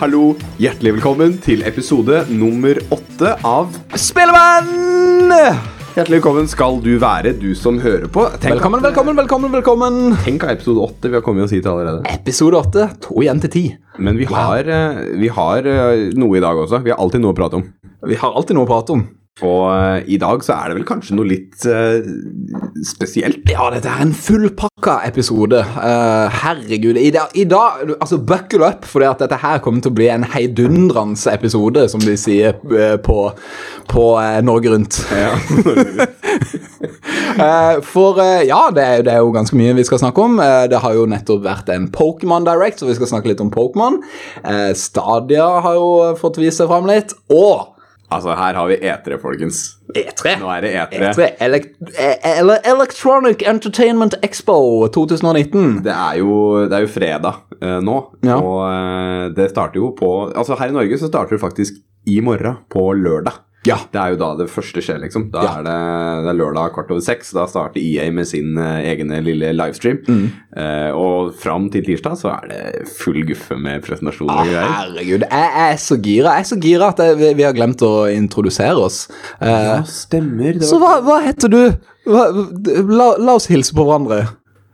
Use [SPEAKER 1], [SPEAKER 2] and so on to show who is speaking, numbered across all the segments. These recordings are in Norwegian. [SPEAKER 1] hallo. Hjertelig velkommen til episode nummer åtte av Spellemann! Hjertelig velkommen skal du være, du som hører på. Tenk
[SPEAKER 2] Velkommen,
[SPEAKER 1] at-
[SPEAKER 2] velkommen, velkommen, velkommen!
[SPEAKER 1] Tenk av episode åtte vi har kommet oss hit allerede.
[SPEAKER 2] Episode 8, to igjen til ti.
[SPEAKER 1] Men vi har, eh, vi har eh, noe i dag også. Vi har alltid noe å prate om.
[SPEAKER 2] Vi har alltid noe å prate om.
[SPEAKER 1] Og eh, i dag så er det vel kanskje noe litt eh, spesielt.
[SPEAKER 2] Ja, dette er en fullpakka episode. Eh, herregud. I dag, i dag du, altså buckle up, for dette her kommer til å bli en heidundrende episode, som de sier eh, på, på eh, Norge Rundt. Eh, for eh, ja, det er, det er jo ganske mye vi skal snakke om. Eh, det har jo nettopp vært en Pokémon Direct, så vi skal snakke litt om Pokémon. Eh, Stadia har jo fått vist seg fram litt. Og E
[SPEAKER 1] altså, her har vi etere, folkens.
[SPEAKER 2] E3.
[SPEAKER 1] Nå er det etere.
[SPEAKER 2] E3 elek e- ele- Electronic Entertainment Expo 2019.
[SPEAKER 1] Det er jo, det er jo fredag eh, nå,
[SPEAKER 2] Ja.
[SPEAKER 1] og eh, det starter jo på Altså her i Norge så starter det faktisk i morgen, på lørdag.
[SPEAKER 2] Ja.
[SPEAKER 1] Det er jo da det første skjer, liksom. Da
[SPEAKER 2] Ja.
[SPEAKER 1] er det, det er lørdag kvart over seks. Da starter EA med sin eh, egne lille livestream.
[SPEAKER 2] Mm.
[SPEAKER 1] Eh, og fram til tirsdag så er det full guffe med presentasjon
[SPEAKER 2] Ah,
[SPEAKER 1] og greier.
[SPEAKER 2] Herregud, jeg er så gira Jeg er så gira at jeg, vi, vi har glemt å introdusere oss. Eh,
[SPEAKER 1] Ja, stemmer. Det var...
[SPEAKER 2] så hva, hva heter du? Hva, la, la oss hilse på hverandre.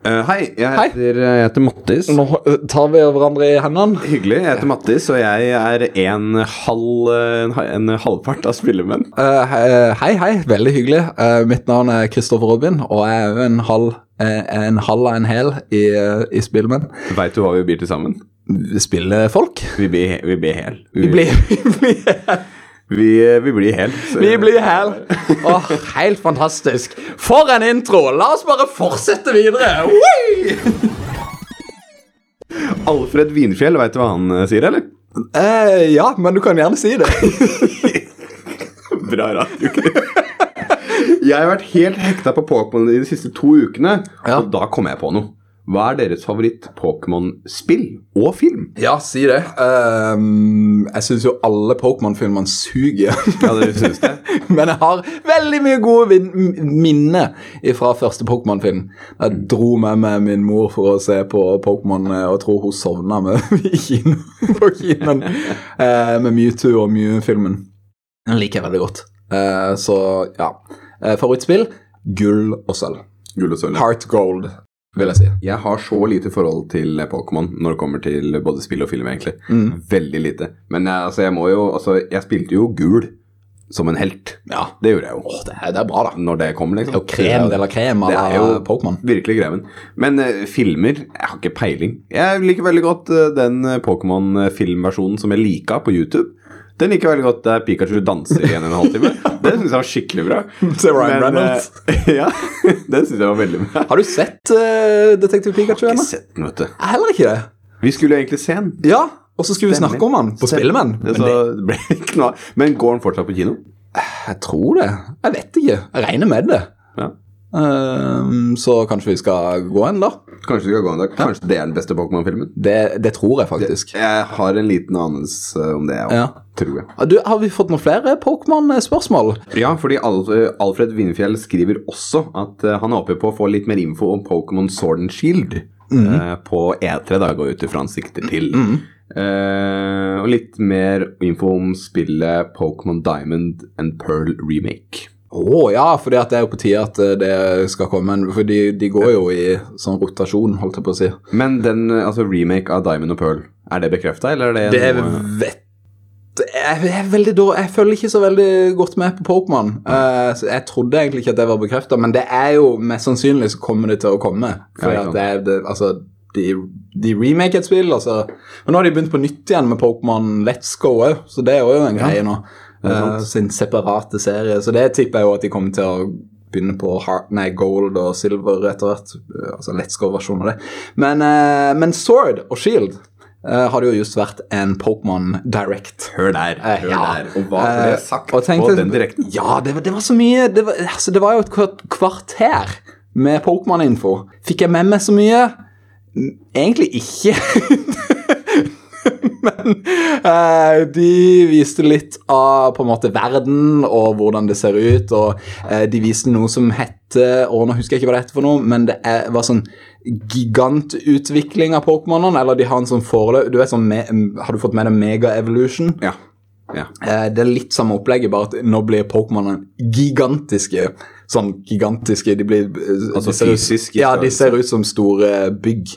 [SPEAKER 1] Eh, hei, jeg
[SPEAKER 2] Hei.
[SPEAKER 1] heter, jeg heter Mattis.
[SPEAKER 2] Nå eh, tar vi hverandre i hendene.
[SPEAKER 1] Hyggelig. Jeg heter Mattis, og jeg er en halv en, en halvpart av spillemenn.
[SPEAKER 2] Eh, he- hei, hei. Veldig hyggelig. Eh, mitt navn er Kristoffer Robin, og jeg er jo en halv, eh, en halv av en hæl i, eh, i Spillemenn.
[SPEAKER 1] Veit du hva vi blir til sammen?
[SPEAKER 2] Spillefolk?
[SPEAKER 1] Vi blir, vi blir hel.
[SPEAKER 2] Vi blir, vi blir
[SPEAKER 1] vi, vi blir hel. Så-
[SPEAKER 2] Vi blir hæl. Åh, helt fantastisk. For en intro! La oss bare fortsette videre. Woi!
[SPEAKER 1] Alfred Vinfjell, veit du hva han eh, sier, eller?
[SPEAKER 2] Eh, ja, men du kan gjerne si det.
[SPEAKER 1] Bra radio. jeg har vært helt hekta på Pokémon i de siste to ukene,
[SPEAKER 2] Ja.
[SPEAKER 1] og da kom jeg på noe. Hva er deres favoritt-Pokémon-spill og film?
[SPEAKER 2] Ja, si det. Ehm, jeg syns jo alle Pokémon-filmene suger.
[SPEAKER 1] Ja, dere syns det?
[SPEAKER 2] men jeg har veldig mye gode vin- minner fra første Pokémon-film. Jeg dro med meg min mor for å se på Pokémon, eh, og tror hun sovna med i kino, på kinoen eh, med Mewtwo og Mew-filmen. Den liker jeg veldig godt. Eh, så ja. Eh, favorittspill? Gull og sølv.
[SPEAKER 1] Gull og sølv. ja.
[SPEAKER 2] Heart gold, vil jeg si.
[SPEAKER 1] Jeg har så lite forhold til Pokémon når det kommer til både spill og film, egentlig.
[SPEAKER 2] Mm.
[SPEAKER 1] Veldig lite. Men jeg, altså, jeg må jo Altså, jeg spilte jo gul som en helt.
[SPEAKER 2] Ja.
[SPEAKER 1] Det gjorde jeg jo.
[SPEAKER 2] Det er, det er bra, da.
[SPEAKER 1] Når det kom, liksom.
[SPEAKER 2] Og krem eller krem
[SPEAKER 1] Det er
[SPEAKER 2] eller
[SPEAKER 1] jo-
[SPEAKER 2] Pokémon.
[SPEAKER 1] Virkelig greven. Men eh, filmer Jeg har ikke peiling. Jeg liker veldig godt eh, den eh, Pokémon-filmversjonen som jeg lika på YouTube. Den liker jeg veldig godt der Pikachu danser i en og en halv time. Den syns jeg var skikkelig bra.
[SPEAKER 2] Til
[SPEAKER 1] Men,
[SPEAKER 2] Ryan
[SPEAKER 1] eh,
[SPEAKER 2] Reynolds.
[SPEAKER 1] ja, den syns jeg var veldig bra.
[SPEAKER 2] Har du sett eh, Detektiv Pikachu
[SPEAKER 1] Jeg har
[SPEAKER 2] ennå?
[SPEAKER 1] ikke sett den, vet du.
[SPEAKER 2] Heller ikke det.
[SPEAKER 1] Vi skulle jo egentlig se den.
[SPEAKER 2] Ja, og så skulle vi snakke om han på
[SPEAKER 1] Stemmer.
[SPEAKER 2] Spellemann.
[SPEAKER 1] Det,
[SPEAKER 2] Men
[SPEAKER 1] så,
[SPEAKER 2] det,
[SPEAKER 1] det ble ikke noe av. Men går den fortsatt på kino?
[SPEAKER 2] jeg tror det. Jeg vet ikke. Jeg regner med det.
[SPEAKER 1] sånn- Ja.
[SPEAKER 2] Ehm, så kanskje vi skal gå en, da?
[SPEAKER 1] Kanskje vi skal gå en dag. Kanskje det er den beste Pokémon-filmen?
[SPEAKER 2] Det, det tror jeg faktisk.
[SPEAKER 1] Jeg har en liten anelse om det, jeg også,
[SPEAKER 2] Ja.
[SPEAKER 1] tror jeg.
[SPEAKER 2] Du, har vi fått noen flere Pokémon-spørsmål?
[SPEAKER 1] Ja, fordi Al- Alfred Vindfjell skriver også at eh, han håper på å få litt mer info om Pokémon Sword and Shield eh, på E3, da går jeg ut ifra han sikter til. Eh, og litt mer info om spillet Pokémon Diamond and Pearl Remake.
[SPEAKER 2] Å ja, for det er jo på tide at eh, det skal komme en For de, de går jo i sånn rotasjon, holdt jeg på å si.
[SPEAKER 1] Men den, eh, altså remake av Diamond og Pearl, er det bekrefta, eller er det,
[SPEAKER 2] Det er
[SPEAKER 1] noe
[SPEAKER 2] vet eh, jeg, er veldig dårlig. jeg følger ikke så veldig godt med på Pokémon. Eh, så jeg trodde egentlig ikke at det var bekrefta, men det er jo mest sannsynlig så kommer det til å komme. For
[SPEAKER 1] Ja, ikke
[SPEAKER 2] at det er, det, altså, de, de remaker et spill, altså. Men nå har de begynt på nytt igjen med Pokémon Let's Go òg, så det er jo en greie nå.
[SPEAKER 1] det er sant.
[SPEAKER 2] Eh, sin separate serie. Så det tipper jeg jo at de kommer til å begynne på har- nei, Gold og Silver etter hvert. Eh, Altså Let's Go-versjon av det. Men, eh, men Sword og Shield eh, har det jo just vært en Pokémon Direct.
[SPEAKER 1] Hør der,
[SPEAKER 2] Eh,
[SPEAKER 1] hør
[SPEAKER 2] ja.
[SPEAKER 1] der. Og hva ble
[SPEAKER 2] Eh,
[SPEAKER 1] sagt
[SPEAKER 2] og
[SPEAKER 1] på
[SPEAKER 2] tenkte-
[SPEAKER 1] den direkten?
[SPEAKER 2] Ja, det var, det var så mye Det var, altså, det var jo et kvart- kvarter med Pokémon-info. Fikk jeg med meg så mye? N- Egentlig ikke. Men eh, de viste litt av på en måte verden og hvordan det ser ut. Og eh, de viste noe som hette Og nå husker jeg ikke hva det heter for noe, men det er, var sånn gigantutvikling av Pokémonene, eller de har en sånn foreløp... Du vet sånn, me, Har du fått med deg Mega Evolution?
[SPEAKER 1] Ja. ja.
[SPEAKER 2] Eh, Det er litt samme opplegget, bare at nå blir Pokémonene gigantiske. Sånn gigantiske De blir eh,
[SPEAKER 1] Altså
[SPEAKER 2] de ser ut-
[SPEAKER 1] fysisk i
[SPEAKER 2] Ja, de
[SPEAKER 1] størrelse.
[SPEAKER 2] ser ut som store bygg.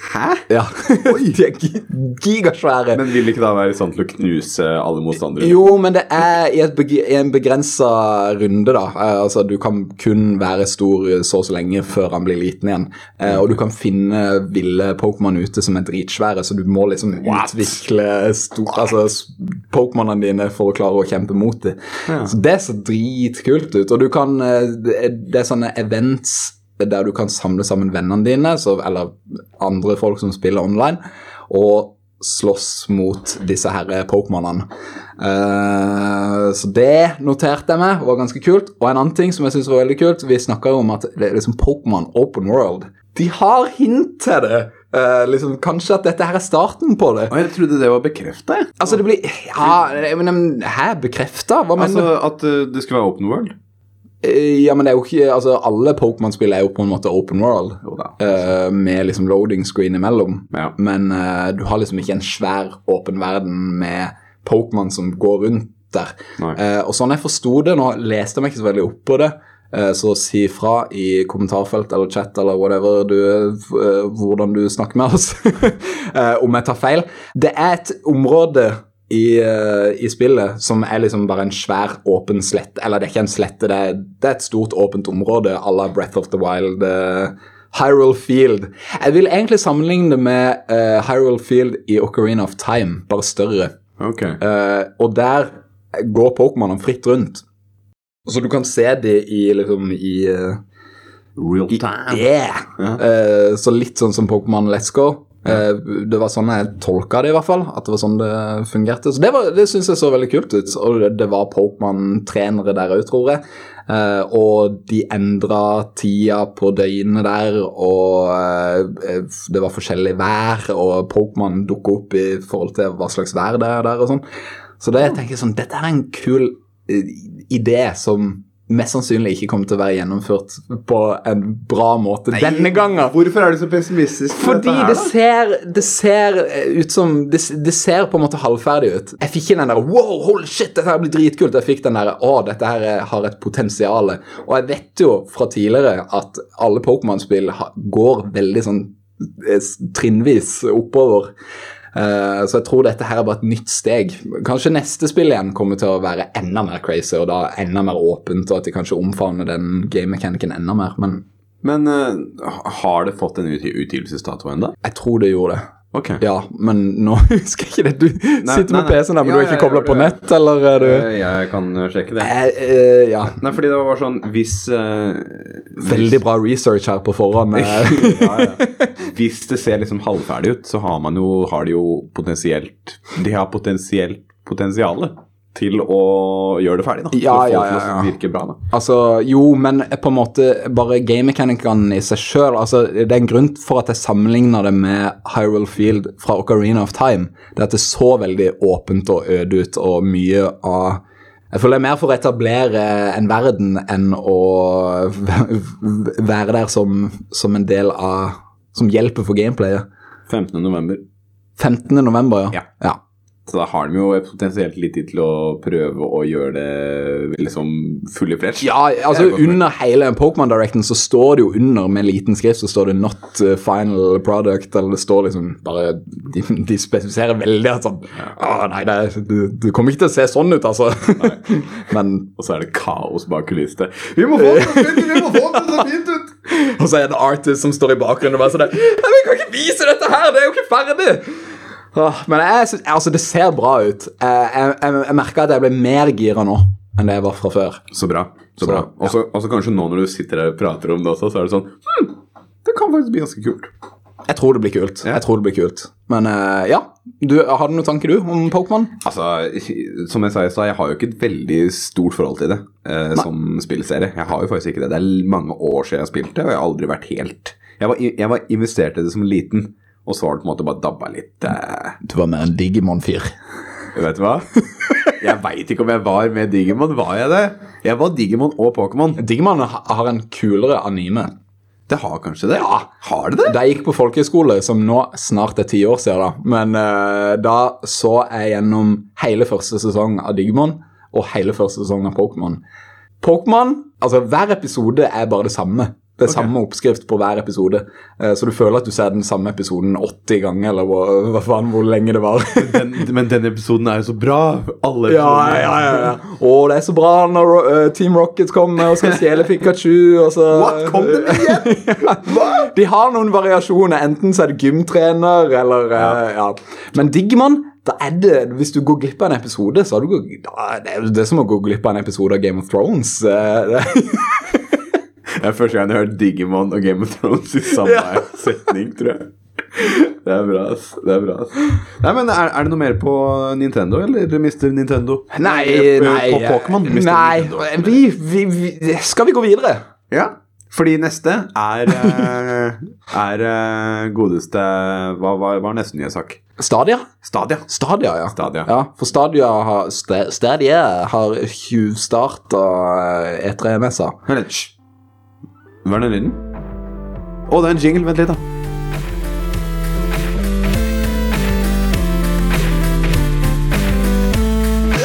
[SPEAKER 1] Hæ?
[SPEAKER 2] Ja. de er gi- gigasvære.
[SPEAKER 1] Men vil det ikke da være sånn til å knuse alle motstandere?
[SPEAKER 2] jo, men det er i, et beg i en begrensa runde, da. Eh, altså, du kan kun være stor eh, så og så lenge før han blir liten igjen. Eh, og du kan finne ville Pokémon ute som er dritsvære, så du må liksom utvikle stor- altså, s- Pokémonene dine for å klare å kjempe mot dem. Så det ser dritkult ut. Og du kan eh, Det er- det er sånne events der du kan samle sammen vennene dine, så, eller andre folk som spiller online, og slåss mot disse herre Pokémonene. Eh, så det noterte jeg meg, var ganske kult. Og en annen ting som jeg synes var veldig kult, vi snakka om at det er liksom Pokémon Open World. De har hint til det! Eh, liksom, kanskje at dette her er starten på det.
[SPEAKER 1] Å, Jeg trodde det var bekrefta, jeg.
[SPEAKER 2] Altså, det blir Ja, men men, hæ? Bekrefta? Hva mener
[SPEAKER 1] Altså
[SPEAKER 2] du?
[SPEAKER 1] at eh, det skulle være open world.
[SPEAKER 2] Eh, Ja, men det er jo ikke Altså, alle Pokémon-spill er jo på en måte open world.
[SPEAKER 1] Jo da.
[SPEAKER 2] eh, med liksom loading screen imellom.
[SPEAKER 1] Ja.
[SPEAKER 2] Men eh, du har liksom ikke en svær åpen verden med Pokémon som går rundt der.
[SPEAKER 1] Nei.
[SPEAKER 2] Eh, og sånn jeg forsto det, nå leste jeg meg ikke så veldig opp på det, eh, så si fra i kommentarfelt eller chat eller whatever du, eh, hvordan du snakker med oss, eh, om jeg tar feil. Det er et område i, eh, i spillet som er liksom bare en svær åpen slett, eller det er ikke en slette, det er, det er et stort åpent område à la Breath of the Wild. eh, Hyrule Field. Jeg vil egentlig sammenligne det med eh, Hyrule Field i Ocarina of Time, bare større.
[SPEAKER 1] Ok.
[SPEAKER 2] Eh, og der går Pokémonene fritt rundt. Så du kan se de i liksom i eh,
[SPEAKER 1] Real time.
[SPEAKER 2] Yeah!
[SPEAKER 1] Ja.
[SPEAKER 2] Eh, så litt sånn som Pokémon Let's Go. Eh, det var sånn jeg tolka det, i hvert fall. At det var sånn det fungerte. Så det, var- det syns jeg så veldig kult ut. Og det, det var Pokémon-trenere der òg, tror jeg. Eh, og de endra tida på døgnet der, og eh, det var forskjellig vær, og Pokémon dukka opp i forhold til hva slags vær det er der og sånn. Så det jeg tenker jeg sånn, dette er en kul eh, idé som mest sannsynlig ikke kommer til å være gjennomført på en bra måte denne gangen.
[SPEAKER 1] Hvorfor er du så pessimistisk? til
[SPEAKER 2] Fordi
[SPEAKER 1] dette her, da?
[SPEAKER 2] det ser, det ser eh, ut som Det, det ser på en måte halvferdig ut. Jeg fikk ikke den der Wow, holy shit, dette her blir dritkult. Jeg fikk den der Å, dette her er- har et potensial. Og jeg vet jo fra tidligere at alle Pokémon-spill ha- går veldig sånn eh, s- trinnvis oppover. Eh, så jeg tror dette her er bare et nytt steg. Kanskje neste spill igjen kommer til å være enda mer crazy og da enda mer åpent, og at de kanskje omfavner den game-mekanikken enda mer. Men
[SPEAKER 1] Men eh, har det fått en ut utgivelsesdato ennå?
[SPEAKER 2] jeg tror det gjorde det.
[SPEAKER 1] Ok.
[SPEAKER 2] Ja, men nå husker jeg ikke det. Du sitter
[SPEAKER 1] nei,
[SPEAKER 2] med
[SPEAKER 1] nei.
[SPEAKER 2] PC-en der, men
[SPEAKER 1] Ja,
[SPEAKER 2] du er
[SPEAKER 1] ja,
[SPEAKER 2] ikke kobla
[SPEAKER 1] jeg
[SPEAKER 2] på
[SPEAKER 1] gjorde det.
[SPEAKER 2] nett, eller er du
[SPEAKER 1] Eh, Jeg kan sjekke det.
[SPEAKER 2] Eh, eh, Ja.
[SPEAKER 1] Nei, fordi det var sånn Hvis eh,
[SPEAKER 2] Veldig bra research her på forhånd. eh.
[SPEAKER 1] ja, ja. Hvis det ser liksom halvferdig ut, så har, man jo, har de jo potensielt De har potensielt potensiale til å gjøre det ferdig, da.
[SPEAKER 2] Ja,
[SPEAKER 1] Til å få
[SPEAKER 2] ja, ja,
[SPEAKER 1] det til å
[SPEAKER 2] ja.
[SPEAKER 1] virke bra, da.
[SPEAKER 2] Altså, jo, men på en måte bare game-mekanikeren i seg sjøl altså, Det er en grunn for at jeg sammenligner det med Hyrule Field fra Ocarina of Time. Det er at det så veldig åpent og øde ut, og mye av Jeg føler det er mer for å etablere en verden enn å være der som, som en del av Som hjelper for gameplayet.
[SPEAKER 1] 15. november.
[SPEAKER 2] 15. november, ja.
[SPEAKER 1] Ja. Så da har de jo potensielt litt tid til å prøve å gjøre det liksom full i flesh.
[SPEAKER 2] Ja, altså
[SPEAKER 1] Det er godt
[SPEAKER 2] Under hele Pokémon Directen så står det jo under med liten skrift så står det 'Not uh, Final Product'. Eller det står liksom bare De, de spesifiserer veldig at sånn Å, nei, det, er- du, du kommer ikke til å se sånn ut, altså. Men
[SPEAKER 1] Og så er det kaos bak kulissene. Vi må få det så fint, vi må få det så fint ut!
[SPEAKER 2] Og så er det Artist som står i bakgrunnen og bare sånn der, Nei, vi kan ikke vise dette her! Det er jo ikke ferdig! Åh, men jeg, synes- altså, det ser bra ut. Jeg, jeg, jeg, jeg merker at jeg ble mer gira nå enn det jeg var fra før.
[SPEAKER 1] Så bra. så bra.
[SPEAKER 2] ja.
[SPEAKER 1] Og så og så kanskje nå når du sitter der og prater om det også, så er det sånn hm, Det kan faktisk bli ganske kult.
[SPEAKER 2] Jeg tror det blir kult. Jeg tror det blir kult. Men eh, ja, du, har du noen tanker du om Pokémon?
[SPEAKER 1] Altså, som jeg sa i stad, jeg har jo ikke et veldig stort forhold til det eh, som spillserie. Jeg har jo faktisk ikke det. Det er l- mange år siden jeg har spilt det, og jeg har aldri vært helt Jeg var, i- jeg var investert i det som liten, og så har det på en måte bare dabba litt. Eh,
[SPEAKER 2] Du var mer en Digimon-fyr.
[SPEAKER 1] vet du hva? Jeg veit ikke om jeg var med Digimon. Var jeg det? Jeg var Digimon og Pokémon.
[SPEAKER 2] Digimon ha- har en kulere anime.
[SPEAKER 1] Det har kanskje det? Ja. Har det det?
[SPEAKER 2] Da jeg gikk på folkehøyskole, som nå snart er ti år siden, da. men eh, da så jeg gjennom hele første sesong av Digimon og hele første sesong av Pokémon. Pokémon, altså Hver episode er bare det samme. Det er
[SPEAKER 1] Ok.
[SPEAKER 2] samme oppskrift på hver episode. Eh, så du føler at du ser den samme episoden 80 ganger, eller hva, hva faen, hvor lenge det var.
[SPEAKER 1] Den, men denne episoden er jo så bra. Alle
[SPEAKER 2] Ja, ja, ja, ja. Å, det er så bra når eh, Team Rocket kommer og skal stjele Pikachu. Og så,
[SPEAKER 1] What? Kom det med
[SPEAKER 2] Hva? De har noen variasjoner. Enten så er det gymtrener, eller eh, ja. Men Digimon, da er det Hvis du går glipp av en episode, så har du gått da, Det er jo det som å gå glipp av en episode av Game of Thrones. eh, det-
[SPEAKER 1] Det er første gang jeg har hørt Digimon og Game of Thrones i samme
[SPEAKER 2] Ja.
[SPEAKER 1] setning, tror jeg. Det er bra, ass. Det er bra, ass. Nei, men er, er det noe mer på Nintendo, eller Mr. Nintendo?
[SPEAKER 2] Nei,
[SPEAKER 1] På-
[SPEAKER 2] nei.
[SPEAKER 1] På Pokémon? Mr.
[SPEAKER 2] Nei,
[SPEAKER 1] Nintendo.
[SPEAKER 2] vi, vi, vi, skal vi gå videre?
[SPEAKER 1] Ja, fordi neste er eh, Er eh, godeste Hva var, var neste nye sak?
[SPEAKER 2] Stadia?
[SPEAKER 1] Stadia.
[SPEAKER 2] Stadia, ja.
[SPEAKER 1] Stadia.
[SPEAKER 2] Ja, for Stadia har, Sta- Stadia har eh, tjuvstarta E E3-messa.
[SPEAKER 1] Vent litt. hysj. Hva er den lyden? Å, det er en jingle. Vent litt, da.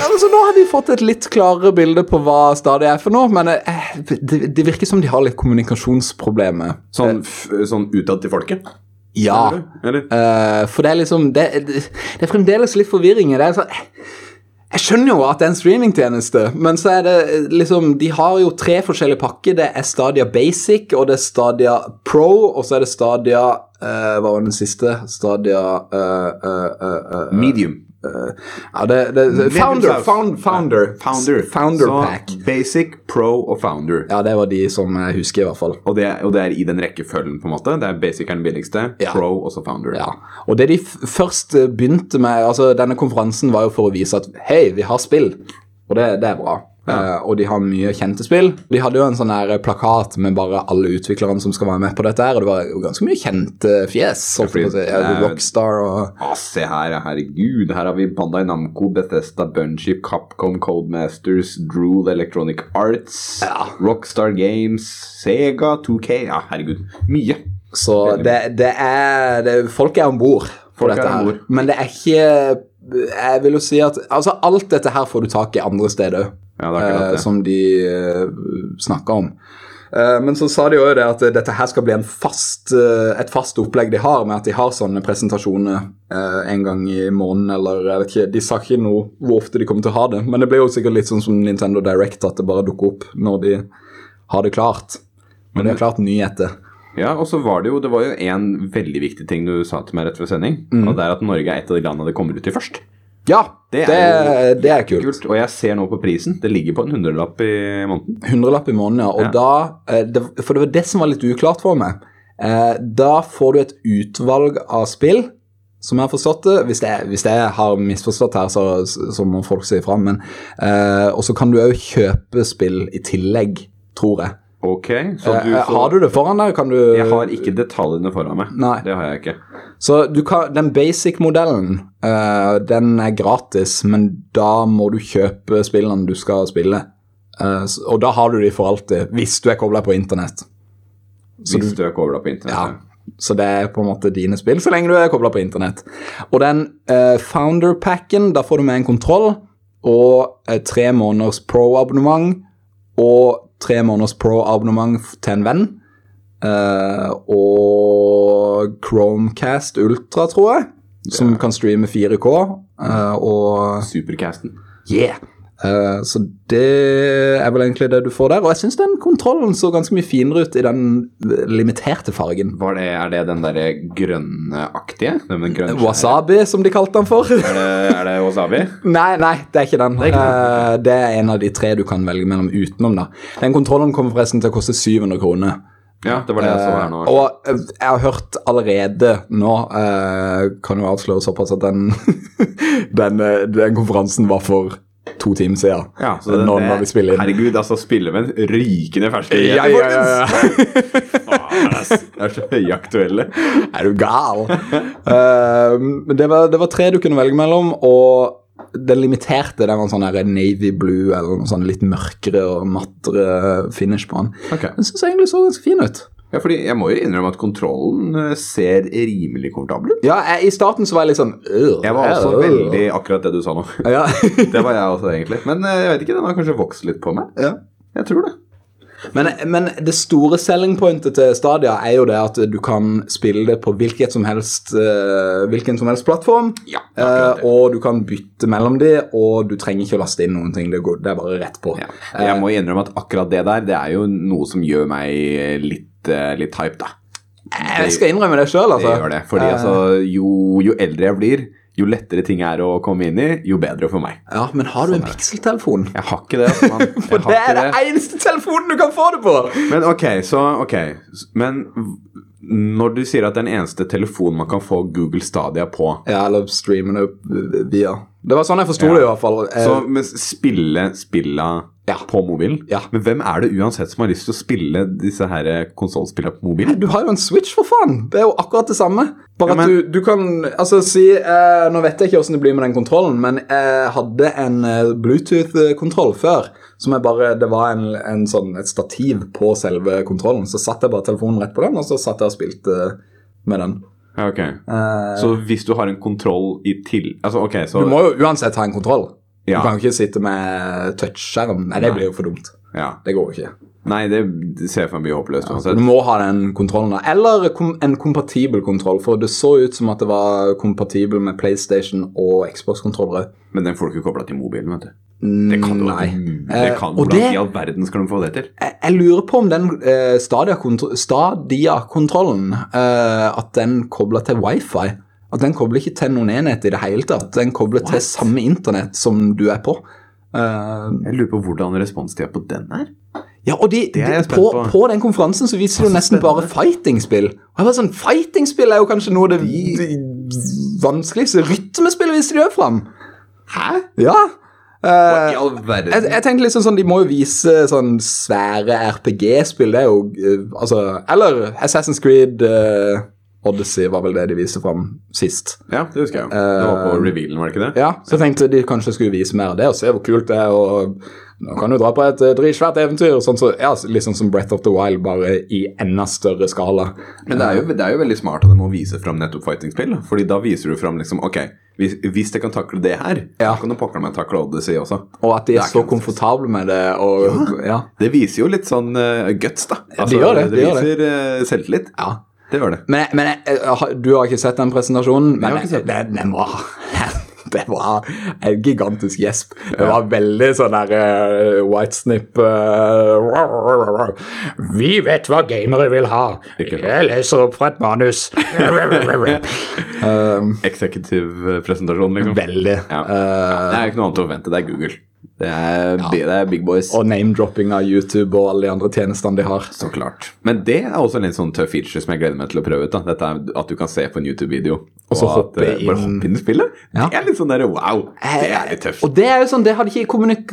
[SPEAKER 2] Altså, nå har vi fått et litt klarere bilde på hva Stadia er for noe, men eh, det, det virker som de har litt kommunikasjonsproblemer.
[SPEAKER 1] Sånn, f sånn utad til folket?
[SPEAKER 2] Ja.
[SPEAKER 1] Eller? eller?
[SPEAKER 2] Eh, for det er liksom det, det, det er fremdeles litt forvirring i det. Så, jeg skjønner jo at det er en streamingtjeneste, men så er det eh, liksom De har jo tre forskjellige pakker. Det er Stadia Basic, og det er Stadia Pro, og så er det Stadia eh, Hva var den siste? Stadia eh, eh, eh, eh,
[SPEAKER 1] Medium.
[SPEAKER 2] Ja, det, det, Founder, found, founder.
[SPEAKER 1] Founder.
[SPEAKER 2] Founder
[SPEAKER 1] Så
[SPEAKER 2] Pack.
[SPEAKER 1] Basic, Pro og Founder.
[SPEAKER 2] Ja, det var de som jeg husker, i hvert fall.
[SPEAKER 1] Og, det, og det er i den rekkefølgen, på en måte. Det er Basic er den billigste,
[SPEAKER 2] Ja.
[SPEAKER 1] Pro og så Founder.
[SPEAKER 2] Ja. Og det de f først eh, begynte med altså Denne konferansen var jo for å vise at hei, vi har spill. Og det, det er bra. Eh, og de har mye kjente spill. De hadde jo en sånn her plakat med bare alle utviklerne som skal være med på dette. her, Og det var jo ganske mye kjente fjes. holdt jeg på å
[SPEAKER 1] fordi det
[SPEAKER 2] si. Ja,
[SPEAKER 1] er-
[SPEAKER 2] Rockstar og
[SPEAKER 1] Å, Ah, se her, ja, herregud. Her har vi Bandai Namco, Bethesda, Bungie, Capcom, Codemasters, Drool, Electronic Arts,
[SPEAKER 2] Ja.
[SPEAKER 1] Rockstar Games, Sega, 2K Ja, herregud. Mye.
[SPEAKER 2] Så det, det er det, Folk er om bord på
[SPEAKER 1] Folk er
[SPEAKER 2] dette her.
[SPEAKER 1] ombord.
[SPEAKER 2] Men det er ikke Jeg vil jo si at altså, alt dette her får du tak i andre steder òg.
[SPEAKER 1] Ja, det er akkurat
[SPEAKER 2] eh,
[SPEAKER 1] det.
[SPEAKER 2] som de eh, snakker om. Eh, men så sa de jo det at eh, dette her skal bli en fast, eh, et fast opplegg de har, med at de har sånne presentasjoner eh, en gang i måneden eller jeg vet ikke, De sa ikke noe hvor ofte de kommer til å ha det, men det blir jo sikkert litt sånn som Nintendo Direct, at det bare dukker opp når de har det klart. Men de har klart nyheter.
[SPEAKER 1] Ja, og så var det jo Det var jo en veldig viktig ting du sa til meg rett før sending,
[SPEAKER 2] Mhm.
[SPEAKER 1] og det er at Norge er et av de landene det kommer ut i først.
[SPEAKER 2] Ja,
[SPEAKER 1] Det
[SPEAKER 2] det,
[SPEAKER 1] er jo
[SPEAKER 2] det, er, kult.
[SPEAKER 1] Kult. Og jeg ser nå på prisen. Det ligger på en hundrelapp i måneden.
[SPEAKER 2] Hundrelapp i måneden, ja. Og
[SPEAKER 1] Ja.
[SPEAKER 2] da, eh, det, for det var det som var litt uklart for meg. Eh, Da får du et utvalg av spill, som jeg har forstått det. Hvis jeg, hvis jeg har misforstått her, så, så må folk si ifra. men, Eh, og så kan du òg kjøpe spill i tillegg, tror jeg.
[SPEAKER 1] Ok, så du
[SPEAKER 2] eh, har du det foran deg? Kan du
[SPEAKER 1] Jeg har ikke detaljene foran meg.
[SPEAKER 2] Nei.
[SPEAKER 1] Det har jeg ikke.
[SPEAKER 2] Så du kan, den basic-modellen, eh, den er gratis, men da må du kjøpe spillene du skal spille. Eh, s- og da har du de for alltid, hvis du er kobla på internett. Så
[SPEAKER 1] Hvis du er kobla på internett.
[SPEAKER 2] Ja. Så det er på en måte dine spill, så lenge du er kobla på internett. Og den eh, Founder-packen, da får du med en kontroll og eh, tre måneders pro-abonnement. Og tre måneders pro-abonnement f- til en venn. Eh, og Chromecast Ultra, tror jeg, som kan streame 4K. eh, og
[SPEAKER 1] Supercasten.
[SPEAKER 2] Yeah! Eh, så det er vel egentlig det du får der. Og jeg syns den kontrollen så ganske mye finere ut i den eh, limiterte fargen.
[SPEAKER 1] Var det, er det den derre grønneaktige? Den med grønn
[SPEAKER 2] Wasabi, som de kalte den for.
[SPEAKER 1] Er det, er det wasabi?
[SPEAKER 2] nei, nei, det er ikke den.
[SPEAKER 1] er ikke
[SPEAKER 2] Eh, det er en av de tre du kan velge mellom utenom. da. Den kontrollen kommer forresten til å koste 700 kroner.
[SPEAKER 1] Ja, det var det jeg så her nå.
[SPEAKER 2] Eh, og eh, jeg har hørt allerede nå eh, Kan jo avsløre såpass at den, den, eh, den konferansen var for to timer siden.
[SPEAKER 1] Ja, så den
[SPEAKER 2] nå
[SPEAKER 1] er-
[SPEAKER 2] når vi spiller inn.
[SPEAKER 1] Herregud, altså spiller med en rykende ferske
[SPEAKER 2] Ja, ja, ja, ja.
[SPEAKER 1] Det er så høyaktuelle.
[SPEAKER 2] Er du gal? Eh, men det, var, det var tre du kunne velge mellom, og den limiterte den var en sånn her navy blue eller noe sånn litt mørkere og mattere finish på den.
[SPEAKER 1] Ok.
[SPEAKER 2] Den syns jeg egentlig så ganske fin ut.
[SPEAKER 1] Ja, fordi jeg må jo innrømme at kontrollen eh, ser rimelig komfortabel ut.
[SPEAKER 2] Ja, jeg, I starten så var jeg litt sånn øh,
[SPEAKER 1] Jeg var også
[SPEAKER 2] øh.
[SPEAKER 1] veldig akkurat det du sa nå.
[SPEAKER 2] ja.
[SPEAKER 1] Det var jeg også, egentlig. Men eh, jeg vet ikke, den har kanskje vokst litt på meg.
[SPEAKER 2] ja.
[SPEAKER 1] Jeg tror det.
[SPEAKER 2] men, men det store selling pointet til Stadia er jo det at du kan spille det på hvilket som helst, eh, hvilken som helst plattform.
[SPEAKER 1] Ja,
[SPEAKER 2] Eh, og du kan bytte mellom de, og du trenger ikke å laste inn noen ting. Det, går, det er bare rett på. Eh,
[SPEAKER 1] Ja. Jeg må innrømme at akkurat det der, det er jo noe som gjør meg litt, eh, litt hype, da.
[SPEAKER 2] Jeg skal innrømme det sjøl,
[SPEAKER 1] Det
[SPEAKER 2] altså.
[SPEAKER 1] gjør det. Fordi
[SPEAKER 2] Eh,
[SPEAKER 1] altså, jo, jo eldre jeg blir, jo lettere ting er å komme inn i, jo bedre for meg.
[SPEAKER 2] Ja, men har du en pikseltelefon?
[SPEAKER 1] Jeg har ikke det. altså, mann. Jeg
[SPEAKER 2] For
[SPEAKER 1] har
[SPEAKER 2] det er
[SPEAKER 1] ikke
[SPEAKER 2] den eneste telefonen du kan få det på!
[SPEAKER 1] Men ok, så ok. s- Men v- når du sier at den eneste telefonen man kan få Google Stadia på
[SPEAKER 2] Ja, eller streame det opp via. Det var sånn jeg forsto det, i hvert fall. Eh,
[SPEAKER 1] Så men s- spille spilla
[SPEAKER 2] Ja.
[SPEAKER 1] på mobilen?
[SPEAKER 2] Ja.
[SPEAKER 1] Men hvem er det uansett som har lyst til å spille disse her eh, konsollspillene på mobilen?
[SPEAKER 2] du har jo en Switch, for faen! Det er jo akkurat det samme. Bare
[SPEAKER 1] Ja, men-
[SPEAKER 2] at du, du kan altså si eh, Nå vet jeg ikke åssen det blir med den kontrollen, men jeg hadde en eh, Bluetooth-kontroll før. Som jeg bare, Det var en, en sånn, et stativ på selve kontrollen. Så satte jeg bare telefonen rett på den, og så satt jeg og spilte eh, med den.
[SPEAKER 1] Ja, ok.
[SPEAKER 2] Eh,
[SPEAKER 1] Så hvis du har en kontroll i til... Altså, ok, så...
[SPEAKER 2] du må jo uansett ha en kontroll.
[SPEAKER 1] Ja.
[SPEAKER 2] Du kan jo ikke sitte med touchskjerm. Nei, det blir jo for dumt.
[SPEAKER 1] Ja.
[SPEAKER 2] Det går jo ikke.
[SPEAKER 1] Nei, det det ser jeg for meg blir håpløst uansett.
[SPEAKER 2] Du må ha den kontrollen da. Eller kom, en kompatibel kontroll, for det så ut som at det var kompatibel med PlayStation og Xbox-kontrollere.
[SPEAKER 1] Men den får du ikke kobla til mobilen, vet du.
[SPEAKER 2] Det Nei.
[SPEAKER 1] Det
[SPEAKER 2] Eh,
[SPEAKER 1] kan,
[SPEAKER 2] og
[SPEAKER 1] hvordan
[SPEAKER 2] det,
[SPEAKER 1] i all verden skal de få det til?
[SPEAKER 2] jeg, jeg lurer på om den eh, Stadia-kontro- Stadia-kontrollen eh, At den kobler til wifi. At den kobler ikke til noen enhet i det hele tatt. Den kobler til samme internett som du er på. Eh,
[SPEAKER 1] Jeg lurer på hvordan responstida på den er.
[SPEAKER 2] Ja, og de, de,
[SPEAKER 1] er jeg spent
[SPEAKER 2] på,
[SPEAKER 1] på. Altså,
[SPEAKER 2] på den konferansen så viser de jo nesten bare fightingspill. Og jeg var sånn, Fightingspill er jo kanskje noe av det de... vanskeligste. Rytmespill viser de òg fram.
[SPEAKER 1] Hæ?
[SPEAKER 2] Ja.
[SPEAKER 1] Hva i
[SPEAKER 2] Eh,
[SPEAKER 1] all verden?
[SPEAKER 2] jeg, jeg tenkte liksom sånn, De må jo vise sånn svære RPG-spill. Det er jo eh, altså Eller Assassin's Creed eh, Odyssey var vel det de viste fram sist.
[SPEAKER 1] Ja, det husker jeg jo. Det var på revealen, var det ikke det?
[SPEAKER 2] eh, Ja, Så jeg tenkte de kanskje skulle vise mer av det, og se hvor kult det er. og nå kan du dra på et eh, dritsvært eventyr, sånn så, ja, liksom som Breath of the Wild, bare i enda større skala.
[SPEAKER 1] Men det er, jo, det er jo veldig smart av dem å vise fram nettopp fightingspill. da. Fordi da viser du fram liksom Ok, hvis, hvis jeg kan takle det her,
[SPEAKER 2] Ja.
[SPEAKER 1] så kan du pokker meg takle Odyssey også.
[SPEAKER 2] Og at de
[SPEAKER 1] Det
[SPEAKER 2] er
[SPEAKER 1] er
[SPEAKER 2] så
[SPEAKER 1] kult.
[SPEAKER 2] komfortable med det. Og, ja.
[SPEAKER 1] Det viser jo litt sånn eh, guts, da.
[SPEAKER 2] gjør det, de gjør
[SPEAKER 1] viser eh, selvtillit.
[SPEAKER 2] Ja.
[SPEAKER 1] Det gjør det.
[SPEAKER 2] Men, men jeg- jeg har- du har ikke sett den presentasjonen? Men
[SPEAKER 1] har ikke sett
[SPEAKER 2] den. Den var Det var en gigantisk gjesp. Det var veldig sånn der uh, Whitesnip eh, Vi vet hva gamere vil ha.
[SPEAKER 1] Ikke sant.
[SPEAKER 2] Jeg leser opp fra et manus.
[SPEAKER 1] Eksekutiv eh, presentasjon, liksom.
[SPEAKER 2] Veldig.
[SPEAKER 1] Ja. Ja, Eh, det er jo ikke noe annet å forvente. Det er Google. Det er, det er big boys.
[SPEAKER 2] Og name-dropping av YouTube og alle de andre tjenestene de har.
[SPEAKER 1] Så klart. Men det er også en litt sånn tøff feature som jeg gleder meg til å prøve ut. da. Dette er At du kan se på en YouTube-video og
[SPEAKER 2] så
[SPEAKER 1] at,
[SPEAKER 2] hoppe
[SPEAKER 1] eh,
[SPEAKER 2] inn.
[SPEAKER 1] Bare hoppe inn i spillet?
[SPEAKER 2] Ja.
[SPEAKER 1] Det er litt sånn der, wow, det er litt tøft.
[SPEAKER 2] Eh, Og det er jo sånn, det har de ikke kommunik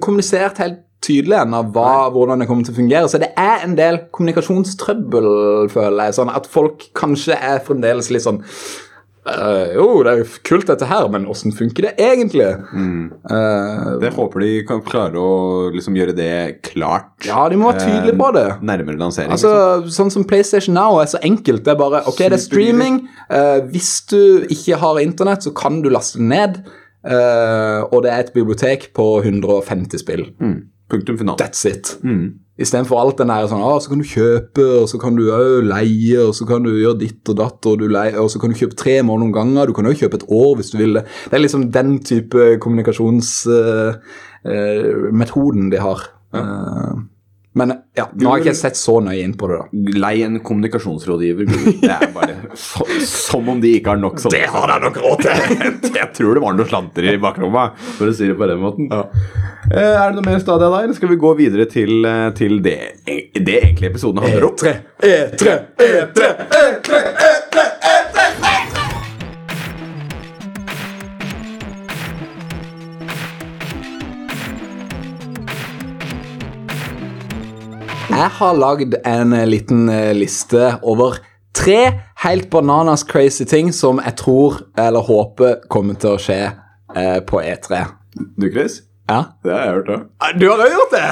[SPEAKER 2] kommunisert helt tydelig ennå, hva- hvordan det kommer til å fungere. Så det er en del kommunikasjonstrøbbel, føler jeg. Sånn at folk kanskje er fremdeles litt sånn «Øh, Jo, det er jo f- kult dette her, men åssen funker det egentlig?
[SPEAKER 1] Mm.
[SPEAKER 2] Eh,
[SPEAKER 1] Det håper de kan klare å liksom gjøre det klart
[SPEAKER 2] ja, de må være
[SPEAKER 1] Eh,
[SPEAKER 2] tydelige på det.
[SPEAKER 1] nærmere lansering. liksom.
[SPEAKER 2] Altså, sånn som PlayStation Now er så enkelt. Det er bare ok, det er streaming. eh, hvis du ikke har internett, så kan du laste det ned. eh, og det er et bibliotek på 150 spill.
[SPEAKER 1] liksom. mm. Punktum final.
[SPEAKER 2] That's it.
[SPEAKER 1] Mm.
[SPEAKER 2] Istedenfor alt den der sånn ah, Så kan du kjøpe, og så kan du òg leie, og så kan du gjøre ditt og datt, og, du leier, og så kan du kjøpe tre måneder om gangen. Du kan òg kjøpe et år hvis du vil det. Det er liksom den type kommunikasjonsmetoden de har. Eh, men ja, nå har jeg ikke sett så nøye inn på det, da.
[SPEAKER 1] Lei en kommunikasjonsrådgiver. Google. Det er bare så, Som om de ikke har nok sånne.
[SPEAKER 2] jeg nok råd
[SPEAKER 1] Jeg tror det var noe slanter i bakrommet, for å si det på den måten. Eh, Er det noe mer Stadia da, eller skal vi gå videre til, eh, til det, det egentlig episoden handler om?
[SPEAKER 2] E3, E3, E3, E3, E3, E3. Jeg har lagd en eh, liten eh, liste over tre helt bananas crazy ting som jeg tror eller håper kommer til å skje eh, på E3.
[SPEAKER 1] Du, Chris?
[SPEAKER 2] Ja.
[SPEAKER 1] Det har jeg hørt òg.
[SPEAKER 2] Eh, Du har jo gjort det!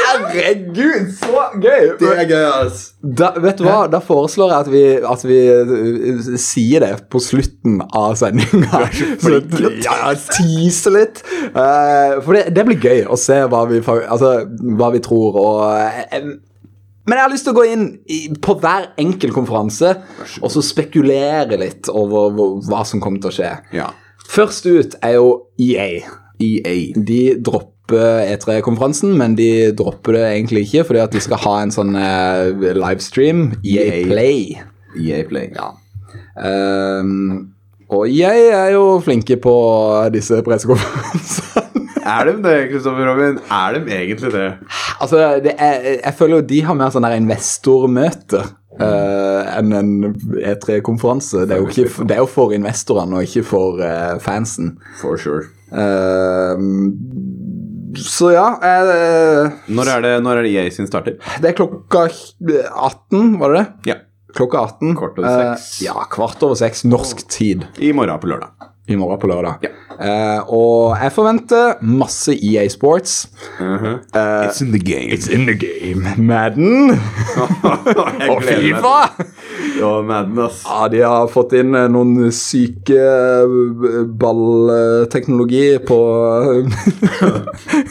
[SPEAKER 2] Herregud, så gøy!
[SPEAKER 1] er gøy, ass.
[SPEAKER 2] Da, vet du hva, da foreslår jeg at vi, at vi uh, sier det på slutten av sendinga. Så
[SPEAKER 1] flink til å
[SPEAKER 2] ja, tease litt. Eh, for det, det blir gøy å se hva vi, fa- altså, hva vi tror og eh, Men jeg har lyst til å gå inn i, på hver enkelt konferanse og så spekulere litt over hvor- hva som kommer til å skje.
[SPEAKER 1] Ja.
[SPEAKER 2] Først ut er jo E EA.
[SPEAKER 1] EA.
[SPEAKER 2] De dropper E3-konferansen, men de dropper det egentlig ikke, fordi at de skal ha en sånn eh, livestream. EA
[SPEAKER 1] EA.
[SPEAKER 2] Play.
[SPEAKER 1] EA E Play.
[SPEAKER 2] Ja. Ehm, og jeg er jo flinke på disse pressekonferansene.
[SPEAKER 1] Er de det, Kristoffer Robin? Er de egentlig det?
[SPEAKER 2] altså, det er, jeg føler jo de har mer sånn der investormøte. eh, enn en E3-konferanse. Det, er jo ikke- det er jo for investorene og ikke for eh, fansen.
[SPEAKER 1] For sure.
[SPEAKER 2] Ehm, Eh, så ja eh,
[SPEAKER 1] Når er det, når er det EA sin starter?
[SPEAKER 2] Det er klokka 18, var det det?
[SPEAKER 1] Ja.
[SPEAKER 2] Klokka 18.
[SPEAKER 1] Kvart over seks.
[SPEAKER 2] Eh, ja, kvart over seks norsk tid
[SPEAKER 1] I morgen på lørdag.
[SPEAKER 2] i morgen på lørdag.
[SPEAKER 1] Ja.
[SPEAKER 2] Eh, og jeg forventer masse EA Sports.
[SPEAKER 1] Uh-huh.
[SPEAKER 2] Eh,
[SPEAKER 1] It's in the game.
[SPEAKER 2] in the game. Madden
[SPEAKER 1] jeg
[SPEAKER 2] og
[SPEAKER 1] gleder meg.
[SPEAKER 2] Fifa.
[SPEAKER 1] Ja, Madden, ass.
[SPEAKER 2] Ja, de har fått inn eh, noen syke eh, ballteknologi på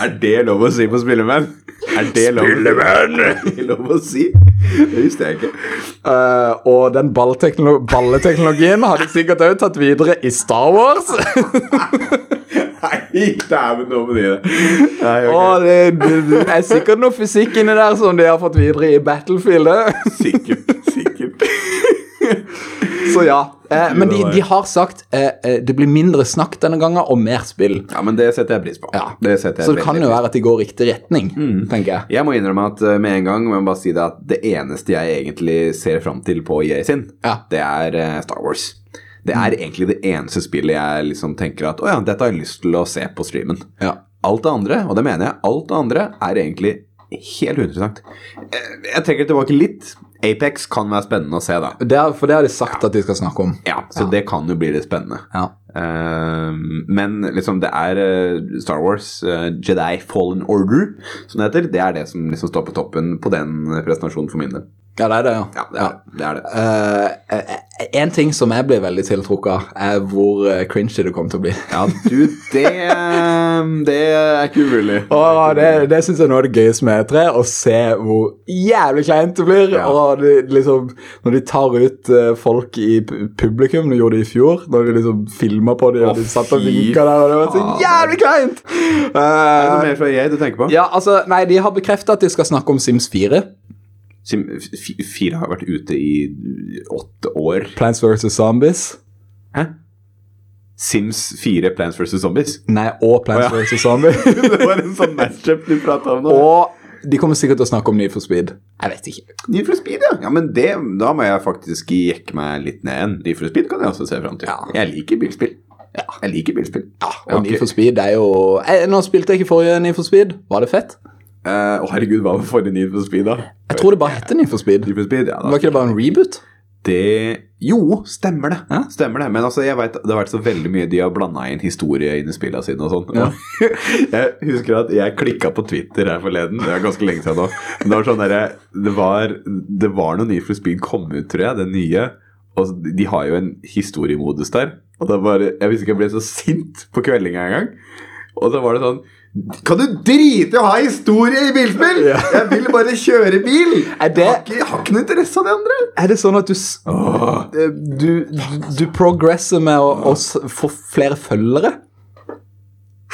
[SPEAKER 1] Er det lov å si på Spillemenn? Er det lov å si? Er det lov å si? Det visste jeg ikke.
[SPEAKER 2] Eh, Og den ballteknolo- balleteknologien har de sikkert òg tatt videre i Star Wars.
[SPEAKER 1] Nei, dæven, nå må du gi det. Nei, ok.
[SPEAKER 2] Og det, det, det er sikkert noe fysikk inni der som de har fått videre i Battlefieldet.
[SPEAKER 1] Sikkert, sikkert.
[SPEAKER 2] Så ja. Eh, men de, de har sagt eh, eh, det blir mindre snakk denne gangen og mer spill.
[SPEAKER 1] Ja, men det setter jeg pris på.
[SPEAKER 2] Ja.
[SPEAKER 1] Det setter jeg
[SPEAKER 2] Så det kan
[SPEAKER 1] veldig Mm.
[SPEAKER 2] jo
[SPEAKER 1] pris på.
[SPEAKER 2] være at de går riktig retning, tenker jeg.
[SPEAKER 1] Jeg må innrømme at eh, med en gang må jeg bare si det at det eneste jeg egentlig ser fram til på EA sin,
[SPEAKER 2] Ja. Mm.
[SPEAKER 1] det er eh, Star Wars. Det er egentlig det eneste spillet jeg liksom tenker at å ja, dette har jeg lyst til å se på streamen.
[SPEAKER 2] Ja.
[SPEAKER 1] Alt det andre, og det mener jeg, alt det andre er egentlig helt uinteressant. Eh, Jeg trekker tilbake litt. Apex kan være spennende å se, da.
[SPEAKER 2] Det er, for det har de sagt at de skal snakke om.
[SPEAKER 1] Ja, Så det kan jo bli litt spennende.
[SPEAKER 2] Ja.
[SPEAKER 1] Ehm, men liksom, det er eh, Star Wars, eh, Jedi Fallen Order, som det heter. Det er det som liksom står på toppen på den presentasjonen for min del.
[SPEAKER 2] ja, det er det, ja.
[SPEAKER 1] Ja, det er det. Er det.
[SPEAKER 2] Eh, eh, en ting som jeg blir veldig tiltrukket av, er hvor eh, cringy det kommer til å bli.
[SPEAKER 1] ja du, det Det er ikke umulig.
[SPEAKER 2] Åh, det det syns jeg er noe av det gøyeste med E3. Å se hvor jævlig kleint det blir.
[SPEAKER 1] Ja.
[SPEAKER 2] Og det, liksom, når de tar ut eh, folk i pu- publikum, det gjorde de i fjor. Når de liksom filma på dem,
[SPEAKER 1] Å,
[SPEAKER 2] og de satt og
[SPEAKER 1] fy
[SPEAKER 2] vinka der. Og det var så
[SPEAKER 1] faen.
[SPEAKER 2] jævlig kleint!
[SPEAKER 1] Er det noe
[SPEAKER 2] Eh,
[SPEAKER 1] mer fra jeg du tenker på?
[SPEAKER 2] ja, altså, nei, De har bekrefta at de skal snakke om Sims 4.
[SPEAKER 1] Sim, f- fire har vært ute i åtte år.
[SPEAKER 2] Plants vs. Zombies.
[SPEAKER 1] Hæ? Sims 4 Plants vs. Zombies?
[SPEAKER 2] Nei, og Plants
[SPEAKER 1] Å, ja.
[SPEAKER 2] vs. Zombies.
[SPEAKER 1] Det var en sånn matchup du prata om nå.
[SPEAKER 2] og de kommer sikkert til å snakke om Need for Speed. Jeg vet ikke.
[SPEAKER 1] Need for Speed, ja. ja men det, da må jeg faktisk jekke meg litt ned igjen. Need for Speed kan jeg også se fram til.
[SPEAKER 2] Ja.
[SPEAKER 1] Jeg liker bilspill. Jeg liker bilspill.
[SPEAKER 2] Ja, og
[SPEAKER 1] Jeg har
[SPEAKER 2] Need
[SPEAKER 1] ikke-
[SPEAKER 2] for Speed det er jo eh, Nå spilte jeg ikke forrige Need for Speed. Var det fett?
[SPEAKER 1] Eh, Å, herregud, hva var forrige Need for Speed, da?
[SPEAKER 2] Jeg tror det bare heter Need for Speed.
[SPEAKER 1] Need for Speed, ja
[SPEAKER 2] Var
[SPEAKER 1] da.
[SPEAKER 2] ikke det bare en reboot?
[SPEAKER 1] Det Jo, stemmer det.
[SPEAKER 2] Ja.
[SPEAKER 1] Stemmer det. Men altså, jeg vet, det har vært så veldig mye de har blanda inn historie inn i spillene sine og sånn.
[SPEAKER 2] Ja.
[SPEAKER 1] jeg husker at jeg klikka på Twitter her forleden, det er ganske lenge siden nå. Men det var sånn derre det, var- det var noe Need for Speed kom ut, tror jeg, den nye. Og så- de har jo en historiemodus der. Og da bare, Jeg visste ikke jeg ble så sint på kveldinga engang. Og da var det sånn Kan du drite i å ha historie i bilspill?!
[SPEAKER 2] Ja.
[SPEAKER 1] Jeg vil bare kjøre bil!
[SPEAKER 2] Er det-
[SPEAKER 1] Jeg, har ikke, jeg har ikke noe interesse av det andre!
[SPEAKER 2] Er det sånn at du s-
[SPEAKER 1] Åh.
[SPEAKER 2] eh, Du, du progresser med å, å s- få flere følgere?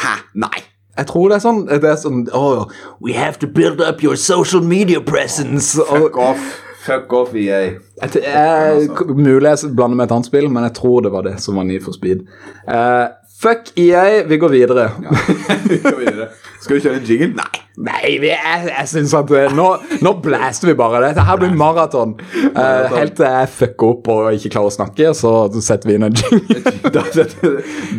[SPEAKER 1] Hæ? Nei.
[SPEAKER 2] Jeg tror det er sånn. Det er sånn oh, We have to build up your social media presence. Og,
[SPEAKER 1] off. Fuck off, E EA.
[SPEAKER 2] jeg, t- jeg, k- mulig jeg s- blander med et annet spill, men jeg tror det var det som var Need for Speed. Eh, fuck EA, vi går videre.
[SPEAKER 1] Skal vi kjøre en jingle? Nei.
[SPEAKER 2] Nei, vi, jeg, jeg syns at det, nå, nå blaster vi bare. Dette her blir maraton. Eh, helt til jeg fucker opp og ikke klarer å snakke, så setter vi inn en jingle.
[SPEAKER 1] Da- da-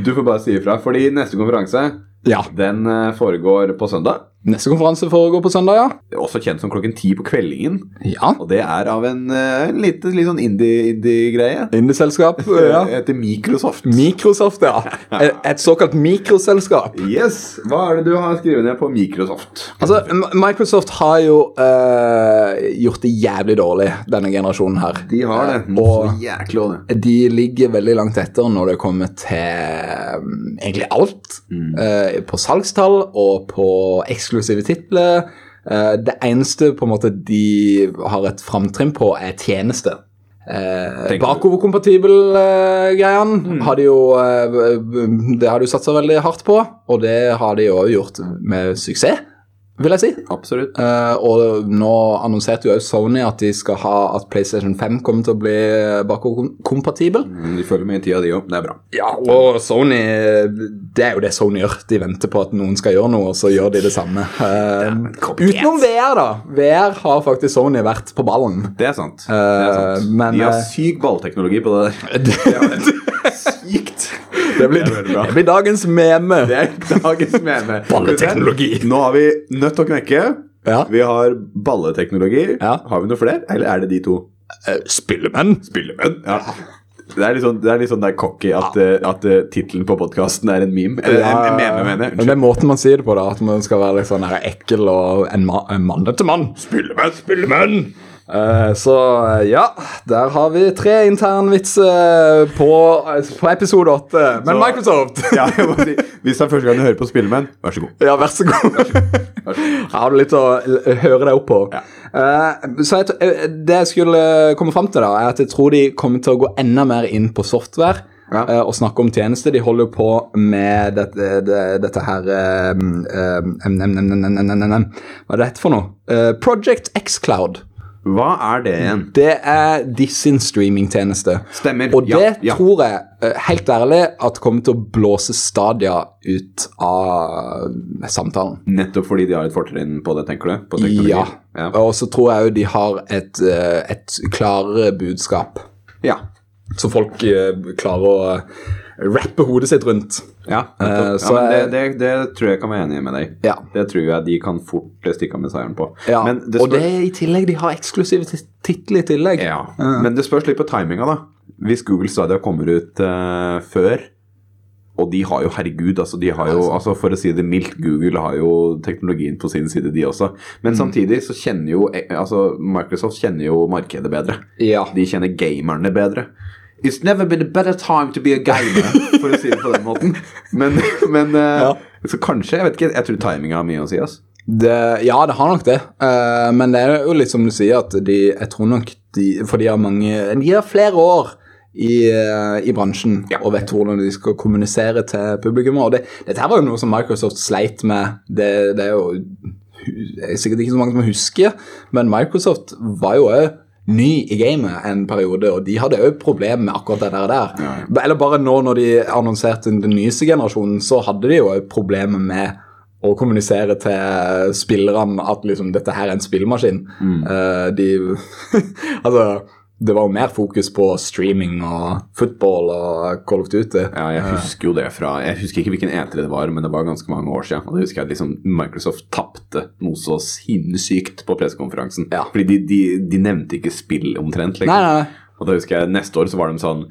[SPEAKER 1] Du får bare si ifra, fordi neste konferanse
[SPEAKER 2] Ja.
[SPEAKER 1] den eh, foregår på søndag.
[SPEAKER 2] Neste konferanse foregår på søndag, ja.
[SPEAKER 1] Også kjent som klokken ti på kveldingen.
[SPEAKER 2] Ja.
[SPEAKER 1] Og det er av en eh, lite litt sånn indie- indie-greie.
[SPEAKER 2] Indieselskap.
[SPEAKER 1] ja.
[SPEAKER 2] Ja.
[SPEAKER 1] Heter Microsoft.
[SPEAKER 2] Microsoft, ja. Et- Et såkalt mikroselskap.
[SPEAKER 1] yes. Hva er det du har skrevet ned på Microsoft?
[SPEAKER 2] Altså, M- Microsoft har jo eh, gjort det jævlig dårlig, denne generasjonen her.
[SPEAKER 1] De har det.
[SPEAKER 2] Eh, Og
[SPEAKER 1] jæklig av det.
[SPEAKER 2] de ligger veldig langt etter når det kommer til mm, egentlig alt.
[SPEAKER 1] Mm.
[SPEAKER 2] Eh, på salgstall og på eksklusive titler. Eh, det eneste på en måte de har et framtrinn på, er tjeneste. Eh,
[SPEAKER 1] Tenker du? Mm.
[SPEAKER 2] Bakoverkompatibel-greiene har de jo eh, b- Det har de jo satsa veldig hardt på, og det har de jo gjort med suksess, vil jeg si.
[SPEAKER 1] Absolutt.
[SPEAKER 2] Eh, og nå annonserte jo også Sony at de skal ha at PlayStation 5 kommer til å bli eh, bakoverkompatibel.
[SPEAKER 1] Mm, De følger med i tida, de òg. Det er bra.
[SPEAKER 2] Ja, og Sony Det er jo det Sony gjør. De venter på at noen skal gjøre noe, og så gjør de det samme. Eh, utenom VR, da. VR har faktisk Sony vært på ballen.
[SPEAKER 1] Det er sant. Det er sant.
[SPEAKER 2] Eh, men,
[SPEAKER 1] de har
[SPEAKER 2] eh,
[SPEAKER 1] syk ballteknologi på det der. Sykt!
[SPEAKER 2] Det blir,
[SPEAKER 1] Det er veldig bra.
[SPEAKER 2] det blir dagens meme.
[SPEAKER 1] Det er dagens meme.
[SPEAKER 2] Balleteknologi.
[SPEAKER 1] Nå har vi nødt til å knekke.
[SPEAKER 2] Ja.
[SPEAKER 1] Vi har balleteknologi.
[SPEAKER 2] Ja.
[SPEAKER 1] Har vi noe flere, eller er det de to?
[SPEAKER 2] Eh, Spillemenn.
[SPEAKER 1] Spillemenn. Ja. Det er litt sånn det er, litt sånn der cocky at, eh, at eh, tittelen på podkasten er en meme. Eller en, en meme, mener jeg.
[SPEAKER 2] Men det er måten man sier det på, da. At man skal være litt sånn her ekkel og en, ma en mannete mann.
[SPEAKER 1] Spillemenn, spillemenn!
[SPEAKER 2] Eh, Så eh, ja, der har vi tre internvitser på, eh, på episode åtte. Men
[SPEAKER 1] Så-
[SPEAKER 2] Microsoft!
[SPEAKER 1] Ja, jeg må si, hvis det er første gang du hører på Spillemenn, vær så god.
[SPEAKER 2] Ja, vær så god. Har du litt å l- høre deg opp på?
[SPEAKER 1] Ja.
[SPEAKER 2] Eh, så jeg, t- eh, det jeg skulle komme fram til, da, er at jeg tror de kommer til å gå enda mer inn på software.
[SPEAKER 1] Ja.
[SPEAKER 2] eh, og snakke om tjenester. De holder jo på med dette, det, dette her eh, eh, em, em, em, em, em, em, em, em. mm, Hva er det for noe? Eh, Project X Cloud.
[SPEAKER 1] Hva er det igjen?
[SPEAKER 2] Det er de sin streamingtjeneste.
[SPEAKER 1] Stemmer.
[SPEAKER 2] Og det
[SPEAKER 1] Ja, ja.
[SPEAKER 2] tror jeg, eh, helt ærlig, at kommer til å blåse Stadia ut av samtalen.
[SPEAKER 1] Nettopp fordi de har et fortrinn på det, tenker du? På teknologi?
[SPEAKER 2] Ja.
[SPEAKER 1] Ja.
[SPEAKER 2] Og så tror jeg jo de har et, eh, et klarere budskap.
[SPEAKER 1] ja.
[SPEAKER 2] Så folk eh, klarer å eh, rappe hodet sitt rundt.
[SPEAKER 1] Ja,
[SPEAKER 2] Eh,
[SPEAKER 1] nettopp.
[SPEAKER 2] så
[SPEAKER 1] ja men det,
[SPEAKER 2] jeg-
[SPEAKER 1] det, det tror jeg kan være enig med deg.
[SPEAKER 2] Ja.
[SPEAKER 1] Det tror jeg de kan fort stikke av med seieren på.
[SPEAKER 2] Ja.
[SPEAKER 1] Men, det
[SPEAKER 2] og det
[SPEAKER 1] spør-
[SPEAKER 2] er i tillegg, de har eksklusive tit- titler i tillegg.
[SPEAKER 1] ja. men det spørs litt på timinga, da. Hvis Google Stadia kommer ut eh, før og de har jo, herregud, altså de har jo, altså for å si det mildt, Google har jo teknologien på sin side, de også. Men samtidig så kjenner jo eh, altså Microsoft kjenner jo markedet bedre.
[SPEAKER 2] Ja.
[SPEAKER 1] De kjenner gamerne bedre. It's never been a better time to be a gamer, for å si det på den måten. Men, men eh,
[SPEAKER 2] Ja.
[SPEAKER 1] så kanskje, jeg vet ikke, jeg tror timinga har mye å si. altså. ass.
[SPEAKER 2] Det, ja, det har nok det. Eh, men det er jo litt som du sier, at de, jeg tror nok de For de har mange De har flere år i, eh, i bransjen
[SPEAKER 1] Ja.
[SPEAKER 2] og vet hvordan de skal kommunisere til publikum. Og det, dette her var jo noe som Microsoft sleit med. Det, det er jo det er sikkert ikke så mange som husker, men Microsoft var jo òg ny i gamet en periode, og de hadde òg problemer med akkurat det der. der. Eller bare nå når de annonserte den nyeste generasjonen, så hadde de jo òg problemer med å kommunisere til spillerne at liksom, dette her er en spillmaskin.
[SPEAKER 1] Mm.
[SPEAKER 2] Eh, de Altså, det var jo mer fokus på streaming og football og Call of Duty.
[SPEAKER 1] Ja, jeg husker jo det fra Jeg husker ikke hvilken E3 det var, men det var ganske mange år siden. Og det husker jeg at liksom Microsoft tapte noe så sinnssykt på pressekonferansen.
[SPEAKER 2] Ja.
[SPEAKER 1] Fordi de, de, de nevnte ikke spill omtrent. Liksom.
[SPEAKER 2] Nei, nei, nei.
[SPEAKER 1] Og da husker jeg neste år så var de sånn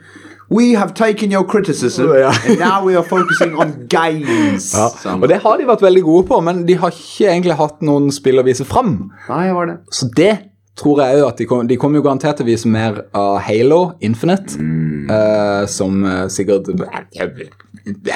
[SPEAKER 1] We have taken your criticism,
[SPEAKER 2] Ja.
[SPEAKER 1] and now we are focusing on games.
[SPEAKER 2] Ja.
[SPEAKER 1] Sånn.
[SPEAKER 2] Og det har de vært veldig gode på, men de har ikke egentlig hatt noen spill å vise fram.
[SPEAKER 1] Nei, var det.
[SPEAKER 2] Så det tror jeg jo at de kommer de kommer jo garantert til å vise mer av Halo Infinite.
[SPEAKER 1] Mm.
[SPEAKER 2] eh, som eh, sikkert eh,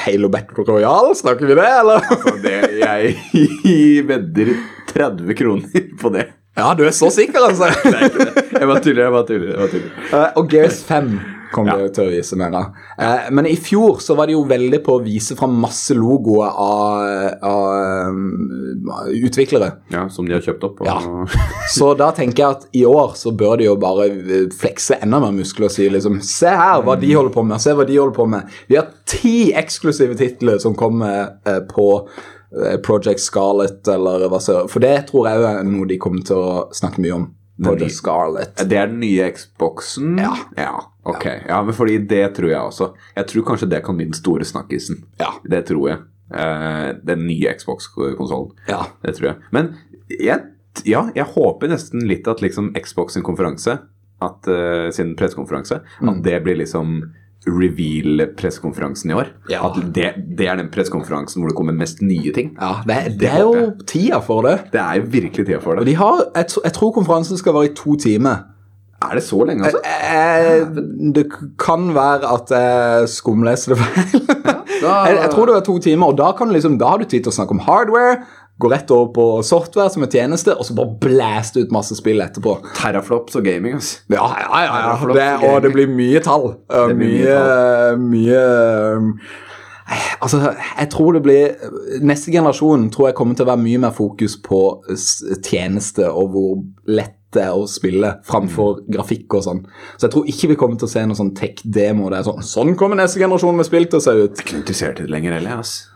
[SPEAKER 2] Halo Battle Royale, snakker vi det, eller?
[SPEAKER 1] Og det, jeg vedder 30 kroner på det.
[SPEAKER 2] Ja, du er så sikker, altså!
[SPEAKER 1] Jeg bare tuller, jeg bare tuller. Jeg bare tuller.
[SPEAKER 2] Eh, og Gears 5 kom de jo til å vise mer av. Eh, men i fjor så var de jo veldig på å vise fram masse logoer av, av um, utviklere.
[SPEAKER 1] Ja, Som de har kjøpt opp. Og...
[SPEAKER 2] Ja. Så da tenker jeg at i år så bør de jo bare eh, flekse enda mer muskler og si liksom Se her hva de holder på med, se hva de holder på med. Vi har ti eksklusive titler som kommer eh, på eh, Project Scarlet eller hva så For det tror jeg jo er noe de kommer til å snakke mye om. Project Scarlet.
[SPEAKER 1] Det er den nye Xboxen?
[SPEAKER 2] Ja.
[SPEAKER 1] ok. Ja, men fordi det tror jeg også. Jeg tror kanskje det kan bli den store snakkisen.
[SPEAKER 2] Ja.
[SPEAKER 1] Det tror jeg. eh, den nye Xbox-konsollen.
[SPEAKER 2] Ja.
[SPEAKER 1] Det tror jeg. Men jeg, ja, jeg håper nesten litt at liksom Xbox sin konferanse, at, eh, sin pressekonferanse,
[SPEAKER 2] Mm.
[SPEAKER 1] at det blir liksom reveal-pressekonferansen i år.
[SPEAKER 2] Ja.
[SPEAKER 1] At det, det er den pressekonferansen hvor det kommer mest nye ting.
[SPEAKER 2] ja det, er- det er jo tida for det.
[SPEAKER 1] Det er jo virkelig tida for
[SPEAKER 2] Og
[SPEAKER 1] det.
[SPEAKER 2] de har, jeg, tr- jeg tror konferansen skal være i to timer.
[SPEAKER 1] Er det så lenge, altså?
[SPEAKER 2] Eh, det k- kan være at jeg skumleser det feil. jeg, jeg tror det var to timer, og da, kan du liksom, da har du tid til å snakke om hardware. Gå rett over på software som en tjeneste, og så bare blæste ut masse spill etterpå.
[SPEAKER 1] Terraflops og gaming, altså.
[SPEAKER 2] Ja, ja, ja,
[SPEAKER 1] Ja,
[SPEAKER 2] ja.
[SPEAKER 1] flott.
[SPEAKER 2] Det, og det blir mye tall. Uh,
[SPEAKER 1] Det blir mye
[SPEAKER 2] mye eh, mye, um, eh, Altså, jeg tror det blir Neste generasjon tror jeg kommer til å være mye mer fokus på s- tjeneste og hvor lett det er å spille framfor
[SPEAKER 1] Mm.
[SPEAKER 2] grafikk og sånn. Så jeg tror ikke vi kommer til å se noen sånn tech-demo der sånn Sånn kommer neste generasjon med spill til å se ut.
[SPEAKER 1] Ikke interessert i det lenger heller, altså.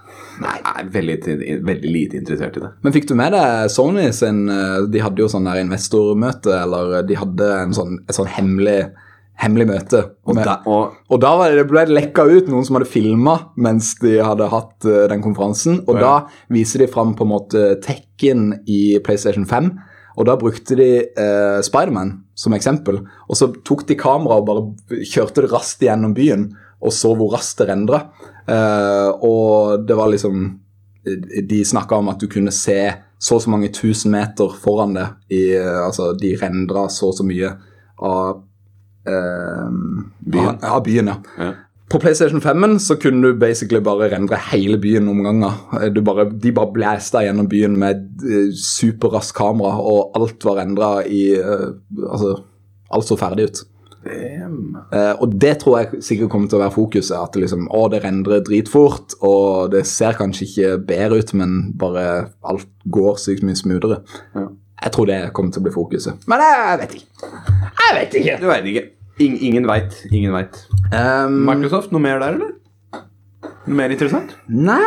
[SPEAKER 1] Nei, jeg er veldig, veldig lite interessert i det.
[SPEAKER 2] Men fikk du med deg Sony sin eh, De hadde jo sånn der investormøte, eller de hadde en sånn, et sånn hemmelig, hemmelig møte.
[SPEAKER 1] Og,
[SPEAKER 2] med-
[SPEAKER 1] da, og
[SPEAKER 2] Og da var det, ble det lekka ut noen som hadde filma mens de hadde hatt eh, den konferansen. Og
[SPEAKER 1] Ja.
[SPEAKER 2] da viser de fram på en måte Tekken i PlayStation 5. Og da brukte de eh, Spiderman som eksempel. Og så tok de kamera og bare kjørte det raskt gjennom byen og så hvor raskt det rendra. Eh, og det var liksom De snakka om at du kunne se så og så mange tusen meter foran deg. I, eh, altså, de rendra så og så mye av eh,
[SPEAKER 1] Byen.
[SPEAKER 2] Ja, ja, byen, ja.
[SPEAKER 1] Ja.
[SPEAKER 2] På PlayStation 5 så kunne du basically bare rendre hele byen om gangen. Du bare, de bare blæsta gjennom byen med eh, superraskt kamera, og alt var rendra i eh, Altså, alt så ferdig ut.
[SPEAKER 1] ehm,
[SPEAKER 2] Eh, og det tror jeg sikkert kommer til å være fokuset. At det liksom, å, det rendrer dritfort, og det ser kanskje ikke bedre ut, men bare alt går sykt mye smoothere.
[SPEAKER 1] Ja.
[SPEAKER 2] Jeg tror det kommer til å bli fokuset. Men jeg vet ikke. Jeg vet ikke.
[SPEAKER 1] Du veit ikke. Ing- ingen veit. Ingen veit.
[SPEAKER 2] Um,
[SPEAKER 1] Microsoft, noe mer der, eller? Noe mer interessant?
[SPEAKER 2] Nei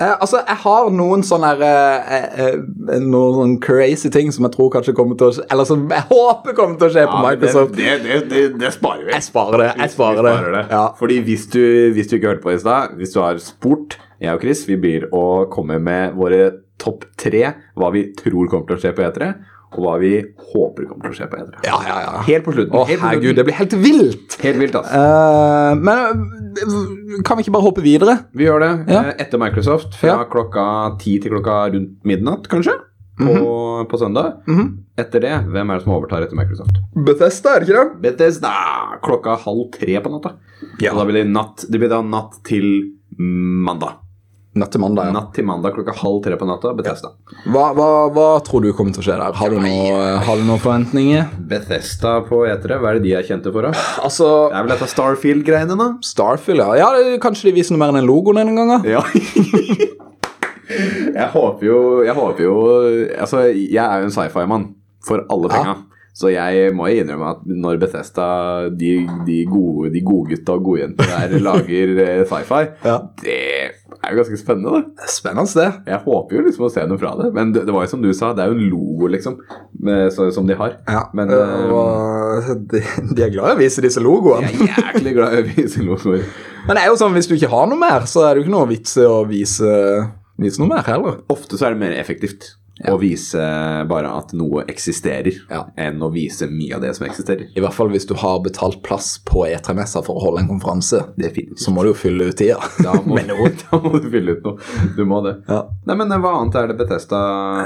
[SPEAKER 2] eh, Altså, jeg har noen sånne her, eh, eh, eh, Noen sånne crazy ting som jeg tror kanskje kommer til å skje Eller som jeg håper kommer til å skje på Microsoft.
[SPEAKER 1] Det, det, det, det sparer vi.
[SPEAKER 2] Jeg sparer det. jeg sparer det. Ja.
[SPEAKER 1] Fordi hvis du, hvis du ikke hørte på i stad, hvis du har spurt Jeg og Chris, vi blir å komme med våre topp tre hva vi tror kommer til å skje på E3, og hva vi håper kommer til å skje på E3.
[SPEAKER 2] ja, ja, ja.
[SPEAKER 1] Helt på slutten.
[SPEAKER 2] Å,
[SPEAKER 1] helt, på
[SPEAKER 2] herregud,
[SPEAKER 1] slutten.
[SPEAKER 2] det blir helt vilt!
[SPEAKER 1] helt vilt, ass.
[SPEAKER 2] Eh, men eh, kan vi ikke bare hoppe videre?
[SPEAKER 1] Vi gjør det
[SPEAKER 2] Ja.
[SPEAKER 1] eh, etter Microsoft, fra
[SPEAKER 2] Ja.
[SPEAKER 1] klokka ti til klokka rundt midnatt, kanskje, på, på søndag. Etter det, hvem er det som overtar etter Microsoft?
[SPEAKER 2] Bethesda, er det ikke det?
[SPEAKER 1] Bethesda klokka halv tre på natta.
[SPEAKER 2] Ja.
[SPEAKER 1] Og da blir det, natt, det blir da natt til mandag.
[SPEAKER 2] Natt til mandag, ja.
[SPEAKER 1] Natt til mandag klokka halv tre på natta. Bethesda.
[SPEAKER 2] Hva, hva, hva tror du kommer til å skje der? Har du, noe, har du noen forventninger?
[SPEAKER 1] Bethesda på E3, hva er det de er kjente for? da?
[SPEAKER 2] Altså
[SPEAKER 1] Det er vel dette Starfield-greiene, da?
[SPEAKER 2] Starfield, ja. ja. det- Kanskje de viser noe mer enn den logoen en gang? da?
[SPEAKER 1] Ja. jeg håper jo Jeg håper jo Altså, jeg er jo en sci-fi-mann for alle
[SPEAKER 2] Ja.
[SPEAKER 1] penga. Så jeg må jo innrømme at når Bethesda, de, de gode, de gode gutta og gode jenter der, lager eh, sci-fi,
[SPEAKER 2] Ja.
[SPEAKER 1] det er jo ganske spennende, da.
[SPEAKER 2] Spennende sted.
[SPEAKER 1] Jeg håper jo liksom å se noe fra det, men det, det var jo som du sa, det er jo en logo liksom med, så, som de har.
[SPEAKER 2] Ja,
[SPEAKER 1] Men, eh,
[SPEAKER 2] øh, og de, de er glad i å vise disse logoene.
[SPEAKER 1] Jeg er jæklig glad i å vise logoer.
[SPEAKER 2] Men det er jo sånn, hvis du ikke har noe mer, så er det jo ikke noe vits i å vise, vise noe mer heller.
[SPEAKER 1] Ofte så er det mer effektivt
[SPEAKER 2] Ja.
[SPEAKER 1] å vise bare at noe eksisterer,
[SPEAKER 2] Ja.
[SPEAKER 1] enn å vise mye av det som eksisterer.
[SPEAKER 2] I hvert fall hvis du har betalt plass på E3-messa for å holde en konferanse.
[SPEAKER 1] Definitivt.
[SPEAKER 2] Så må du jo fylle ut tida.
[SPEAKER 1] Da må, da må du fylle ut noe. Du må det.
[SPEAKER 2] Ja.
[SPEAKER 1] Nei, men eh, hva annet er det Bethesda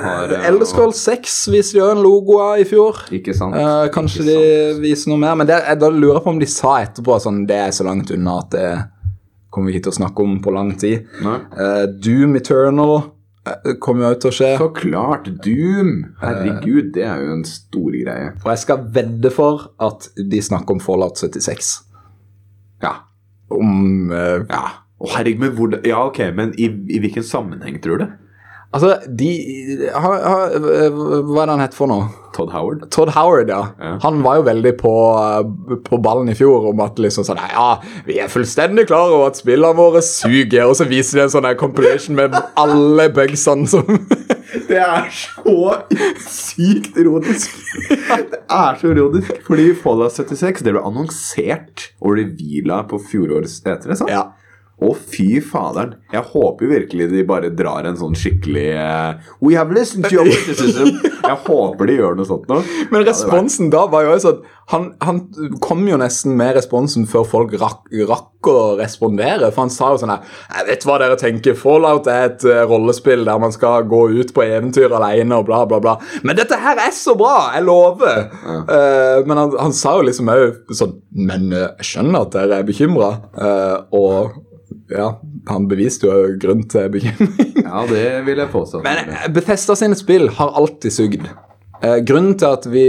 [SPEAKER 1] har? eh,
[SPEAKER 2] Elderscroll 6 viste de jo en logo av i fjor.
[SPEAKER 1] Ikke sant?
[SPEAKER 2] Eh, kanskje
[SPEAKER 1] Ikke
[SPEAKER 2] de
[SPEAKER 1] sant.
[SPEAKER 2] viser noe mer, men det, jeg, da lurer jeg på om de sa etterpå at sånn, det er så langt unna at det kommer vi ikke til å snakke om på lang tid.
[SPEAKER 1] Nei.
[SPEAKER 2] Eh, Doom Eternal eh, kommer jo også til å skje.
[SPEAKER 1] Så klart! Doom! Herregud, det er jo en stor greie.
[SPEAKER 2] Og jeg skal vedde for at de snakker om Fallout 76.
[SPEAKER 1] Ja.
[SPEAKER 2] Om eh,
[SPEAKER 1] Ja. Å, herregud, men hvor Ja, ok, men i, i hvilken sammenheng, tror du?
[SPEAKER 2] Altså, de ha, ha, eh, Hva er det han het for noe?
[SPEAKER 1] Todd Howard?
[SPEAKER 2] Todd Howard, ja.
[SPEAKER 1] Ja.
[SPEAKER 2] Han var jo veldig på, eh, på ballen i fjor om at liksom sånn Ja, vi er fullstendig klar over at spillene våre suger, og så viser de en sånn her compilation med alle bugsene som
[SPEAKER 1] Det er så sykt erotisk! Det er så erotisk. Fordi Fallout 76 det ble annonsert og reveala på fjorårets E3, sant?
[SPEAKER 2] Ja.
[SPEAKER 1] Å, fy faderen. Jeg håper virkelig de bare drar en sånn skikkelig eh, We have listened to your criticism. Jeg håper de gjør noe sånt nå.
[SPEAKER 2] Men responsen da var jo sånn han, han kom jo nesten med responsen før folk rakk, rakk å respondere. For han sa jo sånn her Jeg vet hva dere tenker. Fallout er et eh, rollespill der man skal gå ut på eventyr alene og bla, bla, bla. Men dette her er så bra! Jeg lover! Eh, men han, han sa jo liksom òg sånn Men eh, jeg skjønner at dere er bekymra. og ja, han beviste jo grunn til bekymring.
[SPEAKER 1] Ja, det vil jeg påstå.
[SPEAKER 2] Men eh, Bethesda sine spill har alltid sugd. Eh, grunnen til at vi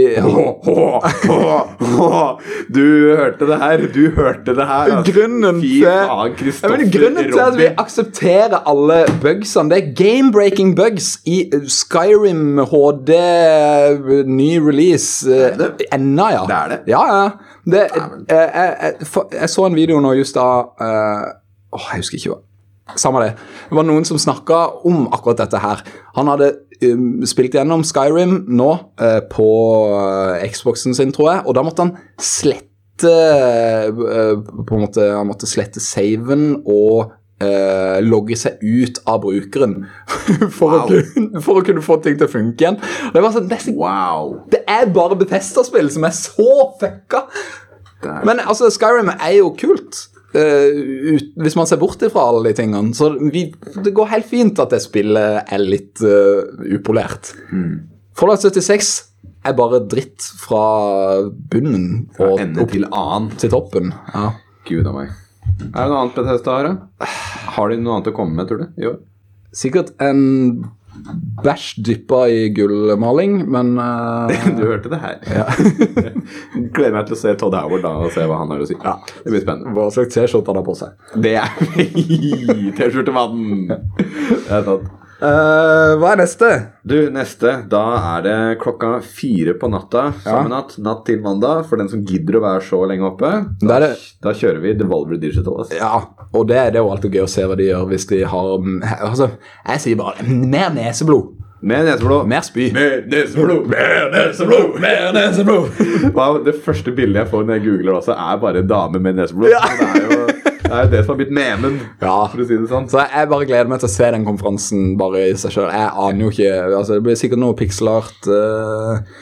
[SPEAKER 1] Du hørte det her. Du hørte det her. altså.
[SPEAKER 2] Grunnen
[SPEAKER 1] Fy
[SPEAKER 2] til,
[SPEAKER 1] faen,
[SPEAKER 2] ja,
[SPEAKER 1] Kristoffer
[SPEAKER 2] men grunnen til at vi
[SPEAKER 1] Robin.
[SPEAKER 2] aksepterer alle bugsene, det er game-breaking bugs i eh, Skyrim HD eh, ny release. eh,
[SPEAKER 1] Er det?
[SPEAKER 2] Ennå, ja.
[SPEAKER 1] Det er det.
[SPEAKER 2] Ja, ja. Det, eh, jeg, jeg, for, jeg så en video nå just da eh, Åh, jeg husker ikke hva. Samme det. Det var noen som snakka om akkurat dette her. Han hadde um, spilt gjennom Skyrim nå eh, på eh, Xboxen sin, tror jeg, og da måtte han slette eh, på en måte, Han måtte slette saven og eh, logge seg ut av brukeren for,
[SPEAKER 1] Wow.
[SPEAKER 2] å kunne, for å kunne få ting til å funke igjen. Og det var sånn, det er så
[SPEAKER 1] Wow.
[SPEAKER 2] det er bare Bethesda-spill som er så fucka!
[SPEAKER 1] Det er-
[SPEAKER 2] Men altså, Skyrim er jo kult. eh, ut, hvis man ser bort ifra alle de tingene. Så vi, det går helt fint at det spillet er litt eh, upolert. Mm. Fallout 76 er bare dritt fra bunnen og
[SPEAKER 1] Ende
[SPEAKER 2] opp
[SPEAKER 1] til annen.
[SPEAKER 2] til toppen. Ja.
[SPEAKER 1] Gud av meg. Er det noe annet Bethesda har, da? Har de noe annet å komme med, tror du? Jo.
[SPEAKER 2] Sikkert en bæsj dyppa i gullmaling, men eh,
[SPEAKER 1] Du hørte det her. Gleder meg til å se Todd Howard da og se hva han har å si. Det blir spennende.
[SPEAKER 2] Hva slags T-skjorte han har på seg.
[SPEAKER 1] Det er T-skjortemannen! Det er sant.
[SPEAKER 2] Eh, hva er neste?
[SPEAKER 1] Du, neste. Da er det klokka fire på natta samme natt. Natt til mandag, for den som gidder å være så lenge oppe.
[SPEAKER 2] Da
[SPEAKER 1] Da,
[SPEAKER 2] er det-
[SPEAKER 1] da kjører vi Devolver Digital. Altså.
[SPEAKER 2] Ja, og det, det er jo alltid gøy å se hva de gjør hvis de har mm, Altså, jeg sier bare mer neseblod.
[SPEAKER 1] Med neseblod.
[SPEAKER 2] Mer spy.
[SPEAKER 1] Med neseblod! Med neseblod!
[SPEAKER 2] Mer neseblod!
[SPEAKER 1] Wow, det første bildet jeg får når jeg googler det også, er bare en dame med neseblod. Det, er jo, det er jo det som har blitt memen,
[SPEAKER 2] Ja.
[SPEAKER 1] for å si det sånn.
[SPEAKER 2] Så jeg, jeg bare gleder meg til å se den konferansen bare i seg sjøl. Jeg aner jo ikke altså Det blir sikkert noe pixelart eh,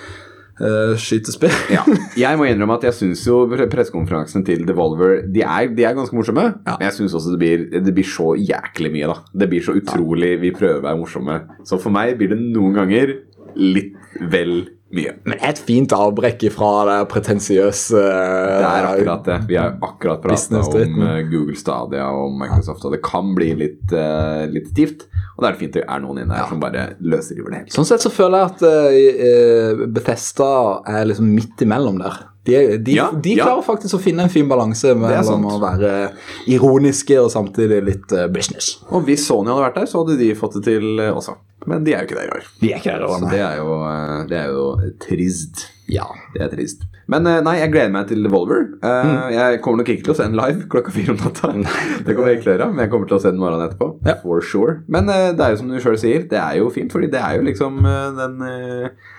[SPEAKER 2] eh, skytespill.
[SPEAKER 1] Ja. Jeg må innrømme at jeg syns jo pressekonferansene til Devolver De er, de er ganske morsomme,
[SPEAKER 2] Ja.
[SPEAKER 1] men jeg syns også det blir, det blir så jæklig mye, da. Det blir så utrolig Vi prøver å være morsomme. Så for meg blir det noen ganger litt vel mye.
[SPEAKER 2] Men et fint avbrekk ifra det pretensiøse eh,
[SPEAKER 1] Det er akkurat det. Vi har akkurat pratet
[SPEAKER 2] Business-dritten.
[SPEAKER 1] om eh, Google Stadia og Microsoft, og det kan bli litt, eh, litt stivt. Og da er det fint det er noen inne her som bare løsriver det helt.
[SPEAKER 2] Sånn sett så føler jeg at eh, eh, Bethesda er liksom midt imellom der. De, de,
[SPEAKER 1] Ja,
[SPEAKER 2] de
[SPEAKER 1] ja.
[SPEAKER 2] klarer faktisk å finne en fin balanse
[SPEAKER 1] sant.
[SPEAKER 2] mellom å være ironiske og samtidig litt eh, business.
[SPEAKER 1] Og hvis Sony hadde vært der, så hadde de fått det til eh, også. Men de er jo ikke der i år.
[SPEAKER 2] De er ikke der
[SPEAKER 1] Så det er jo, eh, det er jo trist.
[SPEAKER 2] Ja.
[SPEAKER 1] Det er trist. Men eh, nei, jeg gleder meg til Devolver. Eh,
[SPEAKER 2] Mm.
[SPEAKER 1] Jeg kommer nok ikke til å se den live klokka fire om natta. Det kommer jeg ikke til å gjøre, men jeg kommer til å se den morgenen etterpå.
[SPEAKER 2] Ja.
[SPEAKER 1] For sure. Men eh, det er jo som du sjøl sier, det er jo fint, fordi det er jo liksom eh, den eh,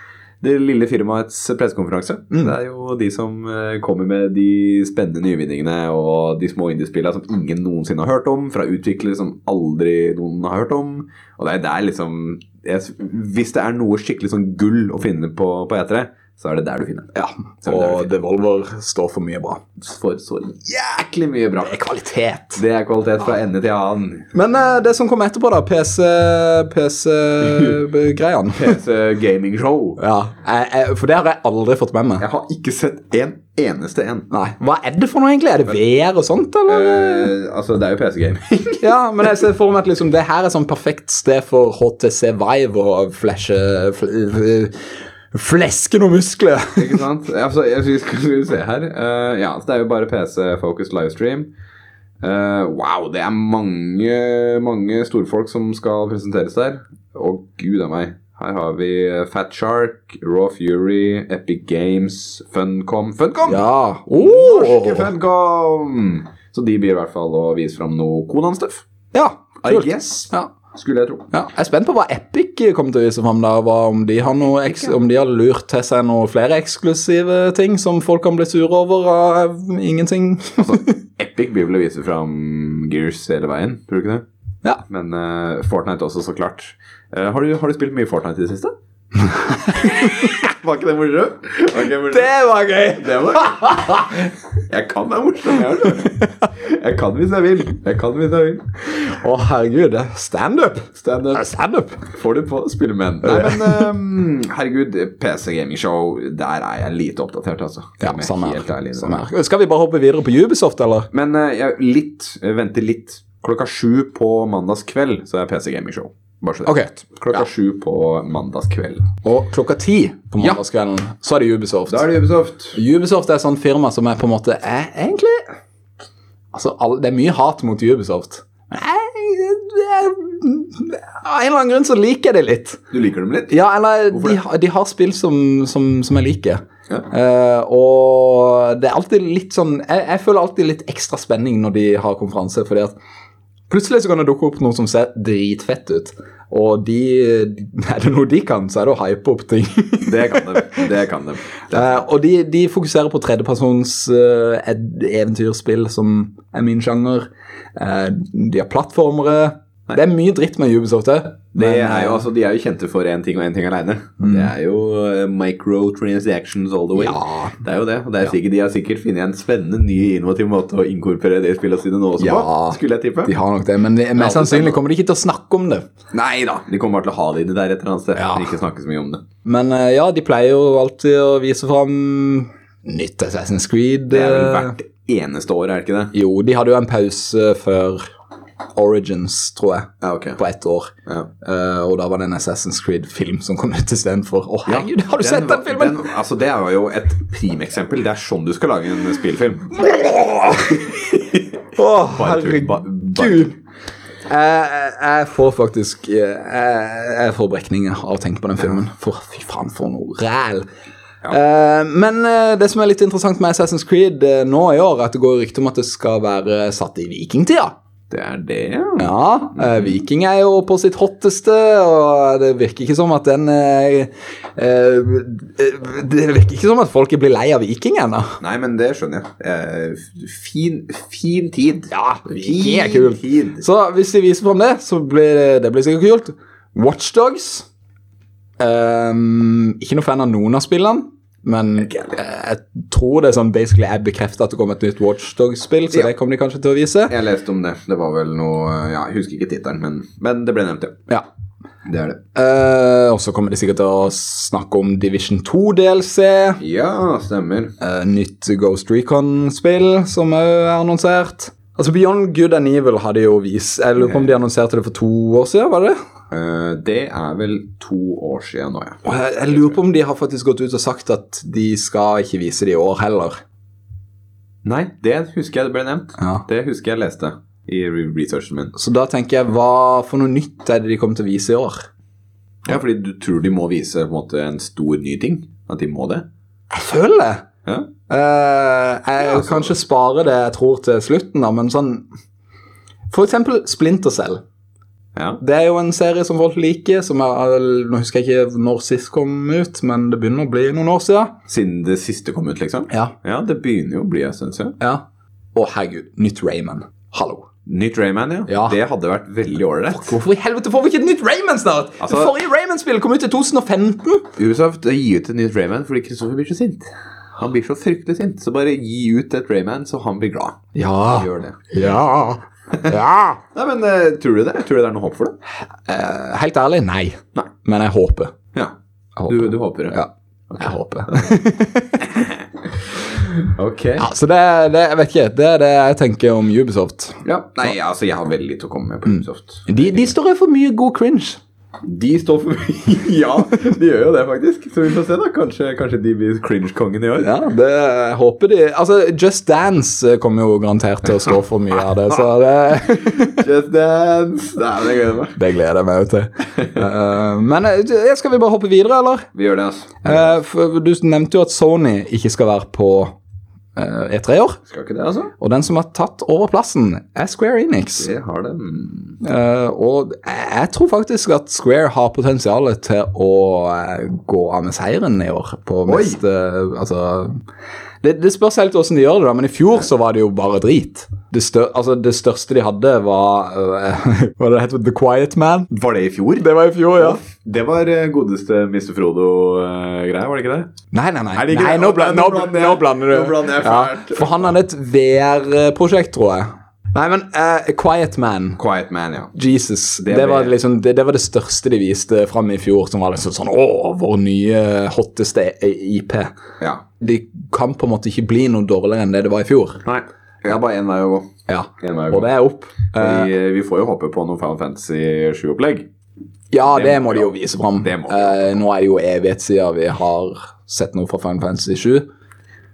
[SPEAKER 1] det lille firmaets pressekonferanse. Det er jo de som eh, kommer med de spennende nyvinningene og de små indiespillene som ingen noensinne har hørt om, fra utviklere som aldri noen har hørt om. Og det er der liksom jeg, s- Hvis det er noe skikkelig sånn gull å finne på, på E3, så er det der du finner det.
[SPEAKER 2] ja.
[SPEAKER 1] Så det er
[SPEAKER 2] Og
[SPEAKER 1] fint.
[SPEAKER 2] Devolver står for mye bra.
[SPEAKER 1] For så jæklig mye bra.
[SPEAKER 2] Det er kvalitet.
[SPEAKER 1] Det er kvalitet fra ende til annen.
[SPEAKER 2] Men eh, det som kom etterpå, da, PC-greiene
[SPEAKER 1] PC Gaming Show.
[SPEAKER 2] Ja, jeg, jeg, For det har jeg aldri fått med meg.
[SPEAKER 1] Jeg har ikke sett en eneste en.
[SPEAKER 2] Nei, Hva er det for noe, egentlig? Er det VR og sånt, eller?
[SPEAKER 1] Eh, altså, det er jo PC Gaming.
[SPEAKER 2] Ja, men jeg ser for meg at liksom, det her er sånn perfekt sted for HTC Vive å flashe fl- f- Fleske noen muskler!
[SPEAKER 1] Ikke sant? Altså, jeg synes, skal vi se her Eh, Ja, så det er jo bare PC-focused livestream. Eh, wow, det er mange, mange storfolk som skal presenteres der. Å, gud a meg. Her har vi eh, Fat Shark, Raw Fury, Epic Games, Funcom Funcom!
[SPEAKER 2] Ja.
[SPEAKER 1] Norske
[SPEAKER 2] Oh.
[SPEAKER 1] Funcom! Så de blir i hvert fall å vise fram noe Konan-stuff.
[SPEAKER 2] ja
[SPEAKER 1] I
[SPEAKER 2] kult.
[SPEAKER 1] guess.
[SPEAKER 2] Ja.
[SPEAKER 1] skulle jeg tro.
[SPEAKER 2] Ja, jeg er spent på hva Epic kommer til å vise fram der. Hva, om, de har noe eks- om de har lurt til seg noen flere eksklusive ting som folk kan bli sure over av ingenting.
[SPEAKER 1] Epic blir vel å vise fram Gears hele veien, tror du ikke det?
[SPEAKER 2] ja.
[SPEAKER 1] Men eh, Fortnite også, så klart. Eh, har, du, har du spilt mye Fortnite i det siste? Var ikke det morsomt? Var ikke det morsomt?
[SPEAKER 2] var gøy!
[SPEAKER 1] Det var Jeg kan være morsom, jeg. altså. Jeg kan hvis jeg vil. Jeg kan hvis jeg vil.
[SPEAKER 2] Å, herregud. Standup!
[SPEAKER 1] Standup.
[SPEAKER 2] Standup!
[SPEAKER 1] Får du på spillemenn. Nei, men eh, herregud, PC Gaming Show, der er jeg lite oppdatert, altså.
[SPEAKER 2] Ja,
[SPEAKER 1] Om jeg er
[SPEAKER 2] samme
[SPEAKER 1] helt
[SPEAKER 2] her.
[SPEAKER 1] ærlig.
[SPEAKER 2] Samme her. Skal vi bare hoppe videre på Ubisoft, eller?
[SPEAKER 1] Men eh, jeg litt, jeg venter litt. Klokka sju på mandagskveld så er PC Gaming Show. Bare så det. er
[SPEAKER 2] Ok.
[SPEAKER 1] sagt. Klokka sju på mandagskveld.
[SPEAKER 2] Og klokka ti på
[SPEAKER 1] Ja.
[SPEAKER 2] mandagskvelden så er det Ubisoft.
[SPEAKER 1] Da er det Ubisoft.
[SPEAKER 2] Ubisoft er et sånt firma som er på en måte er egentlig Altså, alle- Det er mye hat mot Ubisoft. Men jeg, jeg, jeg, av en eller annen grunn så liker jeg det litt.
[SPEAKER 1] Du liker dem litt?
[SPEAKER 2] Ja, eller de, har- de har spill som, som, som jeg liker.
[SPEAKER 1] Ja.
[SPEAKER 2] Eh, og det er alltid litt sånn jeg, jeg føler alltid litt ekstra spenning når de har konferanse. fordi at plutselig så kan det dukke opp noe som ser dritfett ut. Og de, er det noe de kan, så er det å hype opp ting.
[SPEAKER 1] Det kan de. Det kan de.
[SPEAKER 2] Eh, og de, de fokuserer på tredjepersons eh, ed- eventyrspill, som er min sjanger. Eh, de har plattformere. Det er mye dritt med Ubisoft. Det,
[SPEAKER 1] Det
[SPEAKER 2] men, eh, Mm.
[SPEAKER 1] er jo, altså, de er jo kjente for én ting og én ting aleine. Det er jo eh, microtransactions all the way.
[SPEAKER 2] Ja.
[SPEAKER 1] Det er jo det. Og det er sikkert, de har sikkert funnet en spennende, ny, innovativ måte å inkorporere det spillet sine nå også på.
[SPEAKER 2] Ja.
[SPEAKER 1] Skulle jeg tippe.
[SPEAKER 2] De har nok det, men det- mest sannsynlig kommer de ikke til å snakke om det.
[SPEAKER 1] Nei da. De kommer bare til å ha det i det der et eller annet sted.
[SPEAKER 2] Ja.
[SPEAKER 1] men Ikke snakke så mye om det.
[SPEAKER 2] Men eh, ja, de pleier jo alltid å vise fram nytt Assassin's Creed.
[SPEAKER 1] Det er vel
[SPEAKER 2] eh,
[SPEAKER 1] hvert eneste år, er det ikke det?
[SPEAKER 2] Jo, de hadde jo en pause før Origins, tror jeg,
[SPEAKER 1] Ja, ok.
[SPEAKER 2] på ett år.
[SPEAKER 1] Ja.
[SPEAKER 2] Eh, og da var det en Assassin's Creed-film som kom ut istedenfor. Å, herregud, har du sett den
[SPEAKER 1] var-
[SPEAKER 2] filmen?
[SPEAKER 1] den- altså, det var jo et primeksempel. Det er sånn du skal lage en spillfilm.
[SPEAKER 2] Å,
[SPEAKER 1] Bare tull, ba- bare
[SPEAKER 2] herregud! Jeg, jeg- jeg får faktisk eh, Jeg, jeg får brekninger av å tenke på den filmen. For fy faen, for noe ræl! Eh, men eh, det som er litt interessant med Assassin's Creed eh, nå i år, er at det går rykter om at det skal være satt i vikingtida.
[SPEAKER 1] Det er det, ja.
[SPEAKER 2] Ja, eh,
[SPEAKER 1] Mhm.
[SPEAKER 2] viking er jo på sitt hotteste, og det virker ikke som at den eh, eh, Det virker ikke som at folk blir lei av viking ennå.
[SPEAKER 1] Nei, men det skjønner jeg. Eh, Fin, fin tid.
[SPEAKER 2] Ja, Viking er
[SPEAKER 1] Fin
[SPEAKER 2] kul.
[SPEAKER 1] tid.
[SPEAKER 2] Så hvis de viser fram det, så blir det, det blir sikkert kult. Watchdogs um, Ikke noe fan av noen av spillene, men jeg, jeg tror det er sånn basically er bekrefta at det kommer et nytt Watchdogs-spill, så
[SPEAKER 1] Ja.
[SPEAKER 2] det kommer de kanskje til å vise.
[SPEAKER 1] Jeg leste om det. Det var vel noe ja, Jeg husker ikke tittelen, men, men det ble nevnt, ja.
[SPEAKER 2] Ja.
[SPEAKER 1] Det er det.
[SPEAKER 2] Eh, og så kommer de sikkert til å snakke om Division 2-DLC.
[SPEAKER 1] Ja, stemmer.
[SPEAKER 2] Eh, nytt Ghost Recon-spill som òg er annonsert. Altså Beyond Good and Evil hadde jo vist Jeg lurer på om de annonserte det for to år siden? var det?
[SPEAKER 1] Eh, det er vel to år siden nå, ja.
[SPEAKER 2] Og jeg, jeg lurer på om de har faktisk gått ut og sagt at de skal ikke vise det i år heller.
[SPEAKER 1] Nei, det husker jeg det ble nevnt.
[SPEAKER 2] Ja.
[SPEAKER 1] Det husker jeg leste i re- researchen min.
[SPEAKER 2] Så da tenker jeg, hva for noe nytt er det de kommer til å vise i år?
[SPEAKER 1] Ja, fordi du tror de må vise på en, måte, en stor ny ting? At de må det?
[SPEAKER 2] Jeg føler det!
[SPEAKER 1] Ja.
[SPEAKER 2] Eh, jeg
[SPEAKER 1] Ja, altså.
[SPEAKER 2] kan ikke spare det jeg tror til slutten, da, men sånn For eksempel Splinter Cell.
[SPEAKER 1] ja.
[SPEAKER 2] Det er jo en serie som folk liker. som er, Nå husker jeg ikke når sist kom ut, men det begynner å bli noen år siden.
[SPEAKER 1] Siden det siste kom ut, liksom?
[SPEAKER 2] Ja.
[SPEAKER 1] Ja, det begynner jo å bli en stund siden.
[SPEAKER 2] ja. Å, herregud. Nytt Rayman. Hallo.
[SPEAKER 1] Nytt Rayman, ja.
[SPEAKER 2] Ja.
[SPEAKER 1] Det hadde vært veldig ålreit.
[SPEAKER 2] Hvorfor i helvete får vi ikke et nytt Rayman snart?
[SPEAKER 1] Altså-
[SPEAKER 2] det forrige Rayman-spillet kom ut i 2015.
[SPEAKER 1] Ubisoft gi ut et nytt Rayman fordi Kristoffer blir så sint. Han blir så fryktelig sint. Så bare gi ut et Rayman, så han blir glad.
[SPEAKER 2] Ja.
[SPEAKER 1] Gjør det.
[SPEAKER 2] Ja. Ja.
[SPEAKER 1] Nei, men eh, tror du det? Tror du det er noe håp for det?
[SPEAKER 2] Helt ærlig, nei.
[SPEAKER 1] Nei.
[SPEAKER 2] Men jeg håper.
[SPEAKER 1] Ja.
[SPEAKER 2] Jeg
[SPEAKER 1] Du,
[SPEAKER 2] håper.
[SPEAKER 1] du håper det?
[SPEAKER 2] Ja. Jeg håper.
[SPEAKER 1] Ok.
[SPEAKER 2] Ja, så det, er- det, jeg vet ikke, det er det jeg tenker om Ubisoft.
[SPEAKER 1] Ja. Nei, altså, jeg har veldig lite å komme
[SPEAKER 2] Mm.
[SPEAKER 1] med på Ubisoft.
[SPEAKER 2] De, de står jo for mye god cringe.
[SPEAKER 1] De står for Ja, de gjør jo det, faktisk. Så vi får se, da. Kanskje, kanskje de blir cringe-kongen i år.
[SPEAKER 2] Ja, det jeg håper de Altså, Just Dance eh, kommer jo garantert til å stå for mye av det, så det,
[SPEAKER 1] Just dance! Nei, men jeg gleder meg.
[SPEAKER 2] det gleder jeg meg jo til. Eh, men eh, skal vi bare hoppe videre, eller?
[SPEAKER 1] Vi gjør det, altså.
[SPEAKER 2] Eh, for du nevnte jo at Sony ikke skal være på eh, E3 i år.
[SPEAKER 1] Skal ikke det, altså?
[SPEAKER 2] Og den som har tatt over plassen, er Square Enix.
[SPEAKER 1] Det har det. Mm.
[SPEAKER 2] Eh, og jeg tror faktisk at Square har potensial til å eh, gå av med seieren i år. På
[SPEAKER 1] Oi.
[SPEAKER 2] mest, eh, altså, det, det spørs helt hvordan de gjør det, da, men i fjor så var det jo bare drit. Det, stør, altså, det største de hadde, var eh, Hva det het The Quiet Man?
[SPEAKER 1] Var det i fjor?
[SPEAKER 2] Det var i fjor, ja.
[SPEAKER 1] Det var eh, godeste Mr. Frodo-greia, var det ikke det?
[SPEAKER 2] Nei, nei, nei.
[SPEAKER 1] Er det ikke
[SPEAKER 2] nei
[SPEAKER 1] det?
[SPEAKER 2] nå,
[SPEAKER 1] Å, nei,
[SPEAKER 2] bla-
[SPEAKER 1] nå
[SPEAKER 2] nå,
[SPEAKER 1] blander jeg.
[SPEAKER 2] nå blander du.
[SPEAKER 1] Nå blander jeg fælt.
[SPEAKER 2] for han hadde et VR-prosjekt, tror jeg. Nei, men eh, Quiet Man
[SPEAKER 1] Quiet Man, ja.
[SPEAKER 2] Jesus. Det,
[SPEAKER 1] ble-
[SPEAKER 2] var liksom, det, det var det største de viste fram i fjor, som var liksom sånn Å, vår nye hotteste IP.
[SPEAKER 1] ja.
[SPEAKER 2] De kan på en måte ikke bli noe dårligere enn det det var i fjor.
[SPEAKER 1] Nei. Det er bare én vei å gå.
[SPEAKER 2] Ja.
[SPEAKER 1] En vei å
[SPEAKER 2] Og
[SPEAKER 1] gå.
[SPEAKER 2] det er opp. Eh,
[SPEAKER 1] Fordi eh, vi får jo håpe på noe Final Fantasy 7-opplegg.
[SPEAKER 2] ja,
[SPEAKER 1] det
[SPEAKER 2] det
[SPEAKER 1] må
[SPEAKER 2] må
[SPEAKER 1] vi
[SPEAKER 2] de jo
[SPEAKER 1] ha.
[SPEAKER 2] vise fram.
[SPEAKER 1] Det må vi
[SPEAKER 2] Eh, nå er det jo evighet siden vi har sett noe fra Final Fantasy 7.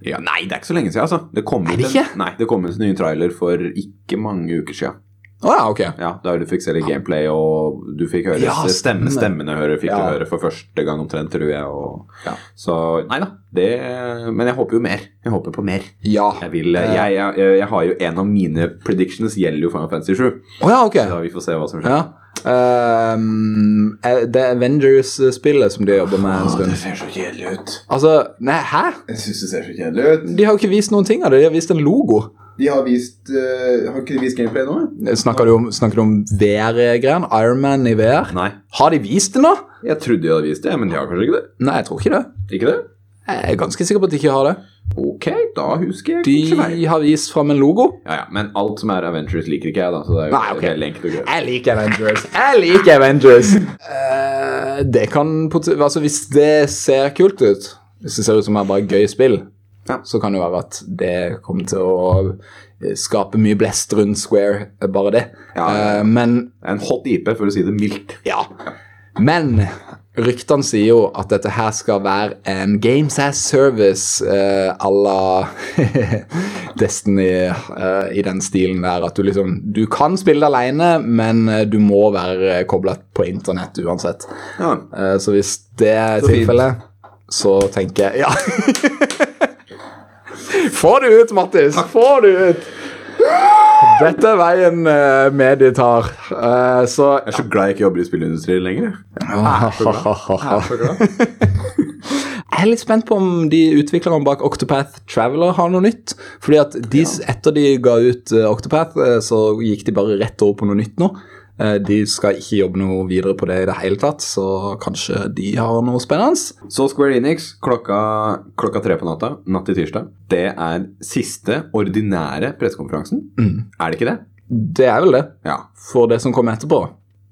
[SPEAKER 1] Ja, nei, det er ikke så lenge siden, altså. Det kom
[SPEAKER 2] Er det
[SPEAKER 1] ut en-
[SPEAKER 2] ikke?
[SPEAKER 1] Nei, det kom ut en ny trailer for ikke mange uker siden.
[SPEAKER 2] Å ja, ok.
[SPEAKER 1] Ja, der du fikk se litt gameplay, og du fikk høre
[SPEAKER 2] Ja,
[SPEAKER 1] stemme,
[SPEAKER 2] stemme.
[SPEAKER 1] stemmene høre, fikk
[SPEAKER 2] Ja.
[SPEAKER 1] du høre for første gang omtrent, tror jeg. Og,
[SPEAKER 2] Ja.
[SPEAKER 1] Så nei da. Det, men jeg håper jo mer. Jeg håper på mer.
[SPEAKER 2] Ja.
[SPEAKER 1] Jeg, vil, jeg, jeg, jeg har jo en av mine predictions gjelder jo Final Fantasy 7.
[SPEAKER 2] Å ja, ok.
[SPEAKER 1] Da vi får se hva som skjer.
[SPEAKER 2] Ja. Ehm, eh, det Avengers-spillet som de jobber med en stund.
[SPEAKER 1] ser så kjedelig ut.
[SPEAKER 2] Altså, nei, hæ?
[SPEAKER 1] Jeg syns det ser så kjedelig ut.
[SPEAKER 2] De har jo ikke vist noen ting av det. De har vist en logo.
[SPEAKER 1] De har vist eh, Har ikke de vist gameplay nå?
[SPEAKER 2] Snakker du om, snakker du om VR-greiene? Ironman i VR?
[SPEAKER 1] Nei.
[SPEAKER 2] Har de vist det nå?
[SPEAKER 1] Jeg trodde de hadde vist det, men de har kanskje ikke det.
[SPEAKER 2] Nei, jeg tror ikke det.
[SPEAKER 1] Ikke det?
[SPEAKER 2] Jeg er ganske sikker på at de ikke har det.
[SPEAKER 1] Ok, da husker jeg kanskje feil.
[SPEAKER 2] De har vist fram en logo.
[SPEAKER 1] Ja, ja, men alt som er Avengers liker ikke jeg, da. Så det er jo
[SPEAKER 2] Nei, ok.
[SPEAKER 1] veldig enkelt og greit.
[SPEAKER 2] Jeg liker Avengers. Jeg liker Avengers! Eh, det kan pot- Altså, hvis det ser kult ut, hvis det ser ut som det er bare gøy spill,
[SPEAKER 1] Ja.
[SPEAKER 2] så kan det jo være at det kommer til å eh, skape mye blest rundt Square, eh, bare det.
[SPEAKER 1] Ja, ja, ja.
[SPEAKER 2] Eh, men
[SPEAKER 1] Det er en hot IP, for å si det mildt.
[SPEAKER 2] Ja. Men ryktene sier jo at dette her skal være en Games as Service eh, à la Destiny eh, i den stilen der. At du liksom Du kan spille det alene, men eh, du må være kobla på internett uansett.
[SPEAKER 1] Ja.
[SPEAKER 2] Eh, så hvis det er
[SPEAKER 1] Så fint.
[SPEAKER 2] tilfellet, så tenker jeg Ja. Få det ut, Mattis! Få det ut! Dette er veien eh, mediet tar. Eh, så
[SPEAKER 1] Jeg er så glad jeg ikke jobber i spillindustrien lenger.
[SPEAKER 2] Ah, Jeg er litt spent på om de utviklerne bak Octopath Traveler har noe nytt. Fordi at de, etter de ga ut eh, Octopath, eh, så gikk de bare rett over på noe nytt nå. Eh, De skal ikke jobbe noe videre på det i det hele tatt, så kanskje de har noe spennende.
[SPEAKER 1] Så Square Enix klokka, klokka tre på natta natt til tirsdag. Det er siste ordinære pressekonferansen. Er det ikke det?
[SPEAKER 2] Det er vel det.
[SPEAKER 1] Ja.
[SPEAKER 2] For det som kommer etterpå,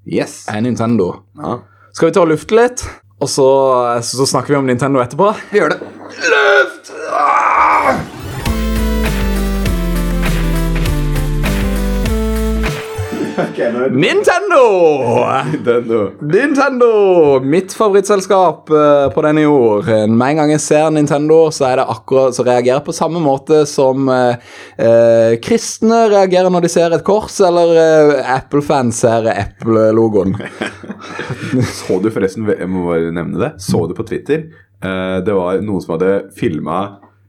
[SPEAKER 1] Yes.
[SPEAKER 2] er Nintendo.
[SPEAKER 1] Ja.
[SPEAKER 2] Skal vi ta og lufte litt? Og så, så snakker vi om Nintendo etterpå?
[SPEAKER 1] Vi gjør det.
[SPEAKER 2] Luft!
[SPEAKER 1] Ah!
[SPEAKER 2] Nintendo!
[SPEAKER 1] Nintendo.
[SPEAKER 2] Nintendo! Mitt favorittselskap eh, på denne jord. Med en gang jeg ser Nintendo, så, er det akkurat, så reagerer jeg på samme måte som eh, eh, kristne reagerer når de ser et kors, eller eh, Apple-fans ser Apple-logoen.
[SPEAKER 1] Så du forresten, jeg må bare nevne det, så du på Twitter eh, Det var noen som hadde filma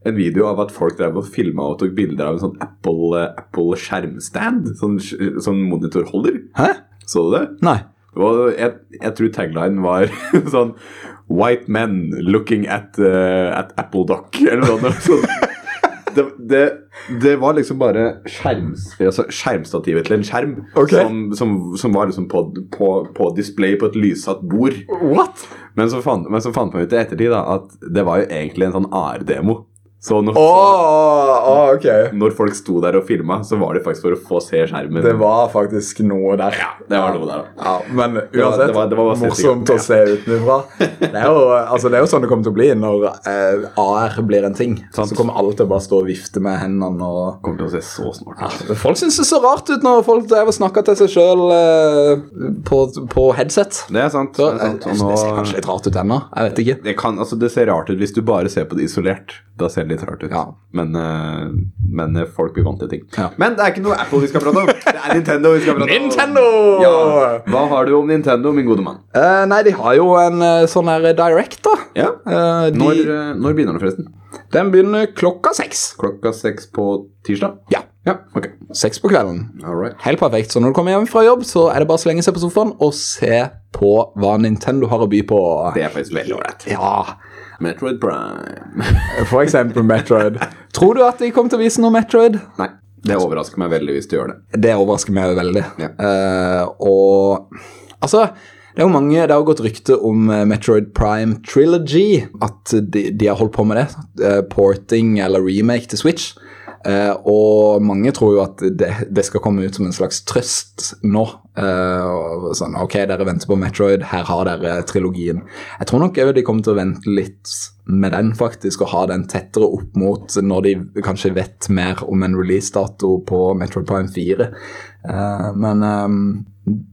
[SPEAKER 1] en video av at folk drev og filma og tok bilder av en sånn Apple, eh, Apple skjermstand. Sånn, sk- sånn monitorholder.
[SPEAKER 2] Hæ?
[SPEAKER 1] Så du det?
[SPEAKER 2] Nei.
[SPEAKER 1] Og jeg, jeg tror taglinen var sånn White men looking at, eh, at Apple Dock, eller noe sånt. Det, det, det var liksom bare skjerms, altså skjermstativet til en skjerm
[SPEAKER 2] Ok.
[SPEAKER 1] som, som, som var liksom på, på, på display på et lyssatt bord.
[SPEAKER 2] What?
[SPEAKER 1] Men så fant, men så fant man ut i ettertid da, at det var jo egentlig en sånn AR-demo. Så når,
[SPEAKER 2] Å, å, ok.
[SPEAKER 1] når folk sto der og filma, så var det faktisk for å få se skjermen.
[SPEAKER 2] Det var faktisk noe der. Ja,
[SPEAKER 1] det var noe der, da.
[SPEAKER 2] Ja, men uansett,
[SPEAKER 1] var- det var- det var bare
[SPEAKER 2] morsomt å se utenfra. Det er, jo, altså, det er jo sånn det kommer til å bli når eh, AR blir en ting.
[SPEAKER 1] Sant.
[SPEAKER 2] Så kommer alle til å bare stå og vifte med hendene og
[SPEAKER 1] Kommer til å se så snart ut.
[SPEAKER 2] Ja, Folk syns det så rart ut når folk drev og snakka til seg sjøl på, på headset.
[SPEAKER 1] Det er sant.
[SPEAKER 2] Så,
[SPEAKER 1] det, er
[SPEAKER 2] eh,
[SPEAKER 1] sant.
[SPEAKER 2] det ser
[SPEAKER 1] Og nå,
[SPEAKER 2] kanskje litt rart ut ennå. Jeg vet ikke.
[SPEAKER 1] det, kan, altså, det ser rart ut hvis du bare ser på det isolert. Da ser det litt rart ut.
[SPEAKER 2] Ja.
[SPEAKER 1] Men, eh, men eh, folk blir vant til ting.
[SPEAKER 2] Ja.
[SPEAKER 1] Men det er ikke noe Apple vi skal prate om. Det er Nintendo vi skal prate om.
[SPEAKER 2] Nintendo!
[SPEAKER 1] Ja. Hva har du om Nintendo, min gode mann?
[SPEAKER 2] Eh, nei, de har jo en eh, sånn her direct, da.
[SPEAKER 1] Ja.
[SPEAKER 2] Eh, de,
[SPEAKER 1] Når, eh, når begynner det, forresten?
[SPEAKER 2] Den begynner klokka seks.
[SPEAKER 1] Klokka seks på tirsdag?
[SPEAKER 2] Ja.
[SPEAKER 1] Ja, ok.
[SPEAKER 2] Seks på kvelden.
[SPEAKER 1] All right.
[SPEAKER 2] Helt perfekt. Så når du kommer hjem fra jobb, så er det bare å slenge seg på sofaen og se på hva Nintendo har å by på.
[SPEAKER 1] Det er faktisk veldig ålreit.
[SPEAKER 2] Ja,
[SPEAKER 1] Metroid Prime.
[SPEAKER 2] for eksempel Metroid. Tror du at de kom til å vise noe Metroid?
[SPEAKER 1] Nei, det overrasker meg veldig hvis du gjør det.
[SPEAKER 2] Det overrasker meg veldig.
[SPEAKER 1] Ja.
[SPEAKER 2] Eh, og altså det er jo mange, det har gått rykte om eh, Metroid Prime Trilogy. At de, de har holdt på med det. eh, porting eller remake til Switch. Eh, og mange tror jo at det, det skal komme ut som en slags trøst nå. Eh, og sånn, ok, dere venter på Metroid, her har dere trilogien. Jeg tror nok også de kommer til å vente litt med den, faktisk, og ha den tettere opp mot når de kanskje vet mer om en releasedato på Metroid Prime 4. Eh, men eh,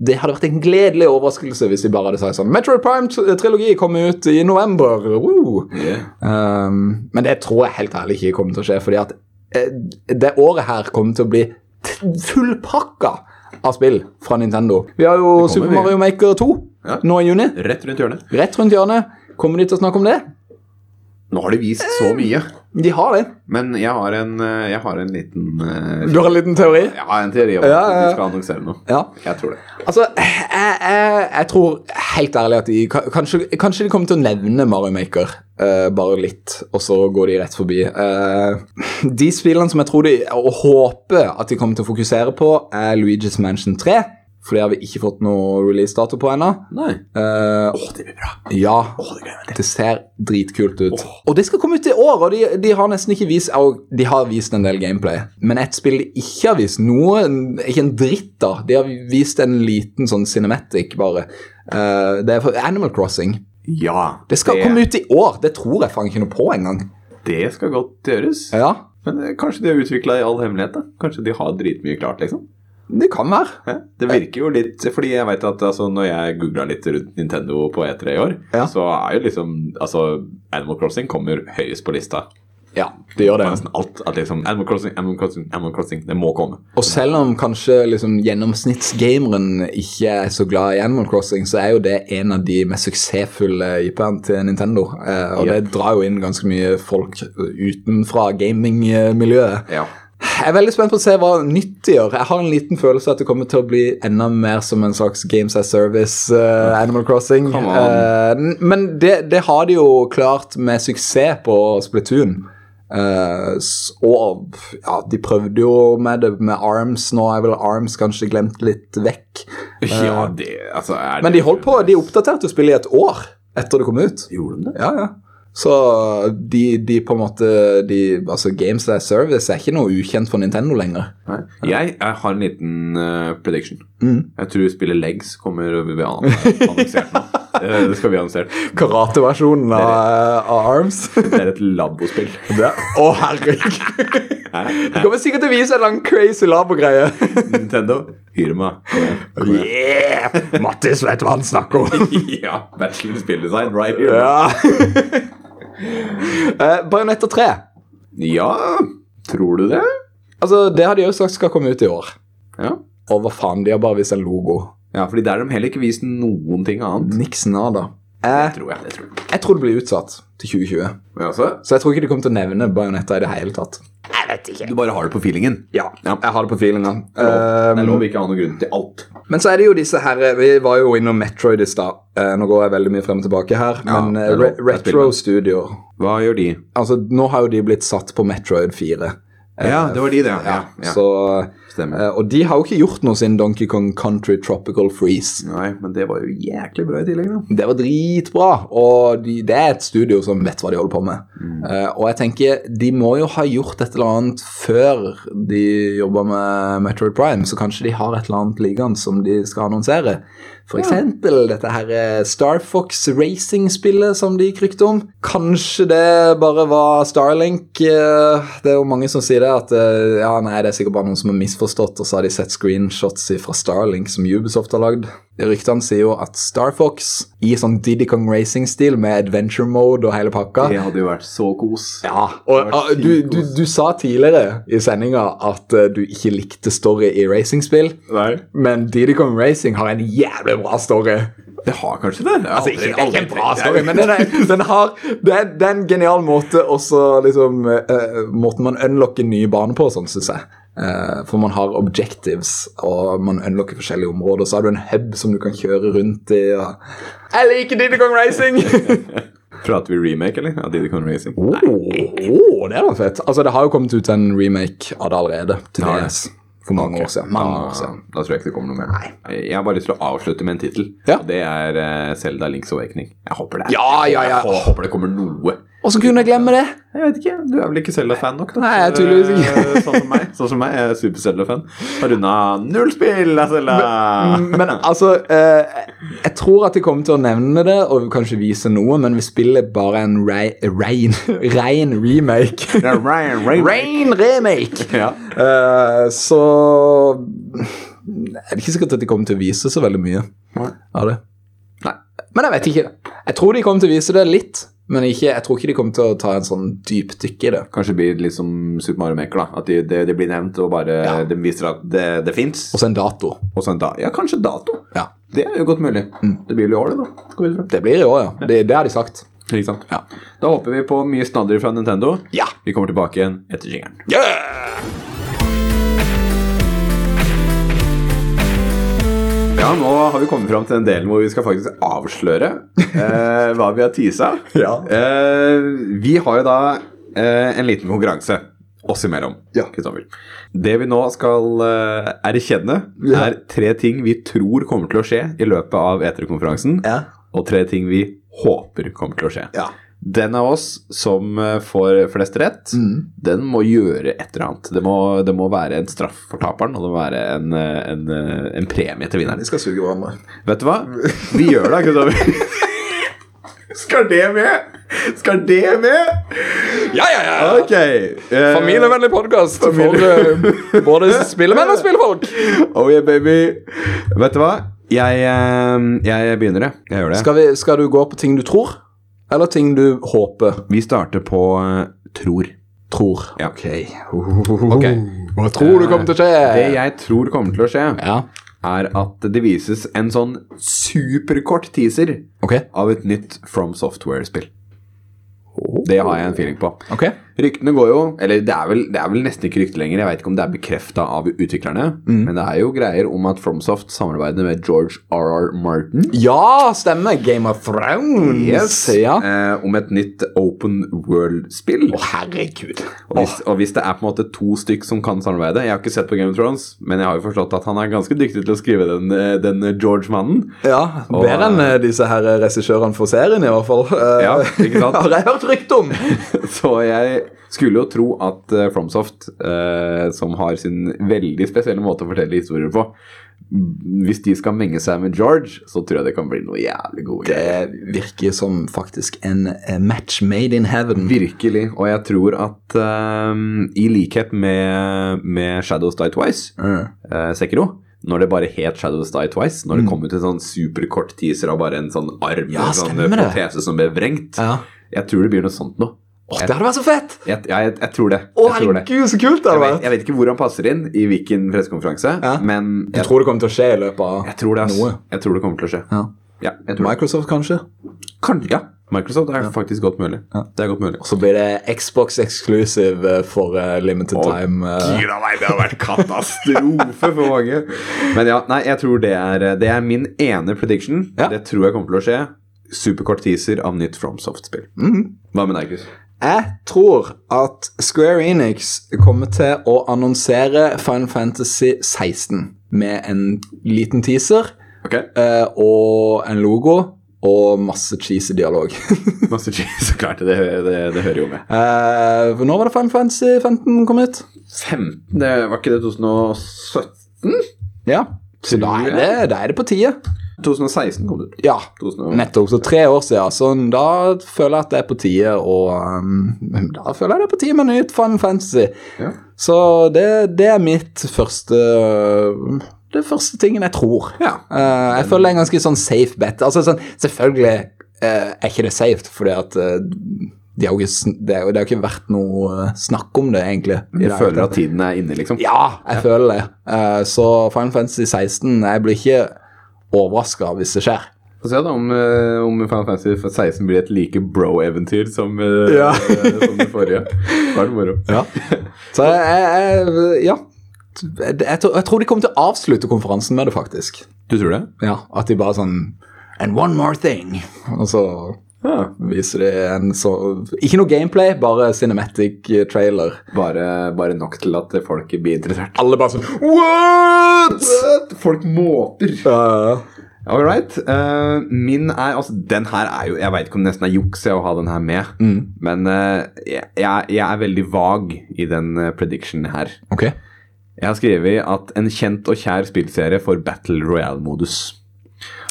[SPEAKER 2] det hadde vært en gledelig overraskelse hvis de bare hadde sagt sånn Metroid Prime-trilogi kommer ut i november! Woo! Um, men det tror jeg helt ærlig ikke kommer til å skje, fordi at eh, det året her kommer til å bli t- fullpakka av spill fra Nintendo. Vi har jo Super
[SPEAKER 1] mye.
[SPEAKER 2] Mario Maker 2
[SPEAKER 1] Ja.
[SPEAKER 2] nå i juni.
[SPEAKER 1] Rett rundt hjørnet.
[SPEAKER 2] Rett rundt hjørnet. Kommer de til å snakke om det?
[SPEAKER 1] Nå har de vist så mye,
[SPEAKER 2] De har det.
[SPEAKER 1] men jeg har en, eh, jeg har en liten eh,
[SPEAKER 2] Du har en liten teori?
[SPEAKER 1] Jeg har en teori om at
[SPEAKER 2] Ja, ja, ja.
[SPEAKER 1] de skal annonsere noe.
[SPEAKER 2] Ja.
[SPEAKER 1] Jeg tror det.
[SPEAKER 2] Altså, jeg, jeg, jeg tror helt ærlig at de ka- Kanskje, kanskje de kommer til å nevne Mario Maker eh, bare litt, og så går de rett forbi. Eh, de spillene som jeg tror de og håper at de kommer til å fokusere på, er Luigi's Mansion 3. For det har vi ikke fått noe release-dato på ennå.
[SPEAKER 1] Nei.
[SPEAKER 2] Eh,
[SPEAKER 1] Å, det blir bra.
[SPEAKER 2] ja.
[SPEAKER 1] Å, det gleder jeg meg til.
[SPEAKER 2] Det ser dritkult ut.
[SPEAKER 1] Åh.
[SPEAKER 2] Og det skal komme ut i år, og de, de har nesten ikke vist og De har vist en del gameplay, men et spill de ikke har vist noe Ikke en dritt, da. De har vist en liten sånn cinematic, bare. Eh, det er for Animal Crossing.
[SPEAKER 1] Ja.
[SPEAKER 2] Det skal komme ut i år! Det tror jeg faen ikke noe på engang.
[SPEAKER 1] Det skal godt gjøres.
[SPEAKER 2] Ja,
[SPEAKER 1] Men eh, kanskje de har utvikla i all hemmelighet, da. Kanskje de har dritmye klart, liksom.
[SPEAKER 2] det kan være.
[SPEAKER 1] Hæ? Det virker jo litt Fordi jeg vet at altså, når jeg googla litt rundt Nintendo på E3 i år,
[SPEAKER 2] Ja.
[SPEAKER 1] så er jo liksom Altså, Animal Crossing kommer høyest på lista.
[SPEAKER 2] Ja, det gjør
[SPEAKER 1] På
[SPEAKER 2] det.
[SPEAKER 1] nesten alt. At liksom Animal Crossing, Animal Crossing, Animal Crossing. Det må komme.
[SPEAKER 2] Og selv om kanskje liksom, gjennomsnittsgameren ikke er så glad i Animal Crossing, så er jo det en av de mest suksessfulle IP-ene til Nintendo. Eh, og det drar jo inn ganske mye folk utenfra gamingmiljøet.
[SPEAKER 1] Ja.
[SPEAKER 2] Jeg er veldig spent på å se hva nytt de gjør. Jeg har en liten følelse at det kommer til å bli enda mer som en slags Games as Service eh, Animal Crossing.
[SPEAKER 1] Come on.
[SPEAKER 2] Eh, n- men det, det har de jo klart med suksess på Splatoon. Eh, s- og ja, de prøvde jo med det med Arms. Nå er vel Arms kanskje glemt litt vekk.
[SPEAKER 1] Ja, det Altså, er
[SPEAKER 2] Men de holdt på, de oppdaterte jo spillet i et år etter det kom ut.
[SPEAKER 1] Gjorde de det?
[SPEAKER 2] Ja, ja. Så de, de på en måte de, altså Games as Service er ikke noe ukjent for Nintendo lenger.
[SPEAKER 1] Nei. Jeg, jeg har en liten eh, prediction.
[SPEAKER 2] Mm.
[SPEAKER 1] Jeg tror spillet Legs kommer vi an- annonsert nå. Eh, Det skal vi annonsere.
[SPEAKER 2] Karateversjonen av, av Arms. Å,
[SPEAKER 1] Det er et labospill.
[SPEAKER 2] herregud! Du kommer sikkert til å vise en eller annen crazy labo-greie.
[SPEAKER 1] Nintendo, hyr meg. Kom igjen.
[SPEAKER 2] Yeah! Mattis vet hva han snakker om.
[SPEAKER 1] ja, bachelor spilldesign right here.
[SPEAKER 2] ja. Eh, Bajonetta 3.
[SPEAKER 1] Ja, tror du det?
[SPEAKER 2] Altså, det har de jo sagt skal komme ut i år.
[SPEAKER 1] Ja.
[SPEAKER 2] Og hva faen, de har bare vist en logo.
[SPEAKER 1] ja, fordi der har de heller ikke vist noen ting annet.
[SPEAKER 2] Niks nada. Jeg,
[SPEAKER 1] Tror jeg. Det tror jeg.
[SPEAKER 2] Eh, jeg tror det blir utsatt til 2020.
[SPEAKER 1] Men altså,
[SPEAKER 2] Så jeg tror ikke de kommer til å nevne Bajonetta i det hele tatt.
[SPEAKER 1] du bare har det på feelingen.
[SPEAKER 2] Ja,
[SPEAKER 1] Ja. Ehm,
[SPEAKER 2] jeg har det på feelinga.
[SPEAKER 1] Det er
[SPEAKER 2] Um,
[SPEAKER 1] lov å ikke ha noen grunn til alt.
[SPEAKER 2] men så er det jo disse her eh, Vi var jo innom Metroid i stad. Eh, Nå går jeg veldig mye frem og tilbake her,
[SPEAKER 1] Ja,
[SPEAKER 2] men eh,
[SPEAKER 1] det er
[SPEAKER 2] Re
[SPEAKER 1] lov. Jeg spiller
[SPEAKER 2] Retro
[SPEAKER 1] med.
[SPEAKER 2] Studio
[SPEAKER 1] Hva gjør de?
[SPEAKER 2] Altså, nå har jo de blitt satt på Metroid 4. Eh,
[SPEAKER 1] Ja, det var de, det. Ja, ja,
[SPEAKER 2] Så,
[SPEAKER 1] Stemmer.
[SPEAKER 2] eh, og de har jo ikke gjort noe siden Donkey Kong Country Tropical Freeze.
[SPEAKER 1] Nei, men det var jo jæklig bra i tillegg, da.
[SPEAKER 2] Det var dritbra, og de, det er et studio som vet hva de holder på med. Eh, og jeg tenker, de må jo ha gjort et eller annet før de jobba med Metroid Prime, så kanskje de har et eller annet liggende som de skal annonsere. For eksempel dette her eh, Star Fox Racing-spillet som de krykte om. Kanskje det bare var Starlink. eh, Det er jo mange som sier det, at eh, ja, nei, det er sikkert bare noen som har misforstått, og så har de sett screenshots fra Starlink som Ubisoft har lagd. Ryktene sier jo at Star Fox i sånn Diddy Kong Racing-stil med adventure mode og hele pakka
[SPEAKER 1] Det hadde jo vært så kos.
[SPEAKER 2] ja, og
[SPEAKER 1] vært
[SPEAKER 2] ah, du, du, du sa tidligere i sendinga at eh, du ikke likte story i racingspill,
[SPEAKER 1] Nei.
[SPEAKER 2] men Diddy Kong Racing har en jævlig bra story.
[SPEAKER 1] Det har kanskje det? Jeg har
[SPEAKER 2] Altså,
[SPEAKER 1] aldri-
[SPEAKER 2] ikke, det er ikke en
[SPEAKER 1] aldri
[SPEAKER 2] bra
[SPEAKER 1] tenkt-
[SPEAKER 2] story, men den er, den har, det, er, det er en genial måte også liksom, eh, Måten man unlocker nye baner på, sånn syns jeg. Eh, for man har objectives, og man unlocker forskjellige områder. Så har du en hub som du kan kjøre rundt i. Og... Jeg liker Diddy Kong Racing!
[SPEAKER 1] Prater vi remake, eller? Av Diddy Kong Racing?
[SPEAKER 2] Åh, det var fett. Altså, det har jo kommet ut en remake av det allerede. Til
[SPEAKER 1] Ja, ja.
[SPEAKER 2] DS, for mange år siden. Mange år
[SPEAKER 1] Da,
[SPEAKER 2] siden.
[SPEAKER 1] altså, da tror jeg ikke det kommer noe mer. Jeg har bare lyst til å avslutte med en tittel.
[SPEAKER 2] Ja.
[SPEAKER 1] Det er eh, Zelda Links Awakening. Jeg håper det er
[SPEAKER 2] Ja, ja, ja.
[SPEAKER 1] Jeg håper det kommer noe.
[SPEAKER 2] Åssen kunne jeg glemme det?
[SPEAKER 1] Jeg vet ikke, Du er vel ikke Zelda-fan nok? da?
[SPEAKER 2] Nei, jeg er tydeligvis ikke.
[SPEAKER 1] Eh, sånn som meg. Sånn som meg, Jeg er super-Zelda-fan. Har runda null spill av Zelda! Mm.
[SPEAKER 2] Men altså, eh, jeg tror at de kommer til å nevne det og kanskje vise noe, men vi spiller bare en rei- rein rein remake.
[SPEAKER 1] Det er Ryan Raymond.
[SPEAKER 2] Rein remake!
[SPEAKER 1] Ja.
[SPEAKER 2] Eh, så er det ikke sikkert at de kommer til å vise så veldig mye av det. Nei. Men jeg vet ikke. Jeg tror de kommer til å vise det litt, men ikke, jeg tror ikke de kommer til å ta en sånn dypdykk i det.
[SPEAKER 1] Kanskje det blir litt som Super Mario Maker. da At det de, de blir nevnt, og bare de viser at det, det fins.
[SPEAKER 2] Og så en dato.
[SPEAKER 1] Og så en da, ja, kanskje dato.
[SPEAKER 2] Ja.
[SPEAKER 1] Det er jo godt mulig. Det blir vel i år, det, da. Går vi ut fra.
[SPEAKER 2] Det blir i år, ja. Det, det har de sagt.
[SPEAKER 1] Ikke sant? Da håper vi på mye snadder fra Nintendo.
[SPEAKER 2] Ja.
[SPEAKER 1] Vi kommer tilbake igjen etter jingeren. Ja, nå har vi kommet fram til den delen hvor vi skal faktisk avsløre eh, hva vi har tisa.
[SPEAKER 2] Ja.
[SPEAKER 1] Eh, vi har jo da eh, en liten konkurranse oss imellom,
[SPEAKER 2] Ja.
[SPEAKER 1] Kristoffer. Det vi nå skal eh, erkjenne,
[SPEAKER 2] Ja.
[SPEAKER 1] er tre ting vi tror kommer til å skje i løpet av E3-konferansen,
[SPEAKER 2] Ja.
[SPEAKER 1] og tre ting vi håper kommer til å skje.
[SPEAKER 2] Ja.
[SPEAKER 1] Den av oss som eh, får flest rett,
[SPEAKER 2] Mm.
[SPEAKER 1] den må gjøre et eller annet. Det må, det må være en straff for taperen, og det må være en, eh, en, eh, en premie til vinneren.
[SPEAKER 2] De skal suge hverandre.
[SPEAKER 1] Vet du hva? Vi gjør det, Kristoffer. Skal det med? Skal det med?
[SPEAKER 2] Ja, ja, ja!
[SPEAKER 1] Ok. eh,
[SPEAKER 2] Familievennlig podkast for eh, både spillemenn og spillfolk.
[SPEAKER 1] Oh yeah, baby. Vet du hva? Jeg, eh, jeg begynner, jeg. Jeg gjør det.
[SPEAKER 2] Skal, vi, skal du gå på ting du tror, eller ting du håper?
[SPEAKER 1] Vi starter på eh, tror.
[SPEAKER 2] Tror.
[SPEAKER 1] Ja.
[SPEAKER 2] Ok. Hva tror du kommer til å
[SPEAKER 1] Det
[SPEAKER 2] skje?
[SPEAKER 1] jeg tror kommer til å skje,
[SPEAKER 2] Ja,
[SPEAKER 1] er at det vises en sånn superkort teaser
[SPEAKER 2] ok.
[SPEAKER 1] av et nytt From Software-spill. Det har jeg en feeling på.
[SPEAKER 2] Ok.
[SPEAKER 1] Ryktene går jo Eller det er vel, det er vel nesten ikke rykte lenger. Jeg vet ikke om det er bekrefta av utviklerne. Men det er jo greier om at FromSoft samarbeider med George R.R. Martin.
[SPEAKER 2] Ja, stemmer. Game of Thrones. Ja. Å,
[SPEAKER 1] Eh, om et nytt open world-spill.
[SPEAKER 2] herregud.
[SPEAKER 1] Og hvis, og hvis det er på en måte to stykk som kan samarbeide Jeg har ikke sett på Game of Thrones, men jeg har jo forstått at han er ganske dyktig til å skrive den, eh, den George-mannen.
[SPEAKER 2] Ja, Bedre enn eh, disse her eh, regissørene for serien, i hvert fall. Eh,
[SPEAKER 1] Ja, ikke sant?
[SPEAKER 2] Har jeg hørt rykte om.
[SPEAKER 1] Så jeg skulle jo tro at eh, FromSoft, eh, som har sin veldig spesielle måte å fortelle historier på m, Hvis de skal menge seg med George, så tror jeg det kan bli noe jævlig gode greier.
[SPEAKER 2] Det virker som faktisk en eh, match made in heaven.
[SPEAKER 1] Virkelig. Og jeg tror at eh, i likhet med, med Shadows Die Twice,
[SPEAKER 2] Mm.
[SPEAKER 1] eh, Sekiro når det bare het Shadows Die Twice, når det kom ut en sånn superkort teaser av bare en sånn arm
[SPEAKER 2] Ja,
[SPEAKER 1] en sånn
[SPEAKER 2] stemmer det.
[SPEAKER 1] protese som ble vrengt
[SPEAKER 2] Ja.
[SPEAKER 1] Jeg tror det blir noe sånt nå.
[SPEAKER 2] Åh, det hadde vært så fett!
[SPEAKER 1] Jeg, jeg, jeg tror det.
[SPEAKER 2] Å,
[SPEAKER 1] jeg tror det.
[SPEAKER 2] herregud, så kult
[SPEAKER 1] Jeg
[SPEAKER 2] det hadde
[SPEAKER 1] vet,
[SPEAKER 2] vært!
[SPEAKER 1] jeg vet ikke hvor han passer inn, i hvilken pressekonferanse,
[SPEAKER 2] Ja.
[SPEAKER 1] men
[SPEAKER 2] Jeg
[SPEAKER 1] jeg,
[SPEAKER 2] tror det kommer til å skje i løpet av
[SPEAKER 1] jeg tror det.
[SPEAKER 2] noe.
[SPEAKER 1] Ass. Jeg tror det kommer til å skje.
[SPEAKER 2] Ja.
[SPEAKER 1] Ja, jeg tror det.
[SPEAKER 2] Microsoft, kanskje?
[SPEAKER 1] Kan, ja. Microsoft er faktisk godt mulig. Det er godt mulig.
[SPEAKER 2] Så blir det Xbox exclusive eh, for eh, limited time. eh.
[SPEAKER 1] Gud a meg, det har vært katastrofe for mange. Men ja, nei, jeg tror det er Det er min ene prediction.
[SPEAKER 2] Ja.
[SPEAKER 1] Det tror jeg kommer til å skje. Superkort teaser av nytt FromSoft-spill.
[SPEAKER 2] Mhm.
[SPEAKER 1] Hva med deg, Chris?
[SPEAKER 2] Jeg tror at Square Enix kommer til å annonsere Final Fantasy 16 med en liten teaser
[SPEAKER 1] Ok,
[SPEAKER 2] eh, og en logo og masse cheesy dialog.
[SPEAKER 1] Master Chief, så klart. Det, det, det hører jo med.
[SPEAKER 2] Eh, for når var det Final Fantasy 15 kom ut?
[SPEAKER 1] 15, det, var ikke det 2017?
[SPEAKER 2] Ja. Så da er det, da er det på tide.
[SPEAKER 1] 2016 kom det ut.
[SPEAKER 2] Ja,
[SPEAKER 1] 2000
[SPEAKER 2] nettopp. Så tre år siden. Så da føler jeg at det er på tide å um, Da føler jeg det er på tide med nytt Final Fantasy.
[SPEAKER 1] Ja.
[SPEAKER 2] Så det, det er mitt første um, Det første tingen jeg tror.
[SPEAKER 1] Ja.
[SPEAKER 2] Eh, jeg føler det er en ganske sånn safe bet. Altså sånn, Selvfølgelig eh, er ikke det safe, fordi at eh, de har jo ikke, sn- det, er jo- det har jo ikke vært noe eh, snakk om det, egentlig.
[SPEAKER 1] Jeg
[SPEAKER 2] i det hele
[SPEAKER 1] føler at tiden er inne, liksom.
[SPEAKER 2] ja, jeg føler det. Eh, så Final Fantasy 16 Jeg blir ikke overraska hvis det skjer.
[SPEAKER 1] Få se da om, eh, om Final Fantasy 16 blir et like bro-eventyr som, eh,
[SPEAKER 2] Ja.
[SPEAKER 1] eh, som det forrige. Da er det moro.
[SPEAKER 2] Ja. Så jeg, jeg, jeg Ja. Jeg, jeg, tror- jeg tror de kommer til å avslutte konferansen med det, faktisk.
[SPEAKER 1] Du tror det?
[SPEAKER 2] Ja, At de bare sånn And one more thing. Og så
[SPEAKER 1] Ja.
[SPEAKER 2] viser de en så Ikke noe gameplay, bare cinematic eh, trailer.
[SPEAKER 1] Bare, bare nok til at folk blir interessert.
[SPEAKER 2] Alle bare sånn What?!
[SPEAKER 1] Folk måper.
[SPEAKER 2] Ja,
[SPEAKER 1] All right. eh, min er Altså, den her er jo Jeg veit ikke om det nesten er juks jeg å ha den her med,
[SPEAKER 2] Mm.
[SPEAKER 1] men eh, jeg, jeg er veldig vag i den eh, predictionen her.
[SPEAKER 2] ok.
[SPEAKER 1] Jeg har skrevet at en kjent og kjær spillserie får Battle Royale-modus.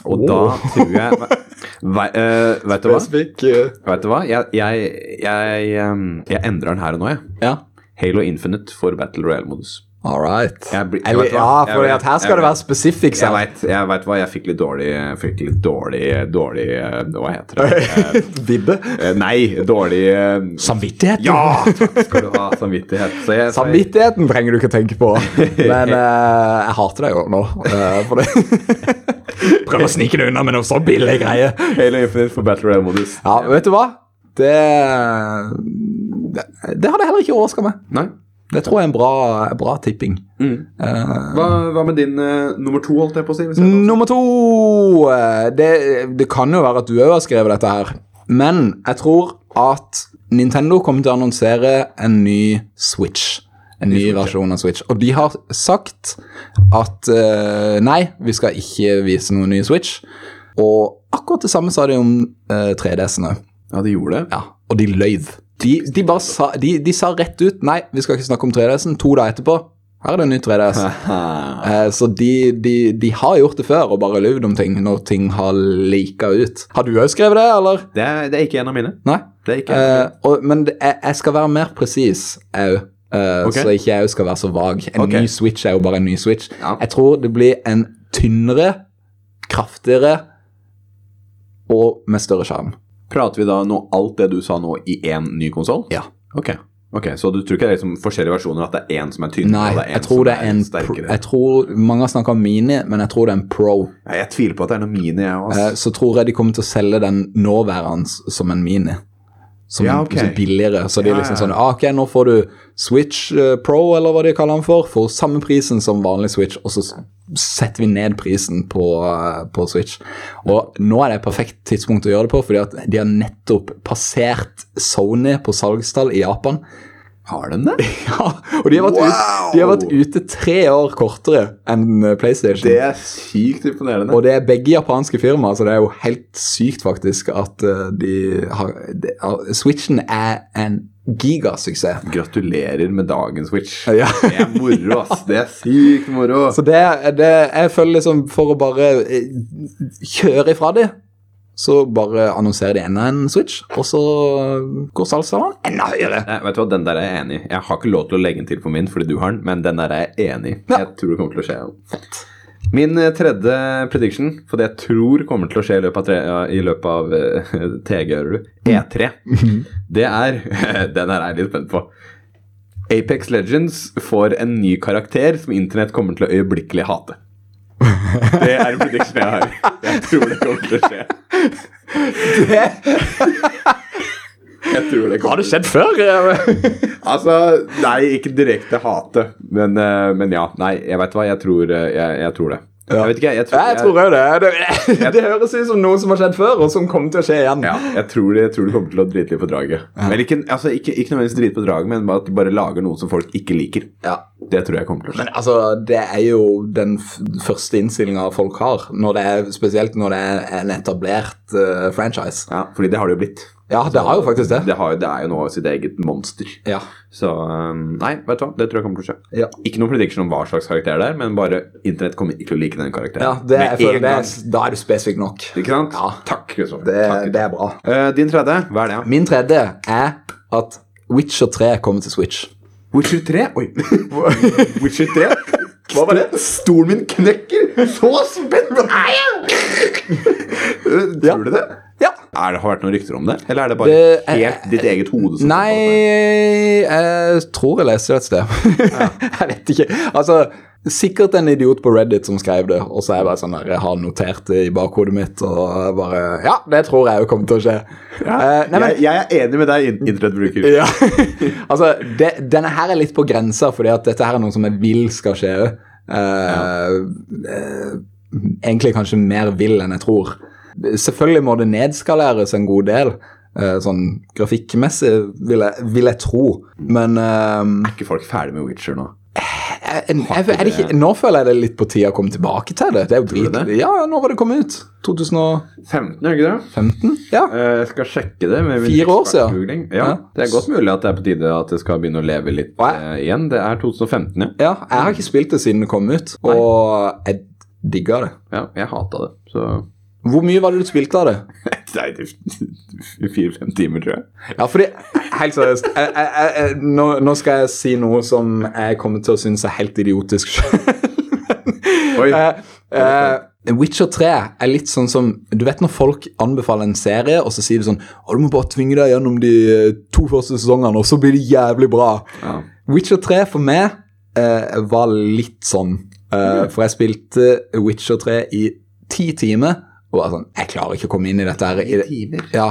[SPEAKER 1] Og
[SPEAKER 2] Oh.
[SPEAKER 1] da tror jeg Ve- eh, Vet du hva?
[SPEAKER 2] Spesifikk eh,
[SPEAKER 1] Vet du hva? Jeg, jeg, jeg, em, jeg endrer den her og nå, jeg.
[SPEAKER 2] Ja.
[SPEAKER 1] Halo Infinite får Battle Royale-modus.
[SPEAKER 2] All right.
[SPEAKER 1] Jeg blir- jeg
[SPEAKER 2] Eller,
[SPEAKER 1] vet hva.
[SPEAKER 2] ja,
[SPEAKER 1] Jeg
[SPEAKER 2] for
[SPEAKER 1] vet-
[SPEAKER 2] at her skal
[SPEAKER 1] jeg
[SPEAKER 2] det være
[SPEAKER 1] vet.
[SPEAKER 2] spesifikk.
[SPEAKER 1] Jeg
[SPEAKER 2] sant?
[SPEAKER 1] veit jeg vet hva, jeg fikk litt dårlig Fikk litt dårlig, dårlig eh, Hva heter det?
[SPEAKER 2] Vibbe.
[SPEAKER 1] Eh, Nei, dårlig eh,
[SPEAKER 2] Samvittigheten.
[SPEAKER 1] Ja! Takk skal du ha, samvittighet. Så jeg, så jeg,
[SPEAKER 2] Samvittigheten trenger du ikke tenke på. Men eh, jeg hater deg jo nå. eh, for det. Prøv å snike deg unna med noe så billig greie.
[SPEAKER 1] Halo Infinite for Battle Royale-modus.
[SPEAKER 2] Ja, vet du hva? Det Det, det hadde jeg heller ikke overraska meg.
[SPEAKER 1] Nei.
[SPEAKER 2] Det tror jeg er en bra, bra tipping. Eh,
[SPEAKER 1] Hva, hva med din eh, nummer to, holdt jeg på å si? Hvis jeg
[SPEAKER 2] nummer to eh, det, det kan jo være at du òg har skrevet dette her, men jeg tror at Nintendo kommer til å annonsere en ny Switch. En ny versjon av Switch. Og de har sagt at eh, nei, vi skal ikke vise noen ny Switch. Og akkurat det samme sa de om eh, 3DS-ene.
[SPEAKER 1] Ja, det gjorde det.
[SPEAKER 2] Ja, og de løy. De, de, bare sa, de, de sa rett ut nei, vi skal ikke snakke om 3DS-en. To dager etterpå, her er det en ny 3DS.
[SPEAKER 1] Haha.
[SPEAKER 2] Eh, Så de, de, de har gjort det før og bare løyvd om ting når ting har lika ut. Har du òg skrevet det, eller?
[SPEAKER 1] Det er, det er ikke en av mine.
[SPEAKER 2] Nei?
[SPEAKER 1] Det er ikke en av
[SPEAKER 2] Eh, og, men det- jeg, jeg skal være mer presis òg, eh,
[SPEAKER 1] Ok.
[SPEAKER 2] så ikke jeg òg skal være så vag. En
[SPEAKER 1] Ok.
[SPEAKER 2] ny Switch er jo bare en ny Switch.
[SPEAKER 1] Ja.
[SPEAKER 2] Jeg tror det blir en tynnere, kraftigere og med større sjarm.
[SPEAKER 1] mine. Prater vi da nå alt det du sa nå, i én ny konsoll?
[SPEAKER 2] Ja.
[SPEAKER 1] Ok. Ok, Så du tror ikke det er liksom forskjellige versjoner, at det er én som er tynnere
[SPEAKER 2] Nei,
[SPEAKER 1] og det er
[SPEAKER 2] jeg
[SPEAKER 1] én
[SPEAKER 2] tror
[SPEAKER 1] som
[SPEAKER 2] det er en pro,
[SPEAKER 1] sterkere?
[SPEAKER 2] jeg tror, Mange har snakka om mini, men jeg tror det er en pro.
[SPEAKER 1] Ja, jeg tviler på at det er noe mini, jeg
[SPEAKER 2] Eh,
[SPEAKER 1] også.
[SPEAKER 2] så tror jeg de kommer til å selge den nåværende s- som en mini. Som
[SPEAKER 1] Ja,
[SPEAKER 2] en-
[SPEAKER 1] ok.
[SPEAKER 2] som billigere. Så de er
[SPEAKER 1] Ja,
[SPEAKER 2] liksom
[SPEAKER 1] ja.
[SPEAKER 2] sånn ah, Ok, nå får du Switch eh, Pro, eller hva de kaller den for, for samme prisen som vanlig Switch, og så s- setter vi ned prisen på, eh, på Switch. Og nå er det et perfekt tidspunkt å gjøre det på, fordi at de har nettopp passert Sony på salgstall i Japan.
[SPEAKER 1] Har den det?
[SPEAKER 2] Ja, og de har, vært
[SPEAKER 1] Wow!
[SPEAKER 2] ut, de har vært ute tre år kortere enn eh, PlayStation.
[SPEAKER 1] Det er sykt imponerende.
[SPEAKER 2] Og det er begge japanske firmaer, så det er jo helt sykt faktisk at eh, de har de, ja, Switchen er en gigasuksess.
[SPEAKER 1] Gratulerer med dagen, Switch.
[SPEAKER 2] Ja.
[SPEAKER 1] Det er moro, ass. Det er sykt moro.
[SPEAKER 2] Så det, det Jeg føler liksom for å bare eh, kjøre ifra de, så bare annonserer de enda en Switch, og så går salgstallene enda høyere.
[SPEAKER 1] Nei, Eh, vet du hva, Den der er jeg enig i. Jeg har ikke lov til å legge den til på min fordi du har den, men den der er jeg enig i.
[SPEAKER 2] Ja.
[SPEAKER 1] Jeg tror det kommer til å skje. Min eh, tredje prediction, for det jeg tror kommer til å skje i løpet av, tre, ja, i løpet av eh, TG, hører du, E3, det er Den her er jeg litt spent på. Apex Legends får en ny karakter som internett kommer til å øyeblikkelig hate. Det er en prediction jeg har. Jeg tror det kommer til å skje. Jeg tror det kommer til å skje.
[SPEAKER 2] skjedd før? eh,
[SPEAKER 1] Altså, nei, ikke direkte hate, men, eh, men ja. Nei, jeg vet hva, jeg tror, eh, jeg, jeg tror det. Jeg vet ikke, jeg tror,
[SPEAKER 2] Jeg tror òg det. Det, det høres ut som noe som har skjedd før, og som kommer til å skje igjen.
[SPEAKER 1] ja, jeg tror det, jeg tror det kommer til å drite litt på draget. Eller ikke, altså, ikke, ikke nødvendigvis drite på draget, men bare at de bare lager noe som folk ikke liker.
[SPEAKER 2] Ja.
[SPEAKER 1] Det tror jeg kommer til å skje.
[SPEAKER 2] Men altså, det er jo den f første innstillinga folk har, når det er, spesielt når det er en etablert eh, franchise.
[SPEAKER 1] Ja, fordi det har det jo blitt.
[SPEAKER 2] Ja, det har jo faktisk det.
[SPEAKER 1] Det, har, jo- det er jo nå sitt eget monster.
[SPEAKER 2] Ja.
[SPEAKER 1] Så eh, nei, vet du hva, det tror jeg kommer til å skje.
[SPEAKER 2] Ja.
[SPEAKER 1] Ikke noen prediction om hva slags karakter det er, men bare internett kommer ikke til å like den karakteren.
[SPEAKER 2] ja det,
[SPEAKER 1] Med
[SPEAKER 2] jeg føler
[SPEAKER 1] en
[SPEAKER 2] det,
[SPEAKER 1] gang.
[SPEAKER 2] er- da er du spesifikk nok.
[SPEAKER 1] Ikke sant?
[SPEAKER 2] Ja.
[SPEAKER 1] Takk, Kristoffer.
[SPEAKER 2] Det,
[SPEAKER 1] Takk.
[SPEAKER 2] det er bra.
[SPEAKER 1] Eh, din tredje, hva er det? ja?
[SPEAKER 2] Min tredje er at Witcher 3 kommer til Switch.
[SPEAKER 1] Witcher 3? Oi. Witcher 3?
[SPEAKER 2] Hva var det?
[SPEAKER 1] Stolen min knekker! Så spent er jeg! Tror du det?
[SPEAKER 2] Ja,
[SPEAKER 1] Er det, har det vært noen rykter om det? Eller er det bare
[SPEAKER 2] Det- jeg-
[SPEAKER 1] helt ditt eget hode? som fortalte det?
[SPEAKER 2] Nei, jeg tror jeg leste det et sted. jeg vet ikke. Altså, sikkert en idiot på Reddit som skrev det, og så er jeg bare sånn der, jeg har notert det i bakhodet mitt, og jeg bare Ja, det tror jeg jo kommer til å skje. Eh, nei, men,
[SPEAKER 1] jeg, jeg er enig med deg, in- internettbruker.
[SPEAKER 2] ja. altså, det, denne her er litt på grensa, fordi at dette her er noe som jeg vil skal skje. Eh, eh, egentlig kanskje mer vil enn jeg tror. Selvfølgelig må det nedskaleres en god del, eh, sånn grafikkmessig, vil jeg, vil jeg tro. Men eh,
[SPEAKER 1] Er ikke folk ferdig med Witcher nå?
[SPEAKER 2] jeg, jeg, er det ikke, nå føler jeg det er litt på tide å komme tilbake til det. det, er jo
[SPEAKER 1] Tror du
[SPEAKER 2] drit-
[SPEAKER 1] det?
[SPEAKER 2] Ja, nå var det kommet ut. 2015?
[SPEAKER 1] 15, er det ikke det?
[SPEAKER 2] Ja.
[SPEAKER 1] Eh, Jeg skal sjekke det. Med min
[SPEAKER 2] Fire år siden.
[SPEAKER 1] ekspertgoogling. Ja,
[SPEAKER 2] Ja.
[SPEAKER 1] det er godt mulig at det er på tide at det skal begynne å leve litt
[SPEAKER 2] Nei.
[SPEAKER 1] eh, igjen. Det er 2015, ja.
[SPEAKER 2] ja. Jeg har ikke spilt det siden det kom ut,
[SPEAKER 1] Nei.
[SPEAKER 2] og jeg digga det.
[SPEAKER 1] ja jeg hata det, så
[SPEAKER 2] Hvor mye var det du spilte av det?
[SPEAKER 1] Nei, det er fire-fem timer, tror jeg.
[SPEAKER 2] Ja, fordi, helt seriøst jeg, jeg, jeg, jeg, nå, nå skal jeg si noe som jeg kommer til å synes er helt idiotisk
[SPEAKER 1] Oi.
[SPEAKER 2] Eh, eh, Witcher 3 er litt sånn som Du vet når folk anbefaler en serie, og så sier du sånn Å, du må bare tvinge deg gjennom de eh, to første sesongene, og så blir det jævlig bra.
[SPEAKER 1] Ja.
[SPEAKER 2] Witcher 3 for meg eh, var litt sånn. Eh, for jeg spilte Witcher 3 i ti timer, og var sånn Jeg klarer ikke å komme inn i dette her. i det-
[SPEAKER 1] timer?
[SPEAKER 2] ja.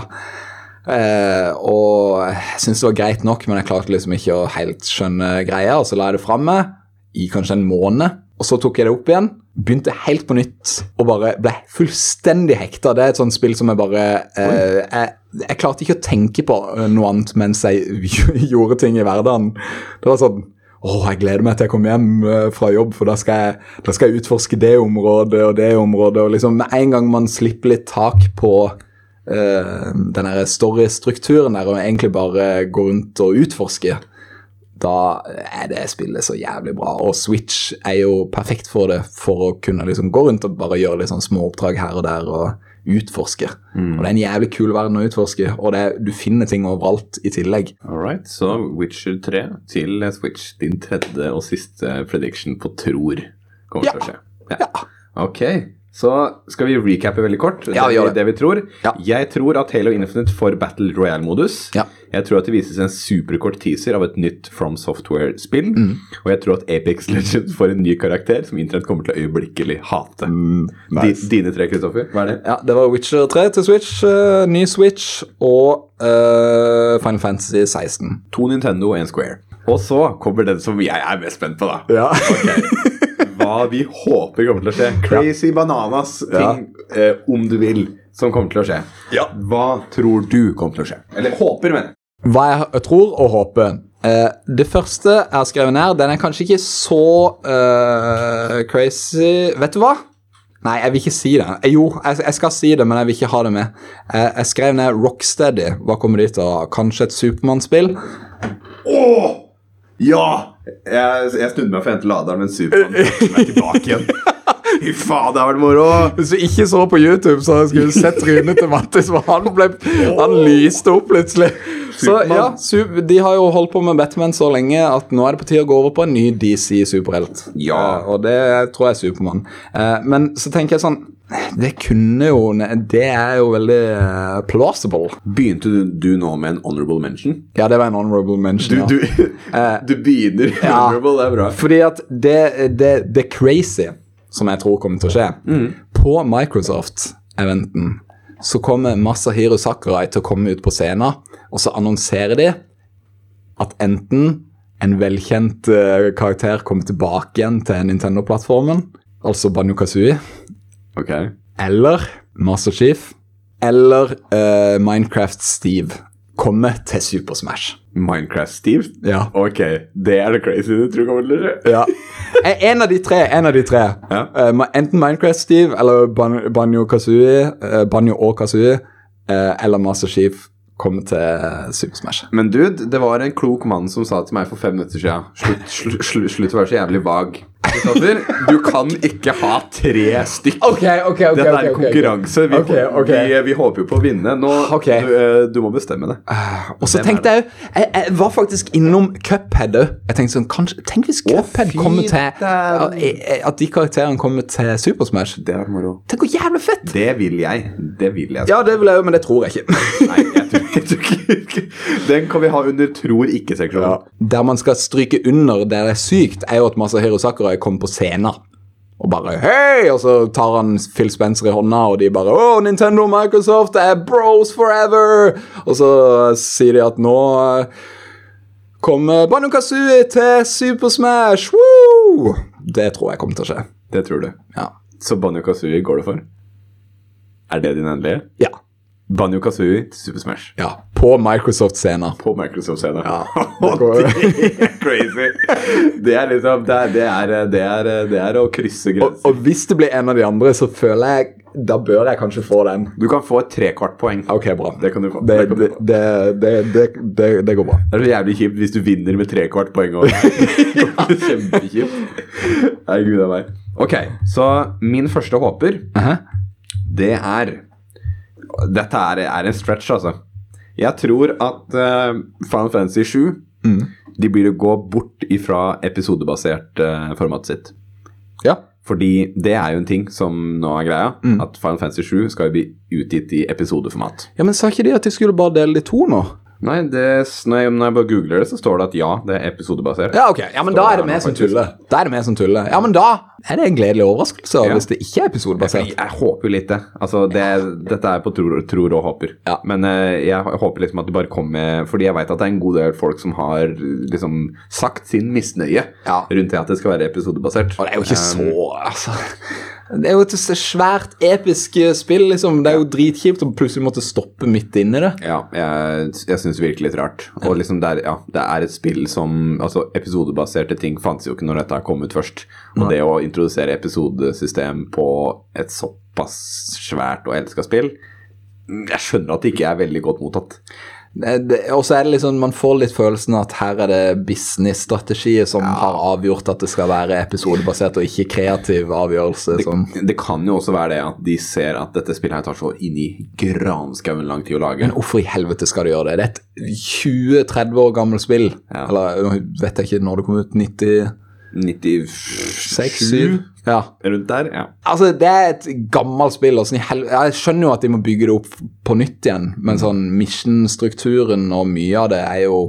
[SPEAKER 2] Eh, og jeg syntes det var greit nok, men jeg klarte liksom ikke å helt skjønne greia. Og så la jeg det fram meg i kanskje en måned, og så tok jeg det opp igjen. Begynte helt på nytt og bare ble fullstendig hekta. Det er et sånt spill som jeg bare eh, jeg, jeg klarte ikke å tenke på eh, noe annet mens jeg gjorde ting i hverdagen. Det var sånn å, jeg gleder meg til jeg kommer hjem eh, fra jobb, for da skal, jeg, da skal jeg utforske det området og det området. Og liksom, med en gang man slipper litt tak på eh, den her storystrukturen der, og egentlig bare gå rundt og utforske, da er det spillet så jævlig bra. Og Switch er jo perfekt for det, for å kunne liksom gå rundt og bare gjøre litt sånn små oppdrag her og der og utforske. Og det er en jævlig kul verden å utforske, og det, er- du finner ting overalt i tillegg.
[SPEAKER 1] All right, så Witcher 3 til Switch. Din tredje og siste prediction på tror kommer
[SPEAKER 2] Ja.
[SPEAKER 1] til å skje. Ok, så skal vi recappe veldig kort
[SPEAKER 2] Ja, vi
[SPEAKER 1] det,
[SPEAKER 2] gjør
[SPEAKER 1] det vi tror.
[SPEAKER 2] Ja.
[SPEAKER 1] Jeg tror at Halo Infinite får Battle Royale-modus.
[SPEAKER 2] Ja.
[SPEAKER 1] Jeg tror at det vises en superkort teaser av et nytt From Software-spill.
[SPEAKER 2] Mm.
[SPEAKER 1] Og jeg tror at Apex Legends får en ny karakter som internett kommer til å øyeblikkelig hate.
[SPEAKER 2] Mm, nice.
[SPEAKER 1] Di, dine tre, Kristoffer. Hva er det?
[SPEAKER 2] Ja, det var Witcher 3 til Switch, eh, ny Switch og eh, Final Fantasy 16.
[SPEAKER 1] To Nintendo og en Square. Og så kommer den som jeg er mest spent på, da.
[SPEAKER 2] Ja.
[SPEAKER 1] hva vi håper kommer til å skje. Crazy bananas ting, eh, om du vil, som kommer til å skje.
[SPEAKER 2] Ja.
[SPEAKER 1] Hva tror du kommer til å skje? Eller håper, men.
[SPEAKER 2] Hva jeg tror og håper. Eh, det første jeg har skrevet ned, den er kanskje ikke så eh, crazy Vet du hva? Nei, jeg vil ikke si det. Eh, Jo, jeg, jeg skal si det, men jeg vil ikke ha det med. Eh, jeg skrev ned Rocksteady. Hva kommer de til å ha? Kanskje et Supermann-spill?
[SPEAKER 1] Åh! Ja! Jeg, jeg snudde meg for å hente laderen, men Supermann kom meg tilbake igjen. Fy faen, det har vært moro!
[SPEAKER 2] Hvis du ikke så på YouTube, så skulle du sett trynet til Mattis, for han, ble, han lyste opp plutselig. Så
[SPEAKER 1] Superman.
[SPEAKER 2] ja, su- De har jo holdt på med Batman så lenge at nå er det på tide å gå over på en ny DC-superhelt.
[SPEAKER 1] Ja.
[SPEAKER 2] Eh, Og det tror jeg er Supermann. Eh, men så tenker jeg sånn Det kunne jo Det er jo veldig eh, plausible.
[SPEAKER 1] Begynte du, du nå med en honorable mention? Eh,
[SPEAKER 2] Ja, det var en honorable mention.
[SPEAKER 1] Du,
[SPEAKER 2] ja.
[SPEAKER 1] du, du begynner honorable, det er bra.
[SPEAKER 2] Fordi at det, det, det crazy som jeg tror kommer til å skje På Microsoft-eventen så kommer Masahiro Sakurai til å komme ut på scenen, og så annonserer de at enten en velkjent eh, karakter kommer tilbake igjen til Nintendo-plattformen, altså Banjo Kazooie,
[SPEAKER 1] Ok.
[SPEAKER 2] eller Master Chief, eller eh, Minecraft-Steve kommer til Super Smash.
[SPEAKER 1] Minecraft-Steve?
[SPEAKER 2] Ja.
[SPEAKER 1] Ok, det er det crazy du tror kommer til å skje.
[SPEAKER 2] Ja. Eh, En av de tre. En av de tre.
[SPEAKER 1] Ja.
[SPEAKER 2] Eh, ma- enten Minecraft-Steve eller Ban Banjo Kazooie. eh, Banjo og Kazooie. eh, eller Master Chief komme til Super Smash.
[SPEAKER 1] Men dude, det var en klok mann som sa til meg for fem minutter siden Slutt, slu- slu- slutt å være så jævlig vag. Kristoffer, Du kan ikke ha tre stykk.
[SPEAKER 2] Ok, ok, ok.
[SPEAKER 1] Dette er konkurranse. Vi,
[SPEAKER 2] Ok, ok.
[SPEAKER 1] Vi, vi håper jo på å vinne. Nå,
[SPEAKER 2] Ok. Ah,
[SPEAKER 1] du, eh, du må bestemme det.
[SPEAKER 2] Og så tenkte jeg Jeg, jeg var faktisk innom Cuphead òg. Jeg tenkte sånn, kanskje, Tenk hvis Cuphead
[SPEAKER 1] fy
[SPEAKER 2] kommer til eh,
[SPEAKER 1] dæven.
[SPEAKER 2] at- At de karakterene kommer til Super Smash.
[SPEAKER 1] Det er moro.
[SPEAKER 2] Tenk hvor jævlig fett!
[SPEAKER 1] Det vil jeg. Det vil jeg.
[SPEAKER 2] Ja, det vil jeg jo, men det tror jeg ikke.
[SPEAKER 1] Nei, jeg tror, jeg tror ikke. Den kan vi ha under tror ikke-seksjonen.
[SPEAKER 2] Der man skal stryke under der det er sykt, er jo at Masahiro Sakurai kommer på scenen. Og bare hei! Og så tar han Phil Spencer i hånda, og de bare Å, Nintendo og Microsoft det er bros forever! Og så sier de at nå eh, kommer Banu Kazooie til Super Smash! Woo! Det tror jeg kommer til å skje.
[SPEAKER 1] Det tror du.
[SPEAKER 2] Ja.
[SPEAKER 1] Så Banjo Kazooie går det for? Er det din endelige?
[SPEAKER 2] Ja.
[SPEAKER 1] Banjo Kazooie til Super Smash.
[SPEAKER 2] ja. På Microsoft-scener.
[SPEAKER 1] på Microsoft-scenen.
[SPEAKER 2] det går-
[SPEAKER 1] det er crazy! Det er liksom Det er, det er, det er, det er å krysse
[SPEAKER 2] Og,
[SPEAKER 1] grenser.
[SPEAKER 2] og hvis det blir en av de andre, så føler jeg Da bør jeg kanskje få den.
[SPEAKER 1] Du kan få et trekvart poeng.
[SPEAKER 2] Ok, bra.
[SPEAKER 1] Det kan du få.
[SPEAKER 2] Det,
[SPEAKER 1] Det kan du
[SPEAKER 2] det,
[SPEAKER 1] få.
[SPEAKER 2] det, det, det, det, det går bra.
[SPEAKER 1] Det er så jævlig kjipt hvis du vinner med trekvart poeng òg. Kjempekjipt. Nei, gud a meg. Ok, så min første håper, det er Dette er, er en stretch, altså. Jeg tror at uh, Final Fantasy 7 De blir å gå bort ifra episodebasert eh, format sitt.
[SPEAKER 2] Ja.
[SPEAKER 1] Fordi det er jo en ting som nå er greia, at Final Fantasy 7 skal jo bli utgitt i episodeformat.
[SPEAKER 2] ja, men sa ikke de at de skulle bare dele de to nå?
[SPEAKER 1] Nei, det, s- når, jeg, når jeg bare googler det, så står det at ja, det er episodebasert.
[SPEAKER 2] Ja, ok. Ja, men da er det vi som tuller. Da er det vi som tuller. Ja, men da er det en gledelig overraskelse hvis det ikke er
[SPEAKER 1] Jeg,
[SPEAKER 2] episodebasert.
[SPEAKER 1] jeg håper jo litt det. Altså, det Dette er på tror, tror og håper.
[SPEAKER 2] Ja.
[SPEAKER 1] Men eh, jeg håper liksom at det bare kommer Fordi jeg veit at det er en god del folk som har liksom sagt sin misnøye
[SPEAKER 2] Ja.
[SPEAKER 1] rundt det at det skal være episodebasert.
[SPEAKER 2] Og det er jo ikke så Altså. Det er jo et så svært episk eh, spill, liksom. Det er jo dritkjipt å plutselig måtte stoppe midt inni det.
[SPEAKER 1] Ja, jeg, jeg syns virkelig litt rart. Og liksom det er, ja, det er et spill som Altså, episodebaserte ting fantes jo ikke når dette kom ut først. Og det å introdusere episodesystem på et såpass svært og elska spill Jeg skjønner at det ikke er veldig godt mottatt.
[SPEAKER 2] Det- det- Og så er det liksom, man får litt følelsen at her er det business-strategier som har avgjort at det skal være episodebasert, og ikke kreativ avgjørelse. Som
[SPEAKER 1] Det kan jo også være det at de ser at dette spillet her tar så inn i granskauen lang tid å lage.
[SPEAKER 2] Men hvorfor i helvete skal du gjøre det? Det er et 20-30 år gammelt spill.
[SPEAKER 1] Ja.
[SPEAKER 2] Eller nå vet jeg ikke når det kom ut. 96-7?
[SPEAKER 1] 96-7
[SPEAKER 2] Ja.
[SPEAKER 1] rundt der. Ja.
[SPEAKER 2] Altså, det er et gammelt spill. og sånn i hel... Jeg skjønner jo at de må bygge det opp på nytt igjen, men sånn mission-strukturen og mye av det er jo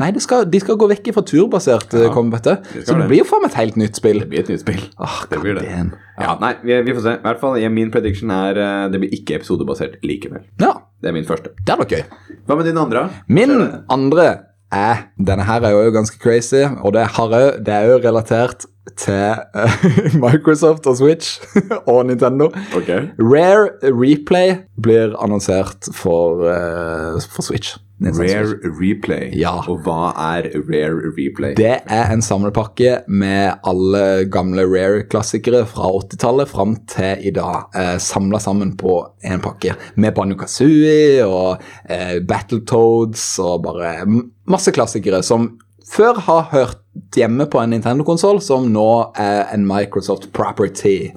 [SPEAKER 2] Nei, det skal, de skal gå vekk fra turbasert eh, combat.
[SPEAKER 1] skal
[SPEAKER 2] så det
[SPEAKER 1] det.
[SPEAKER 2] blir jo faen meg et helt nytt spill. Ah,
[SPEAKER 1] Det blir et nytt spill.
[SPEAKER 2] Åh,
[SPEAKER 1] Det blir det.
[SPEAKER 2] goddamn.
[SPEAKER 1] Ja, nei, vi, vi får se. I hvert fall, jeg- Min prediction er eh, det blir ikke episodebasert likevel.
[SPEAKER 2] Ja,
[SPEAKER 1] Det er min første.
[SPEAKER 2] det hadde vært gøy.
[SPEAKER 1] Hva med din andre?
[SPEAKER 2] Min andre er Denne her er jo ganske crazy, og det, har jo, det er jo relatert til eh, Microsoft og Switch og Nintendo.
[SPEAKER 1] Ok.
[SPEAKER 2] Rare Replay blir annonsert for, eh, for Switch. Nintendo Switch.
[SPEAKER 1] Rare Replay.
[SPEAKER 2] Ja.
[SPEAKER 1] Og hva er Rare Replay?
[SPEAKER 2] Det er en samlepakke med alle gamle Rare-klassikere fra 80-tallet fram til i dag. Eh, Samla sammen på én pakke. Med Banjo Kazooie og eh, Battletoads og bare m- masse klassikere som før har hørt hjemme på en Nintendo-konsoll, som nå er en Microsoft property.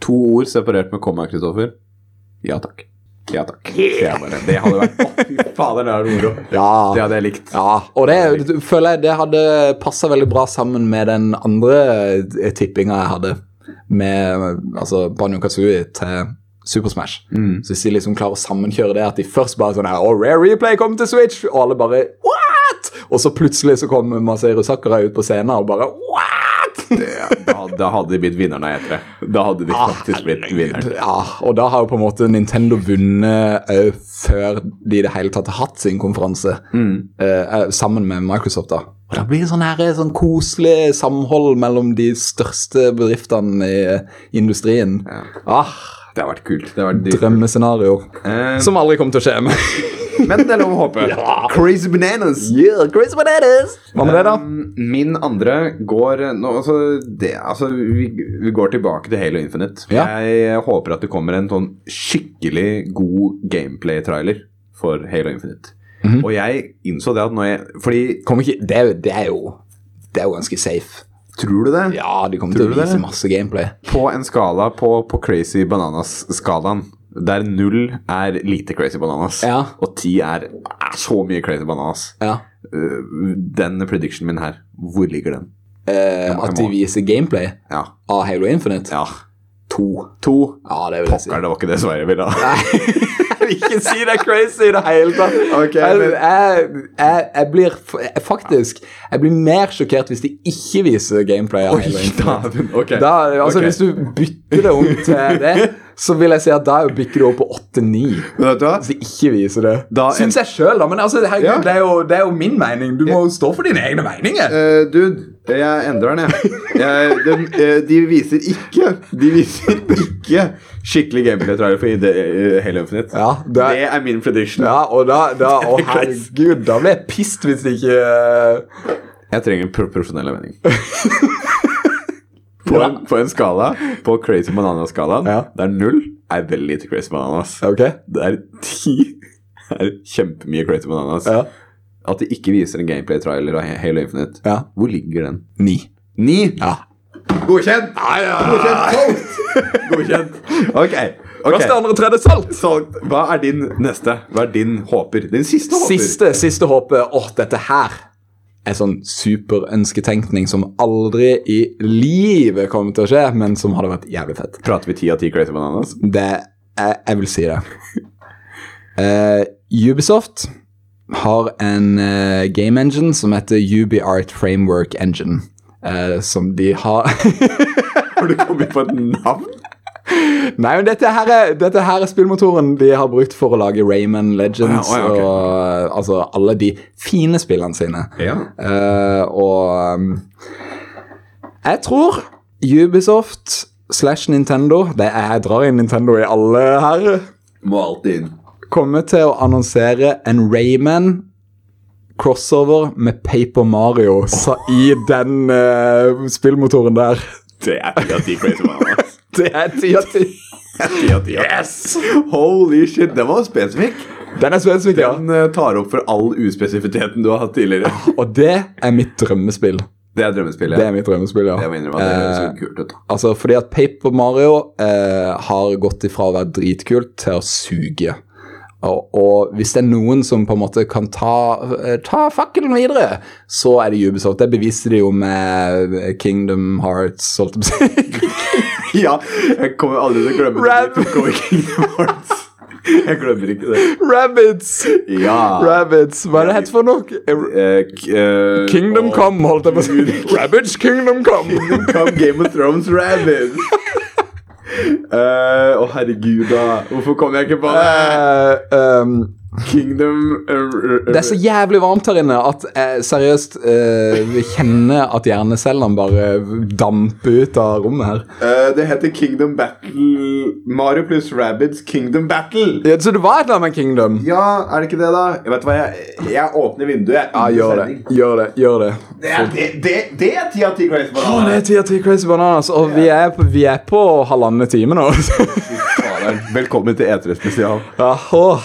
[SPEAKER 1] To ord separert med komma, Kristoffer. Ja takk. Ja takk. Det, er bare, det hadde vært Å, Fy fader, det er moro.
[SPEAKER 2] Ja.
[SPEAKER 1] Det hadde jeg likt.
[SPEAKER 2] Ja, og det, det føler jeg det hadde passa veldig bra sammen med den andre eh, tippinga jeg hadde, med eh, altså, Banjo Kazooie til Super Smash. Så hvis de liksom klarer å sammenkjøre det, at de først bare sånn her, «Å, Rare Replay kom til Switch, og alle bare What?! Og så plutselig så kommer Maseiro Sakura ut på scenen og bare What?!
[SPEAKER 1] Da, da hadde de blitt vinnerne av E3. Da hadde de faktisk blitt vinneren.
[SPEAKER 2] Ja, og da har jo på en måte Nintendo vunnet eh, før de i det hele tatt har hatt sin konferanse. eh, eh, sammen med Microsoft, da. Og da blir det sånn, her, eh, sånn koselig samhold mellom de største bedriftene i eh, industrien. Ah,
[SPEAKER 1] Det har vært kult. Det har vært dyrt.
[SPEAKER 2] drømmescenario.
[SPEAKER 1] Eh,
[SPEAKER 2] Som aldri kommer til å skje. men-
[SPEAKER 1] men det er lov å håpe. Crazy bananas.
[SPEAKER 2] yeah, Chris Bananas! Hva med det, da?
[SPEAKER 1] Um, Min andre går nå, altså, det, altså, vi, vi går tilbake til Halo Infinite.
[SPEAKER 2] Ja.
[SPEAKER 1] Jeg håper at det kommer en sånn skikkelig god gameplay-trailer for Halo Infinite. Og jeg innså det at når jeg Fordi
[SPEAKER 2] Kommer ikke, det, er jo, det, er jo, det er jo ganske safe.
[SPEAKER 1] Tror du det?
[SPEAKER 2] Ja, de kommer
[SPEAKER 1] Tror
[SPEAKER 2] til
[SPEAKER 1] du
[SPEAKER 2] å
[SPEAKER 1] det?
[SPEAKER 2] vise masse gameplay.
[SPEAKER 1] På en skala på, på Crazy Bananas-skalaen, der null er lite Crazy Bananas,
[SPEAKER 2] Ja.
[SPEAKER 1] og ti er, er så mye Crazy Bananas
[SPEAKER 2] Ja.
[SPEAKER 1] Øh, Den predictionen min her, hvor ligger den?
[SPEAKER 2] Eh,
[SPEAKER 1] må-
[SPEAKER 2] at
[SPEAKER 1] jeg
[SPEAKER 2] de
[SPEAKER 1] må.
[SPEAKER 2] viser gameplay
[SPEAKER 1] Ja.
[SPEAKER 2] av Halo Infinite.
[SPEAKER 1] ja.
[SPEAKER 2] To.
[SPEAKER 1] To.
[SPEAKER 2] Ja, det vil jeg si.
[SPEAKER 1] Pokker, det var ikke det svaret jeg ville ha.
[SPEAKER 2] Jeg vil ikke si det er crazy i det hele tatt.
[SPEAKER 1] Ok,
[SPEAKER 2] jeg,
[SPEAKER 1] men-
[SPEAKER 2] jeg, jeg, jeg blir f- jeg, faktisk Jeg blir mer sjokkert hvis de ikke viser gameplay. av Halo Infinite.
[SPEAKER 1] dæven. Ok.
[SPEAKER 2] Da, altså,
[SPEAKER 1] Ok.
[SPEAKER 2] Hvis du bytter det om til det, så vil jeg si at da bikker du opp på 8-9.
[SPEAKER 1] Men vet du hva?
[SPEAKER 2] Hvis de ikke viser det.
[SPEAKER 1] Da-
[SPEAKER 2] Syns jeg sjøl, da. Men altså, herregud,
[SPEAKER 1] Ja.
[SPEAKER 2] det, er jo, det er jo min mening. Du må jo stå for dine egne meninger.
[SPEAKER 1] Eh, dude, jeg endrer den, jeg. jeg den, eh, de viser ikke De viser ikke skikkelig gameplay-trailer for ID, eh, Halo Infinite.
[SPEAKER 2] Ja, det er-
[SPEAKER 1] det er min prediction.
[SPEAKER 2] Ja, og da, da Å,
[SPEAKER 1] Det er crazy.
[SPEAKER 2] herregud, da blir jeg pissed hvis de ikke eh,
[SPEAKER 1] Jeg trenger pro profesjonell mening. på, en, på en skala, på Crazy Bananas-skalaen,
[SPEAKER 2] Ja.
[SPEAKER 1] der null er veldig lite Crazy Bananas.
[SPEAKER 2] OK?
[SPEAKER 1] Der ti er kjempemye Crazy Bananas.
[SPEAKER 2] Ja.
[SPEAKER 1] At de ikke viser en gameplay-trailer av Halo Infinite,
[SPEAKER 2] ja.
[SPEAKER 1] hvor ligger den?
[SPEAKER 2] Ni.
[SPEAKER 1] Ni!
[SPEAKER 2] Ja.
[SPEAKER 1] Godkjent!
[SPEAKER 2] Godkjent.
[SPEAKER 1] Solgt! Godkjent. Ok. ok.
[SPEAKER 2] Første, andre, tredje, salt!
[SPEAKER 1] Solgt. Hva er din neste? Hva er din håper? Din siste håper?
[SPEAKER 2] Siste, siste håpet. Åh, dette her er sånn superønsketenkning som aldri i livet kommer til å skje, men som hadde vært jævlig fett.
[SPEAKER 1] Prater vi ti av ti Crazy Bananas?
[SPEAKER 2] Det, jeg, jeg vil si det. Eh, Ubisoft har en eh, game engine som heter UbiArt Framework Engine. eh, som de har
[SPEAKER 1] Har du kommet på et navn?
[SPEAKER 2] Nei, men dette her, er, dette her er spillmotoren de har brukt for å lage Rayman Legends
[SPEAKER 1] Å ja, å ja, ok.
[SPEAKER 2] og altså, alle de fine spillene sine.
[SPEAKER 1] Ja.
[SPEAKER 2] Eh, og um, jeg tror Ubisoft slash Nintendo det er, Jeg drar inn Nintendo i alle her.
[SPEAKER 1] Må alltid inn.
[SPEAKER 2] Kommer til å annonsere en Rayman crossover med Paper Mario sa, i den eh, spillmotoren der.
[SPEAKER 1] Det er ti av ti Crazy Bananas.
[SPEAKER 2] Det er ti av ti.
[SPEAKER 1] Ti av ti. Yes! Holy shit, den var spesifikk.
[SPEAKER 2] Den er spesifikk, ja.
[SPEAKER 1] Den eh, tar opp for all uspesifiteten du har hatt tidligere.
[SPEAKER 2] Og det er mitt drømmespill.
[SPEAKER 1] Det er drømmespillet.
[SPEAKER 2] Det er mitt drømmespill, ja.
[SPEAKER 1] Jeg må innrømme at det høres litt kult ut. da.
[SPEAKER 2] Altså, fordi at Paper Mario eh, har gått ifra å være dritkult til å suge. Og, og hvis det er noen som på en måte kan ta, eh, ta fakkelen videre, så er det Ubisoft. Det beviste de jo med Kingdom Hearts, holdt jeg på å si.
[SPEAKER 1] Ja, jeg kommer aldri til å glemme det.
[SPEAKER 2] Rab-
[SPEAKER 1] Vi tok over Kingdom Hearts. Jeg glemmer ikke det.
[SPEAKER 2] Rabbits!
[SPEAKER 1] Ja.
[SPEAKER 2] Rabbits, hva er det hett for noe?
[SPEAKER 1] Eh, k- eh,
[SPEAKER 2] Kingdom
[SPEAKER 1] å,
[SPEAKER 2] Come, holdt jeg på å si. Rabbits Kingdom Come!
[SPEAKER 1] Kingdom Come Game of Thrones Rabbit. Eh, Å, herregud, da. Hvorfor kom jeg ikke på det?
[SPEAKER 2] Eh, ehm,
[SPEAKER 1] Kingdom eh, eh,
[SPEAKER 2] Det er så jævlig varmt her inne at jeg seriøst eh, vi kjenner at hjernecellene bare damper ut av rommet her.
[SPEAKER 1] eh, Det heter Kingdom Battle Mario pluss Rabbits Kingdom Battle.
[SPEAKER 2] Ja, så det var et eller annet med Kingdom?
[SPEAKER 1] Ja, er det ikke det, da? Jeg vet hva, jeg, jeg åpner vinduet. Jeg,
[SPEAKER 2] Ja, gjør det. Gjør det. gjør Det
[SPEAKER 1] Det er- Det det- det er ti av ti Grace
[SPEAKER 2] Å, det er
[SPEAKER 1] Bananas.
[SPEAKER 2] ti av ti Crazy Bananas, og vi er på, vi er på halvannen time nå.
[SPEAKER 1] Velkommen til E3 spesial.
[SPEAKER 2] Ja, åh.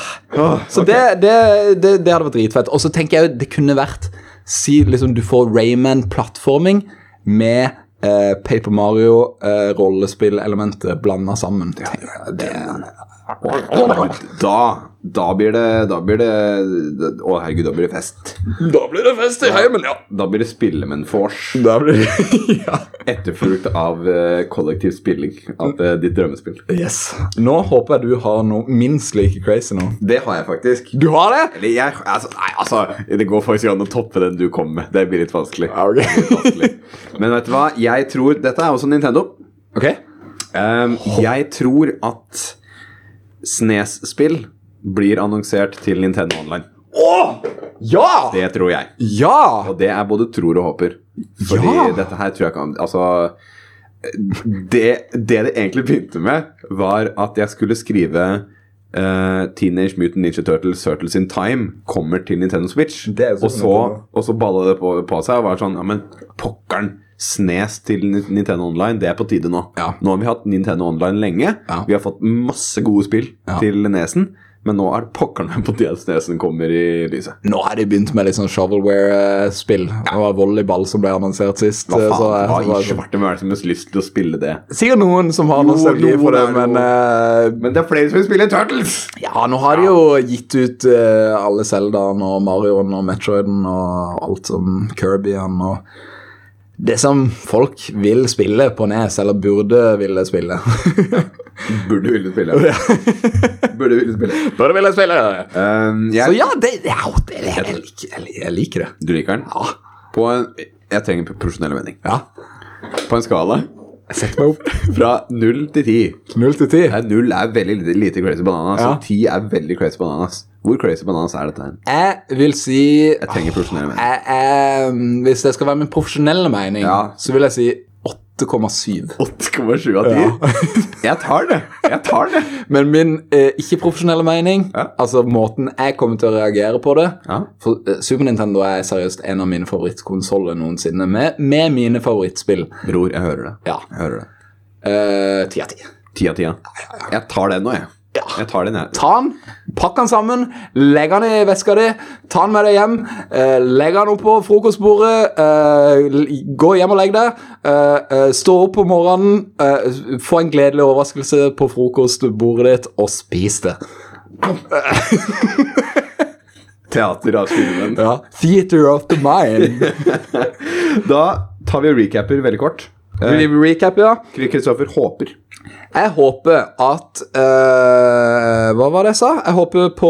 [SPEAKER 2] Så det, det, det, det hadde vært dritfett. Og så tenker jeg jo det kunne vært Si liksom du får Rayman-plattforming med eh, Paper Mario-rollespillelementet blanda sammen. Tenk, det,
[SPEAKER 1] Da, da blir det Da blir det Å, herregud, da blir det fest.
[SPEAKER 2] Da blir det fest i heimen, ja.
[SPEAKER 1] Da blir det spillemenn-vors.
[SPEAKER 2] Da blir det, ja.
[SPEAKER 1] Etterfulgt av eh, kollektiv spilling av eh, ditt drømmespill.
[SPEAKER 2] Yes. Nå håper jeg du har noe minst like crazy nå.
[SPEAKER 1] Det har jeg faktisk.
[SPEAKER 2] Du har det?
[SPEAKER 1] Eller jeg altså, Nei, altså Det går faktisk ikke an å toppe den du kom med. Det blir litt vanskelig.
[SPEAKER 2] Ja, ok.
[SPEAKER 1] Det blir vanskelig. Men vet du hva? Jeg tror Dette er også Nintendo.
[SPEAKER 2] Ok.
[SPEAKER 1] Ehm, jeg tror at Snes-spill blir annonsert til Nintendo Online.
[SPEAKER 2] Ja!
[SPEAKER 1] Det tror jeg.
[SPEAKER 2] Ja!
[SPEAKER 1] Og det er både tror og håper. Fordi
[SPEAKER 2] Ja!
[SPEAKER 1] dette her tror jeg kan Altså det, det det egentlig begynte med, var at jeg skulle skrive eh, Teenage Mutant Ninja Turtles Turtles in Time kommer til Nintendo Switch.
[SPEAKER 2] Det er jo sånn
[SPEAKER 1] og, så,
[SPEAKER 2] Nintendo.
[SPEAKER 1] og så balla det på, på seg og var sånn Ja, men pokkeren! Snes til Ni- Nintendo Online, det er på tide nå.
[SPEAKER 2] Ja.
[SPEAKER 1] Nå har vi hatt Nintendo Online lenge.
[SPEAKER 2] Ja.
[SPEAKER 1] Vi har fått masse gode spill
[SPEAKER 2] Ja.
[SPEAKER 1] til nesen. Men nå er det pokkerne på DSD-en kommer i lyset.
[SPEAKER 2] Nå har de begynt med litt sånn shovelware-spill. Det var volleyball som ble annonsert sist.
[SPEAKER 1] Hva
[SPEAKER 2] så
[SPEAKER 1] faen, hva
[SPEAKER 2] jeg- så
[SPEAKER 1] i
[SPEAKER 2] var jeg sånn-
[SPEAKER 1] svarte hvem er det som har lyst til å spille det?
[SPEAKER 2] Sikkert noen som har
[SPEAKER 1] Jo,
[SPEAKER 2] nostalgi
[SPEAKER 1] noen
[SPEAKER 2] for det,
[SPEAKER 1] er det
[SPEAKER 2] men eh,
[SPEAKER 1] Men det er flere som vil spille Turtles!
[SPEAKER 2] ja, nå har de jo gitt ut eh, alle Zeldaen og Marioen og Metroiden og alt som Kirbyen og Det som folk vil spille på Nes, eller burde ville spille.
[SPEAKER 1] Burde ville spille. Burde ville spille.
[SPEAKER 2] burde ville spille!
[SPEAKER 1] Um,
[SPEAKER 2] Så
[SPEAKER 1] jeg,
[SPEAKER 2] ja, det, ja, det jeg, liker, jeg, liker, jeg liker det.
[SPEAKER 1] du liker den?
[SPEAKER 2] Ja.
[SPEAKER 1] På en, jeg trenger en profesjonell vending.
[SPEAKER 2] ja.
[SPEAKER 1] På en skala
[SPEAKER 2] Sett meg opp.
[SPEAKER 1] fra null til ti.
[SPEAKER 2] Null til ti.
[SPEAKER 1] Nei, Null er veldig lite, lite crazy bananas,
[SPEAKER 2] Ja.
[SPEAKER 1] og ti er veldig crazy bananas. Hvor crazy bananas er dette? her?
[SPEAKER 2] Jeg vil si
[SPEAKER 1] Jeg trenger profesjonell mening.
[SPEAKER 2] Jeg- jeg- Hvis det skal være min profesjonelle mening,
[SPEAKER 1] Ja.
[SPEAKER 2] så vil jeg si 8,7.
[SPEAKER 1] 8,7 av 10?
[SPEAKER 2] Ja.
[SPEAKER 1] Jeg tar det! Jeg tar det!
[SPEAKER 2] Men min eh, ikke-profesjonelle mening,
[SPEAKER 1] Ja.
[SPEAKER 2] altså måten jeg kommer til å reagere på det
[SPEAKER 1] Ja.
[SPEAKER 2] For eh, Super Nintendo er seriøst en av mine favorittkonsoller noensinne, med, med mine favorittspill.
[SPEAKER 1] Bror, jeg hører det.
[SPEAKER 2] Ja.
[SPEAKER 1] Jeg hører det.
[SPEAKER 2] Eh, Ti av ti.
[SPEAKER 1] Ti av ti, ja. Jeg tar den nå, jeg.
[SPEAKER 2] Ja.
[SPEAKER 1] Jeg tar den, jeg.
[SPEAKER 2] Ta den, pakk den sammen, legg den i veska di, ta den med deg hjem, eh, legg den opp på frokostbordet, eh, l- gå hjem og legg deg, eh, eh, stå opp på morgenen, eh, få en gledelig overraskelse på frokostbordet ditt, og spis det.
[SPEAKER 1] Teater av filmen.
[SPEAKER 2] Ja. Theater of the mind.
[SPEAKER 1] Da tar vi og recapper veldig kort. Eh,
[SPEAKER 2] Vil vi recap, ja?
[SPEAKER 1] Kristoffer håper.
[SPEAKER 2] Jeg håper at eh, Hva var det jeg sa? Jeg håper på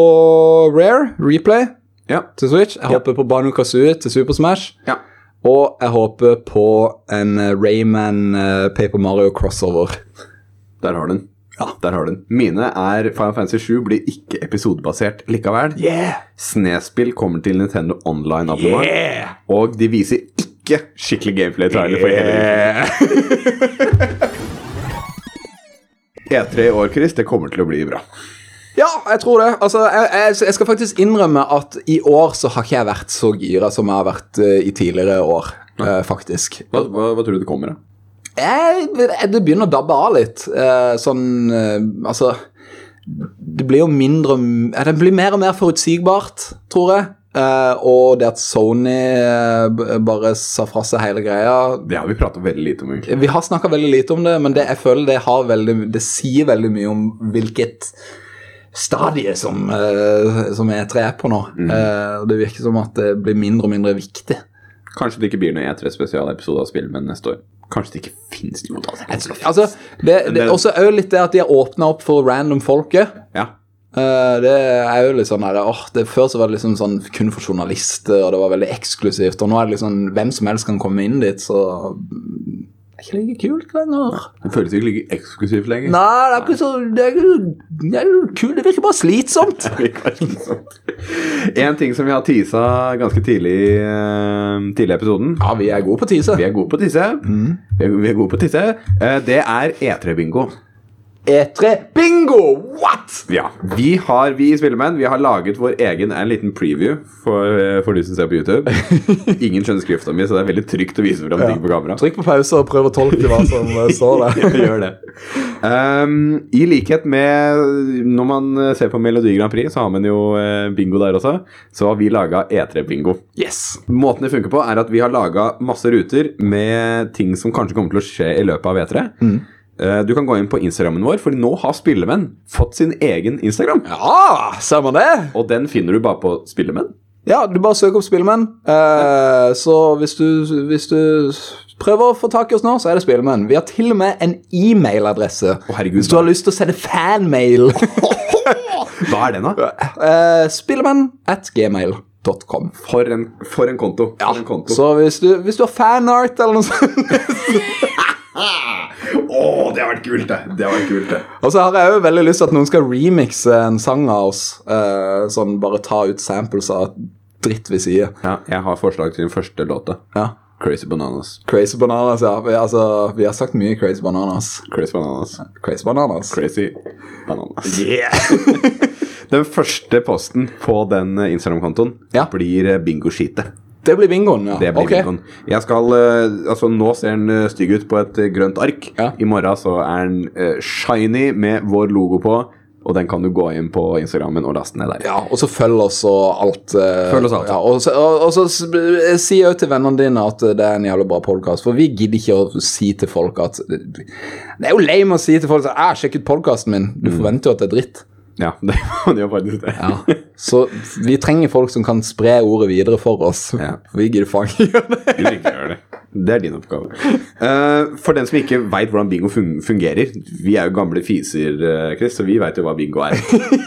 [SPEAKER 2] Rare, Replay,
[SPEAKER 1] Ja.
[SPEAKER 2] til Switch. Jeg håper på Banu Kazooie til Super Smash.
[SPEAKER 1] ja.
[SPEAKER 2] Og jeg håper på en eh, Rayman eh, Paper Mario crossover.
[SPEAKER 1] Der har du den. Ja, der har du den. Mine er Final Fantasy 7 blir ikke episodebasert likevel.
[SPEAKER 2] Yeah!
[SPEAKER 1] Snespill kommer til Nintendo Online abonnement.
[SPEAKER 2] Yeah!
[SPEAKER 1] Og de viser ikke skikkelig gameplay-trailer for hele uken. E3 E i år, Chris, det kommer til å bli bra.
[SPEAKER 2] Ja, jeg tror det. Altså, jeg, jeg, jeg skal faktisk innrømme at i år så har ikke jeg vært så gira som jeg har vært eh, i tidligere år, eh, faktisk.
[SPEAKER 1] Hva, hva, hva tror du det kommer, da?
[SPEAKER 2] Jeg, jeg, det begynner å dabbe av litt. eh, sånn eh, Altså Det blir jo mindre og m- eh, Det blir mer og mer forutsigbart, tror jeg. Eh, og det at Sony eh, b- bare sa fra seg hele greia,
[SPEAKER 1] Det har vi prata veldig lite om, egentlig.
[SPEAKER 2] Vi har snakka veldig lite om det, men det, jeg føler det, har veldig, det sier veldig mye om hvilket stadie som, eh, som E3 er på nå. Eh, og det virker som at det blir mindre og mindre viktig.
[SPEAKER 1] Kanskje det ikke blir noen E3-spesialepisode av Spillmenn neste år. Kanskje det ikke fins noe av det.
[SPEAKER 2] Altså, det, det, også er jo litt det at de har åpna opp for random folket.
[SPEAKER 1] Ja.
[SPEAKER 2] Eh, det er jo litt sånn her, åh, det, Før så var det liksom sånn kun for journalister, og det var veldig eksklusivt. Og nå er det liksom hvem som helst kan komme inn dit, så mm, det er ikke like kult lenger.
[SPEAKER 1] Det føles ikke like eksklusivt lenger.
[SPEAKER 2] Nei, det er ikke så Det er ikke, det er ikke kult. Det virker bare slitsomt.
[SPEAKER 1] Det virker ikke sånn. En ting som vi har tisa ganske tidlig i eh, tidlig i episoden
[SPEAKER 2] Ja, vi er gode på tise.
[SPEAKER 1] Vi er gode på å tisse. Vi, er, vi er gode på å tisse. Eh, Det er E3-bingo.
[SPEAKER 2] E3 E bingo! What?!
[SPEAKER 1] Ja. Vi, har, vi i Spillemenn vi har laget vår egen en liten preview for, for de som ser på YouTube. Ingen skjønner skrifta mi, så det er veldig trygt å vise fram ting på kamera.
[SPEAKER 2] Trykk på pause og prøv å tolke hva som eh, står der.
[SPEAKER 1] Gjør det. Um, I likhet med når man ser på Melodi Grand Prix, så har man jo eh, bingo der også. Så har vi E laga E3-bingo.
[SPEAKER 2] Yes.
[SPEAKER 1] Måten det funker på, er at vi har laga masse ruter med ting som kanskje kommer til å skje i løpet av E3. Eh, Du kan gå inn på Instagrammen vår, for nå har Spillemenn fått sin egen Instagram.
[SPEAKER 2] Ja, ser man det?
[SPEAKER 1] Og den finner du bare på Spillemenn.
[SPEAKER 2] Ja, du bare søker opp Spillemenn. Eh, så hvis du, hvis du prøver å få tak i oss nå, så er det Spillemenn. Vi har til og med en e-mailadresse.
[SPEAKER 1] herregud.
[SPEAKER 2] hvis du har lyst til å sende fanmail.
[SPEAKER 1] Hva er den, da?
[SPEAKER 2] uh, Spillemenn at gmail.com.
[SPEAKER 1] For en, for en konto. For en konto.
[SPEAKER 2] Så hvis du, hvis du har fanart eller noe sånt
[SPEAKER 1] Å, det har vært kult, det! Det har vært kult, det.
[SPEAKER 2] Og så har jeg jo veldig lyst til at noen skal remixe en sang av oss. eh, sånn bare ta ut samples av dritt vi sier.
[SPEAKER 1] Ja, jeg har forslag til den første låta.
[SPEAKER 2] Ja.
[SPEAKER 1] Crazy Bananas.
[SPEAKER 2] Crazy Bananas, ja. Vi, altså, vi har sagt mye Crazy Bananas.
[SPEAKER 1] Crazy Bananas.
[SPEAKER 2] Crazy Bananas.
[SPEAKER 1] Crazy Bananas. Den første posten på den eh, Instagram-kontoen
[SPEAKER 2] Ja.
[SPEAKER 1] blir eh, bingoskitet.
[SPEAKER 2] Det blir bingoen, ja.
[SPEAKER 1] Det blir
[SPEAKER 2] Ok.
[SPEAKER 1] bingoen. Jeg skal, eh, altså Nå ser den eh, stygg ut på et eh, grønt ark.
[SPEAKER 2] Ja.
[SPEAKER 1] I morgen så er den eh, shiny med vår logo på. Og den kan du gå inn på Instagrammen og laste ned der.
[SPEAKER 2] Ja, og så følg oss og alt. eh,
[SPEAKER 1] Følg oss alt.
[SPEAKER 2] Ja, og så, og, og så s- b- si òg til vennene dine at eh, det er en jævlig bra podkast, for vi gidder ikke å si til folk at eh, Det er jo lame å si til folk at 'jeg har sjekket podkasten min',
[SPEAKER 1] Mm.
[SPEAKER 2] du forventer jo at det er dritt.
[SPEAKER 1] Ja, det, det gjør faktisk det.
[SPEAKER 2] Så vi trenger folk som kan spre ordet videre for oss.
[SPEAKER 1] Ja.
[SPEAKER 2] Vi gidder faen ikke gjøre det.
[SPEAKER 1] Du ikke gjør det. Det er din oppgave. Eh, for den som ikke veit hvordan bingo fun fungerer Vi er jo gamle fiser, eh, Chris, så vi veit jo hva bingo er.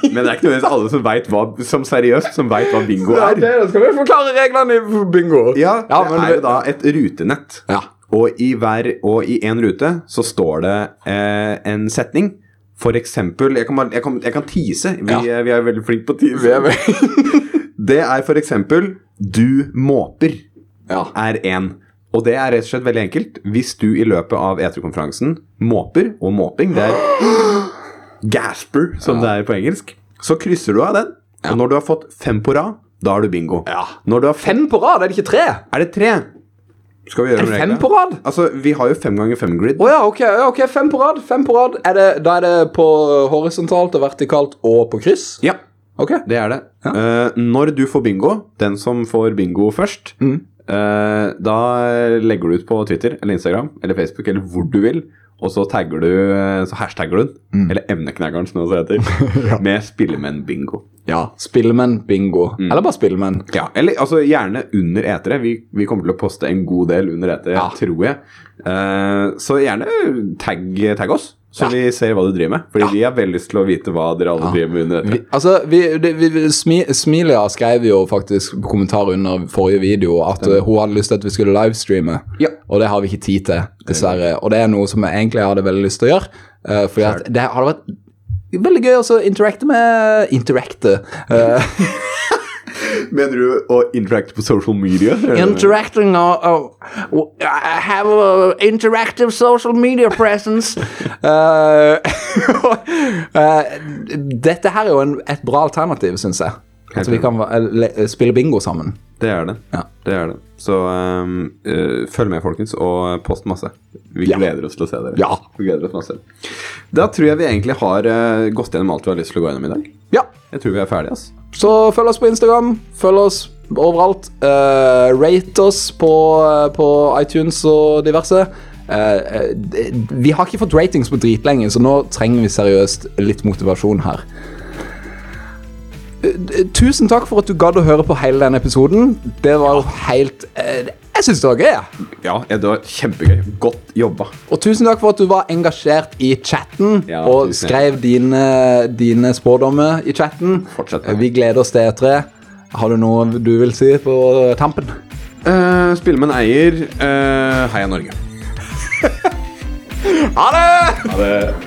[SPEAKER 1] Men det er ikke nødvendigvis alle som vet hva, som seriøst som veit hva bingo
[SPEAKER 2] Ja,
[SPEAKER 1] er.
[SPEAKER 2] det skal vi forklare reglene i bingo.
[SPEAKER 1] Ja, det
[SPEAKER 2] men
[SPEAKER 1] er jo da et rutenett.
[SPEAKER 2] Ja.
[SPEAKER 1] Og i hver og i én rute så står det eh, en setning. For eksempel Jeg kan, bare- jeg kan, jeg kan tease. Vi, eh,
[SPEAKER 2] Ja.
[SPEAKER 1] vi er veldig flinke på å tease.
[SPEAKER 2] Vi er vel-
[SPEAKER 1] Det er for eksempel Du måper.
[SPEAKER 2] ja.
[SPEAKER 1] er én. Og det er rett og slett veldig enkelt. Hvis du i løpet av E3-konferansen måper, og måping det er gasper, som det er på engelsk, så krysser du av den. Og når du har fått fem på rad, da har du bingo.
[SPEAKER 2] Ja.
[SPEAKER 1] Når du har fem
[SPEAKER 2] Fem på rad, er det ikke tre?
[SPEAKER 1] Er det tre? Skal vi gjøre om
[SPEAKER 2] Fem
[SPEAKER 1] reglene?
[SPEAKER 2] på rad?
[SPEAKER 1] Altså, vi har jo fem ganger fem-grid.
[SPEAKER 2] Å ja, ok, ja, ok, fem på rad. Fem på rad. Er det, da er det på horisontalt og vertikalt og på kryss?
[SPEAKER 1] Ja,
[SPEAKER 2] Ok.
[SPEAKER 1] det er det. Eh, når du får bingo, den som får bingo først,
[SPEAKER 2] Mm.
[SPEAKER 1] eh, da legger du ut på Twitter eller Instagram eller Facebook eller hvor du vil, og så, tagger du, eh, så hashtagger du den,
[SPEAKER 2] Mm.
[SPEAKER 1] eller emneknaggeren som det også heter, med Spillemenn-bingo.
[SPEAKER 2] Ja. Spillemenn bingo. Eller bare Spillemenn.
[SPEAKER 1] Ja, eller altså gjerne under etere. Vi, vi kommer til å poste en god del under etere,
[SPEAKER 2] Ja.
[SPEAKER 1] tror jeg. Eh, så gjerne tagg, tagg oss, så vi ser hva du driver med. Fordi vi har veldig lyst til å vite hva dere alle driver med under etere.
[SPEAKER 2] Altså, vi, det, vi, vi- smi, Smilia skrev jo faktisk på kommentar under forrige video at eh, hun hadde lyst til at vi skulle livestreame.
[SPEAKER 1] Ja.
[SPEAKER 2] Og det har vi ikke tid til, dessverre. Og det er noe som jeg egentlig hadde veldig lyst til å gjøre. eh, fordi at det hadde vært veldig gøy også å interacte med Interacte. eh,
[SPEAKER 1] Mener du å interacte på social media?
[SPEAKER 2] interacting or, or, or I have a interactive social media presence. Eh, eh, dette her er jo en, et bra alternativ, syns jeg. At vi kan eh, le- spille bingo sammen.
[SPEAKER 1] Det er det.
[SPEAKER 2] Ja.
[SPEAKER 1] det, er det. Så ehm, eh, følg med, folkens, og post masse. Vi
[SPEAKER 2] Ja.
[SPEAKER 1] gleder oss til å se dere.
[SPEAKER 2] Ja.
[SPEAKER 1] Vi gleder oss masse. Da tror jeg vi egentlig har eh, gått gjennom alt vi har lyst til å gå gjennom i dag.
[SPEAKER 2] Ja,
[SPEAKER 1] Jeg tror vi er ferdige. ass.
[SPEAKER 2] så følg oss på Instagram. Følg oss overalt. Eh, rate oss på, eh, på iTunes og diverse. Eh, eh, d- vi har ikke fått ratings på dritlenge, så nå trenger vi seriøst litt motivasjon her. Eh, d- Tusen takk for at du gadd å høre på hele denne episoden. Det var jo helt eh, Jeg syns det var gøy. jeg.
[SPEAKER 1] Ja, det var kjempegøy. Godt jobba.
[SPEAKER 2] Og tusen takk for at du var engasjert i chatten
[SPEAKER 1] Ja,
[SPEAKER 2] og
[SPEAKER 1] tusen
[SPEAKER 2] skrev dine, dine spådommer i chatten.
[SPEAKER 1] Fortsett med det.
[SPEAKER 2] Vi gleder oss til E3. Har du noe du vil si på tampen?
[SPEAKER 1] Uh, Spillemenn Eh, eier. eh, heia Norge.
[SPEAKER 2] Ha det!
[SPEAKER 1] Ha det.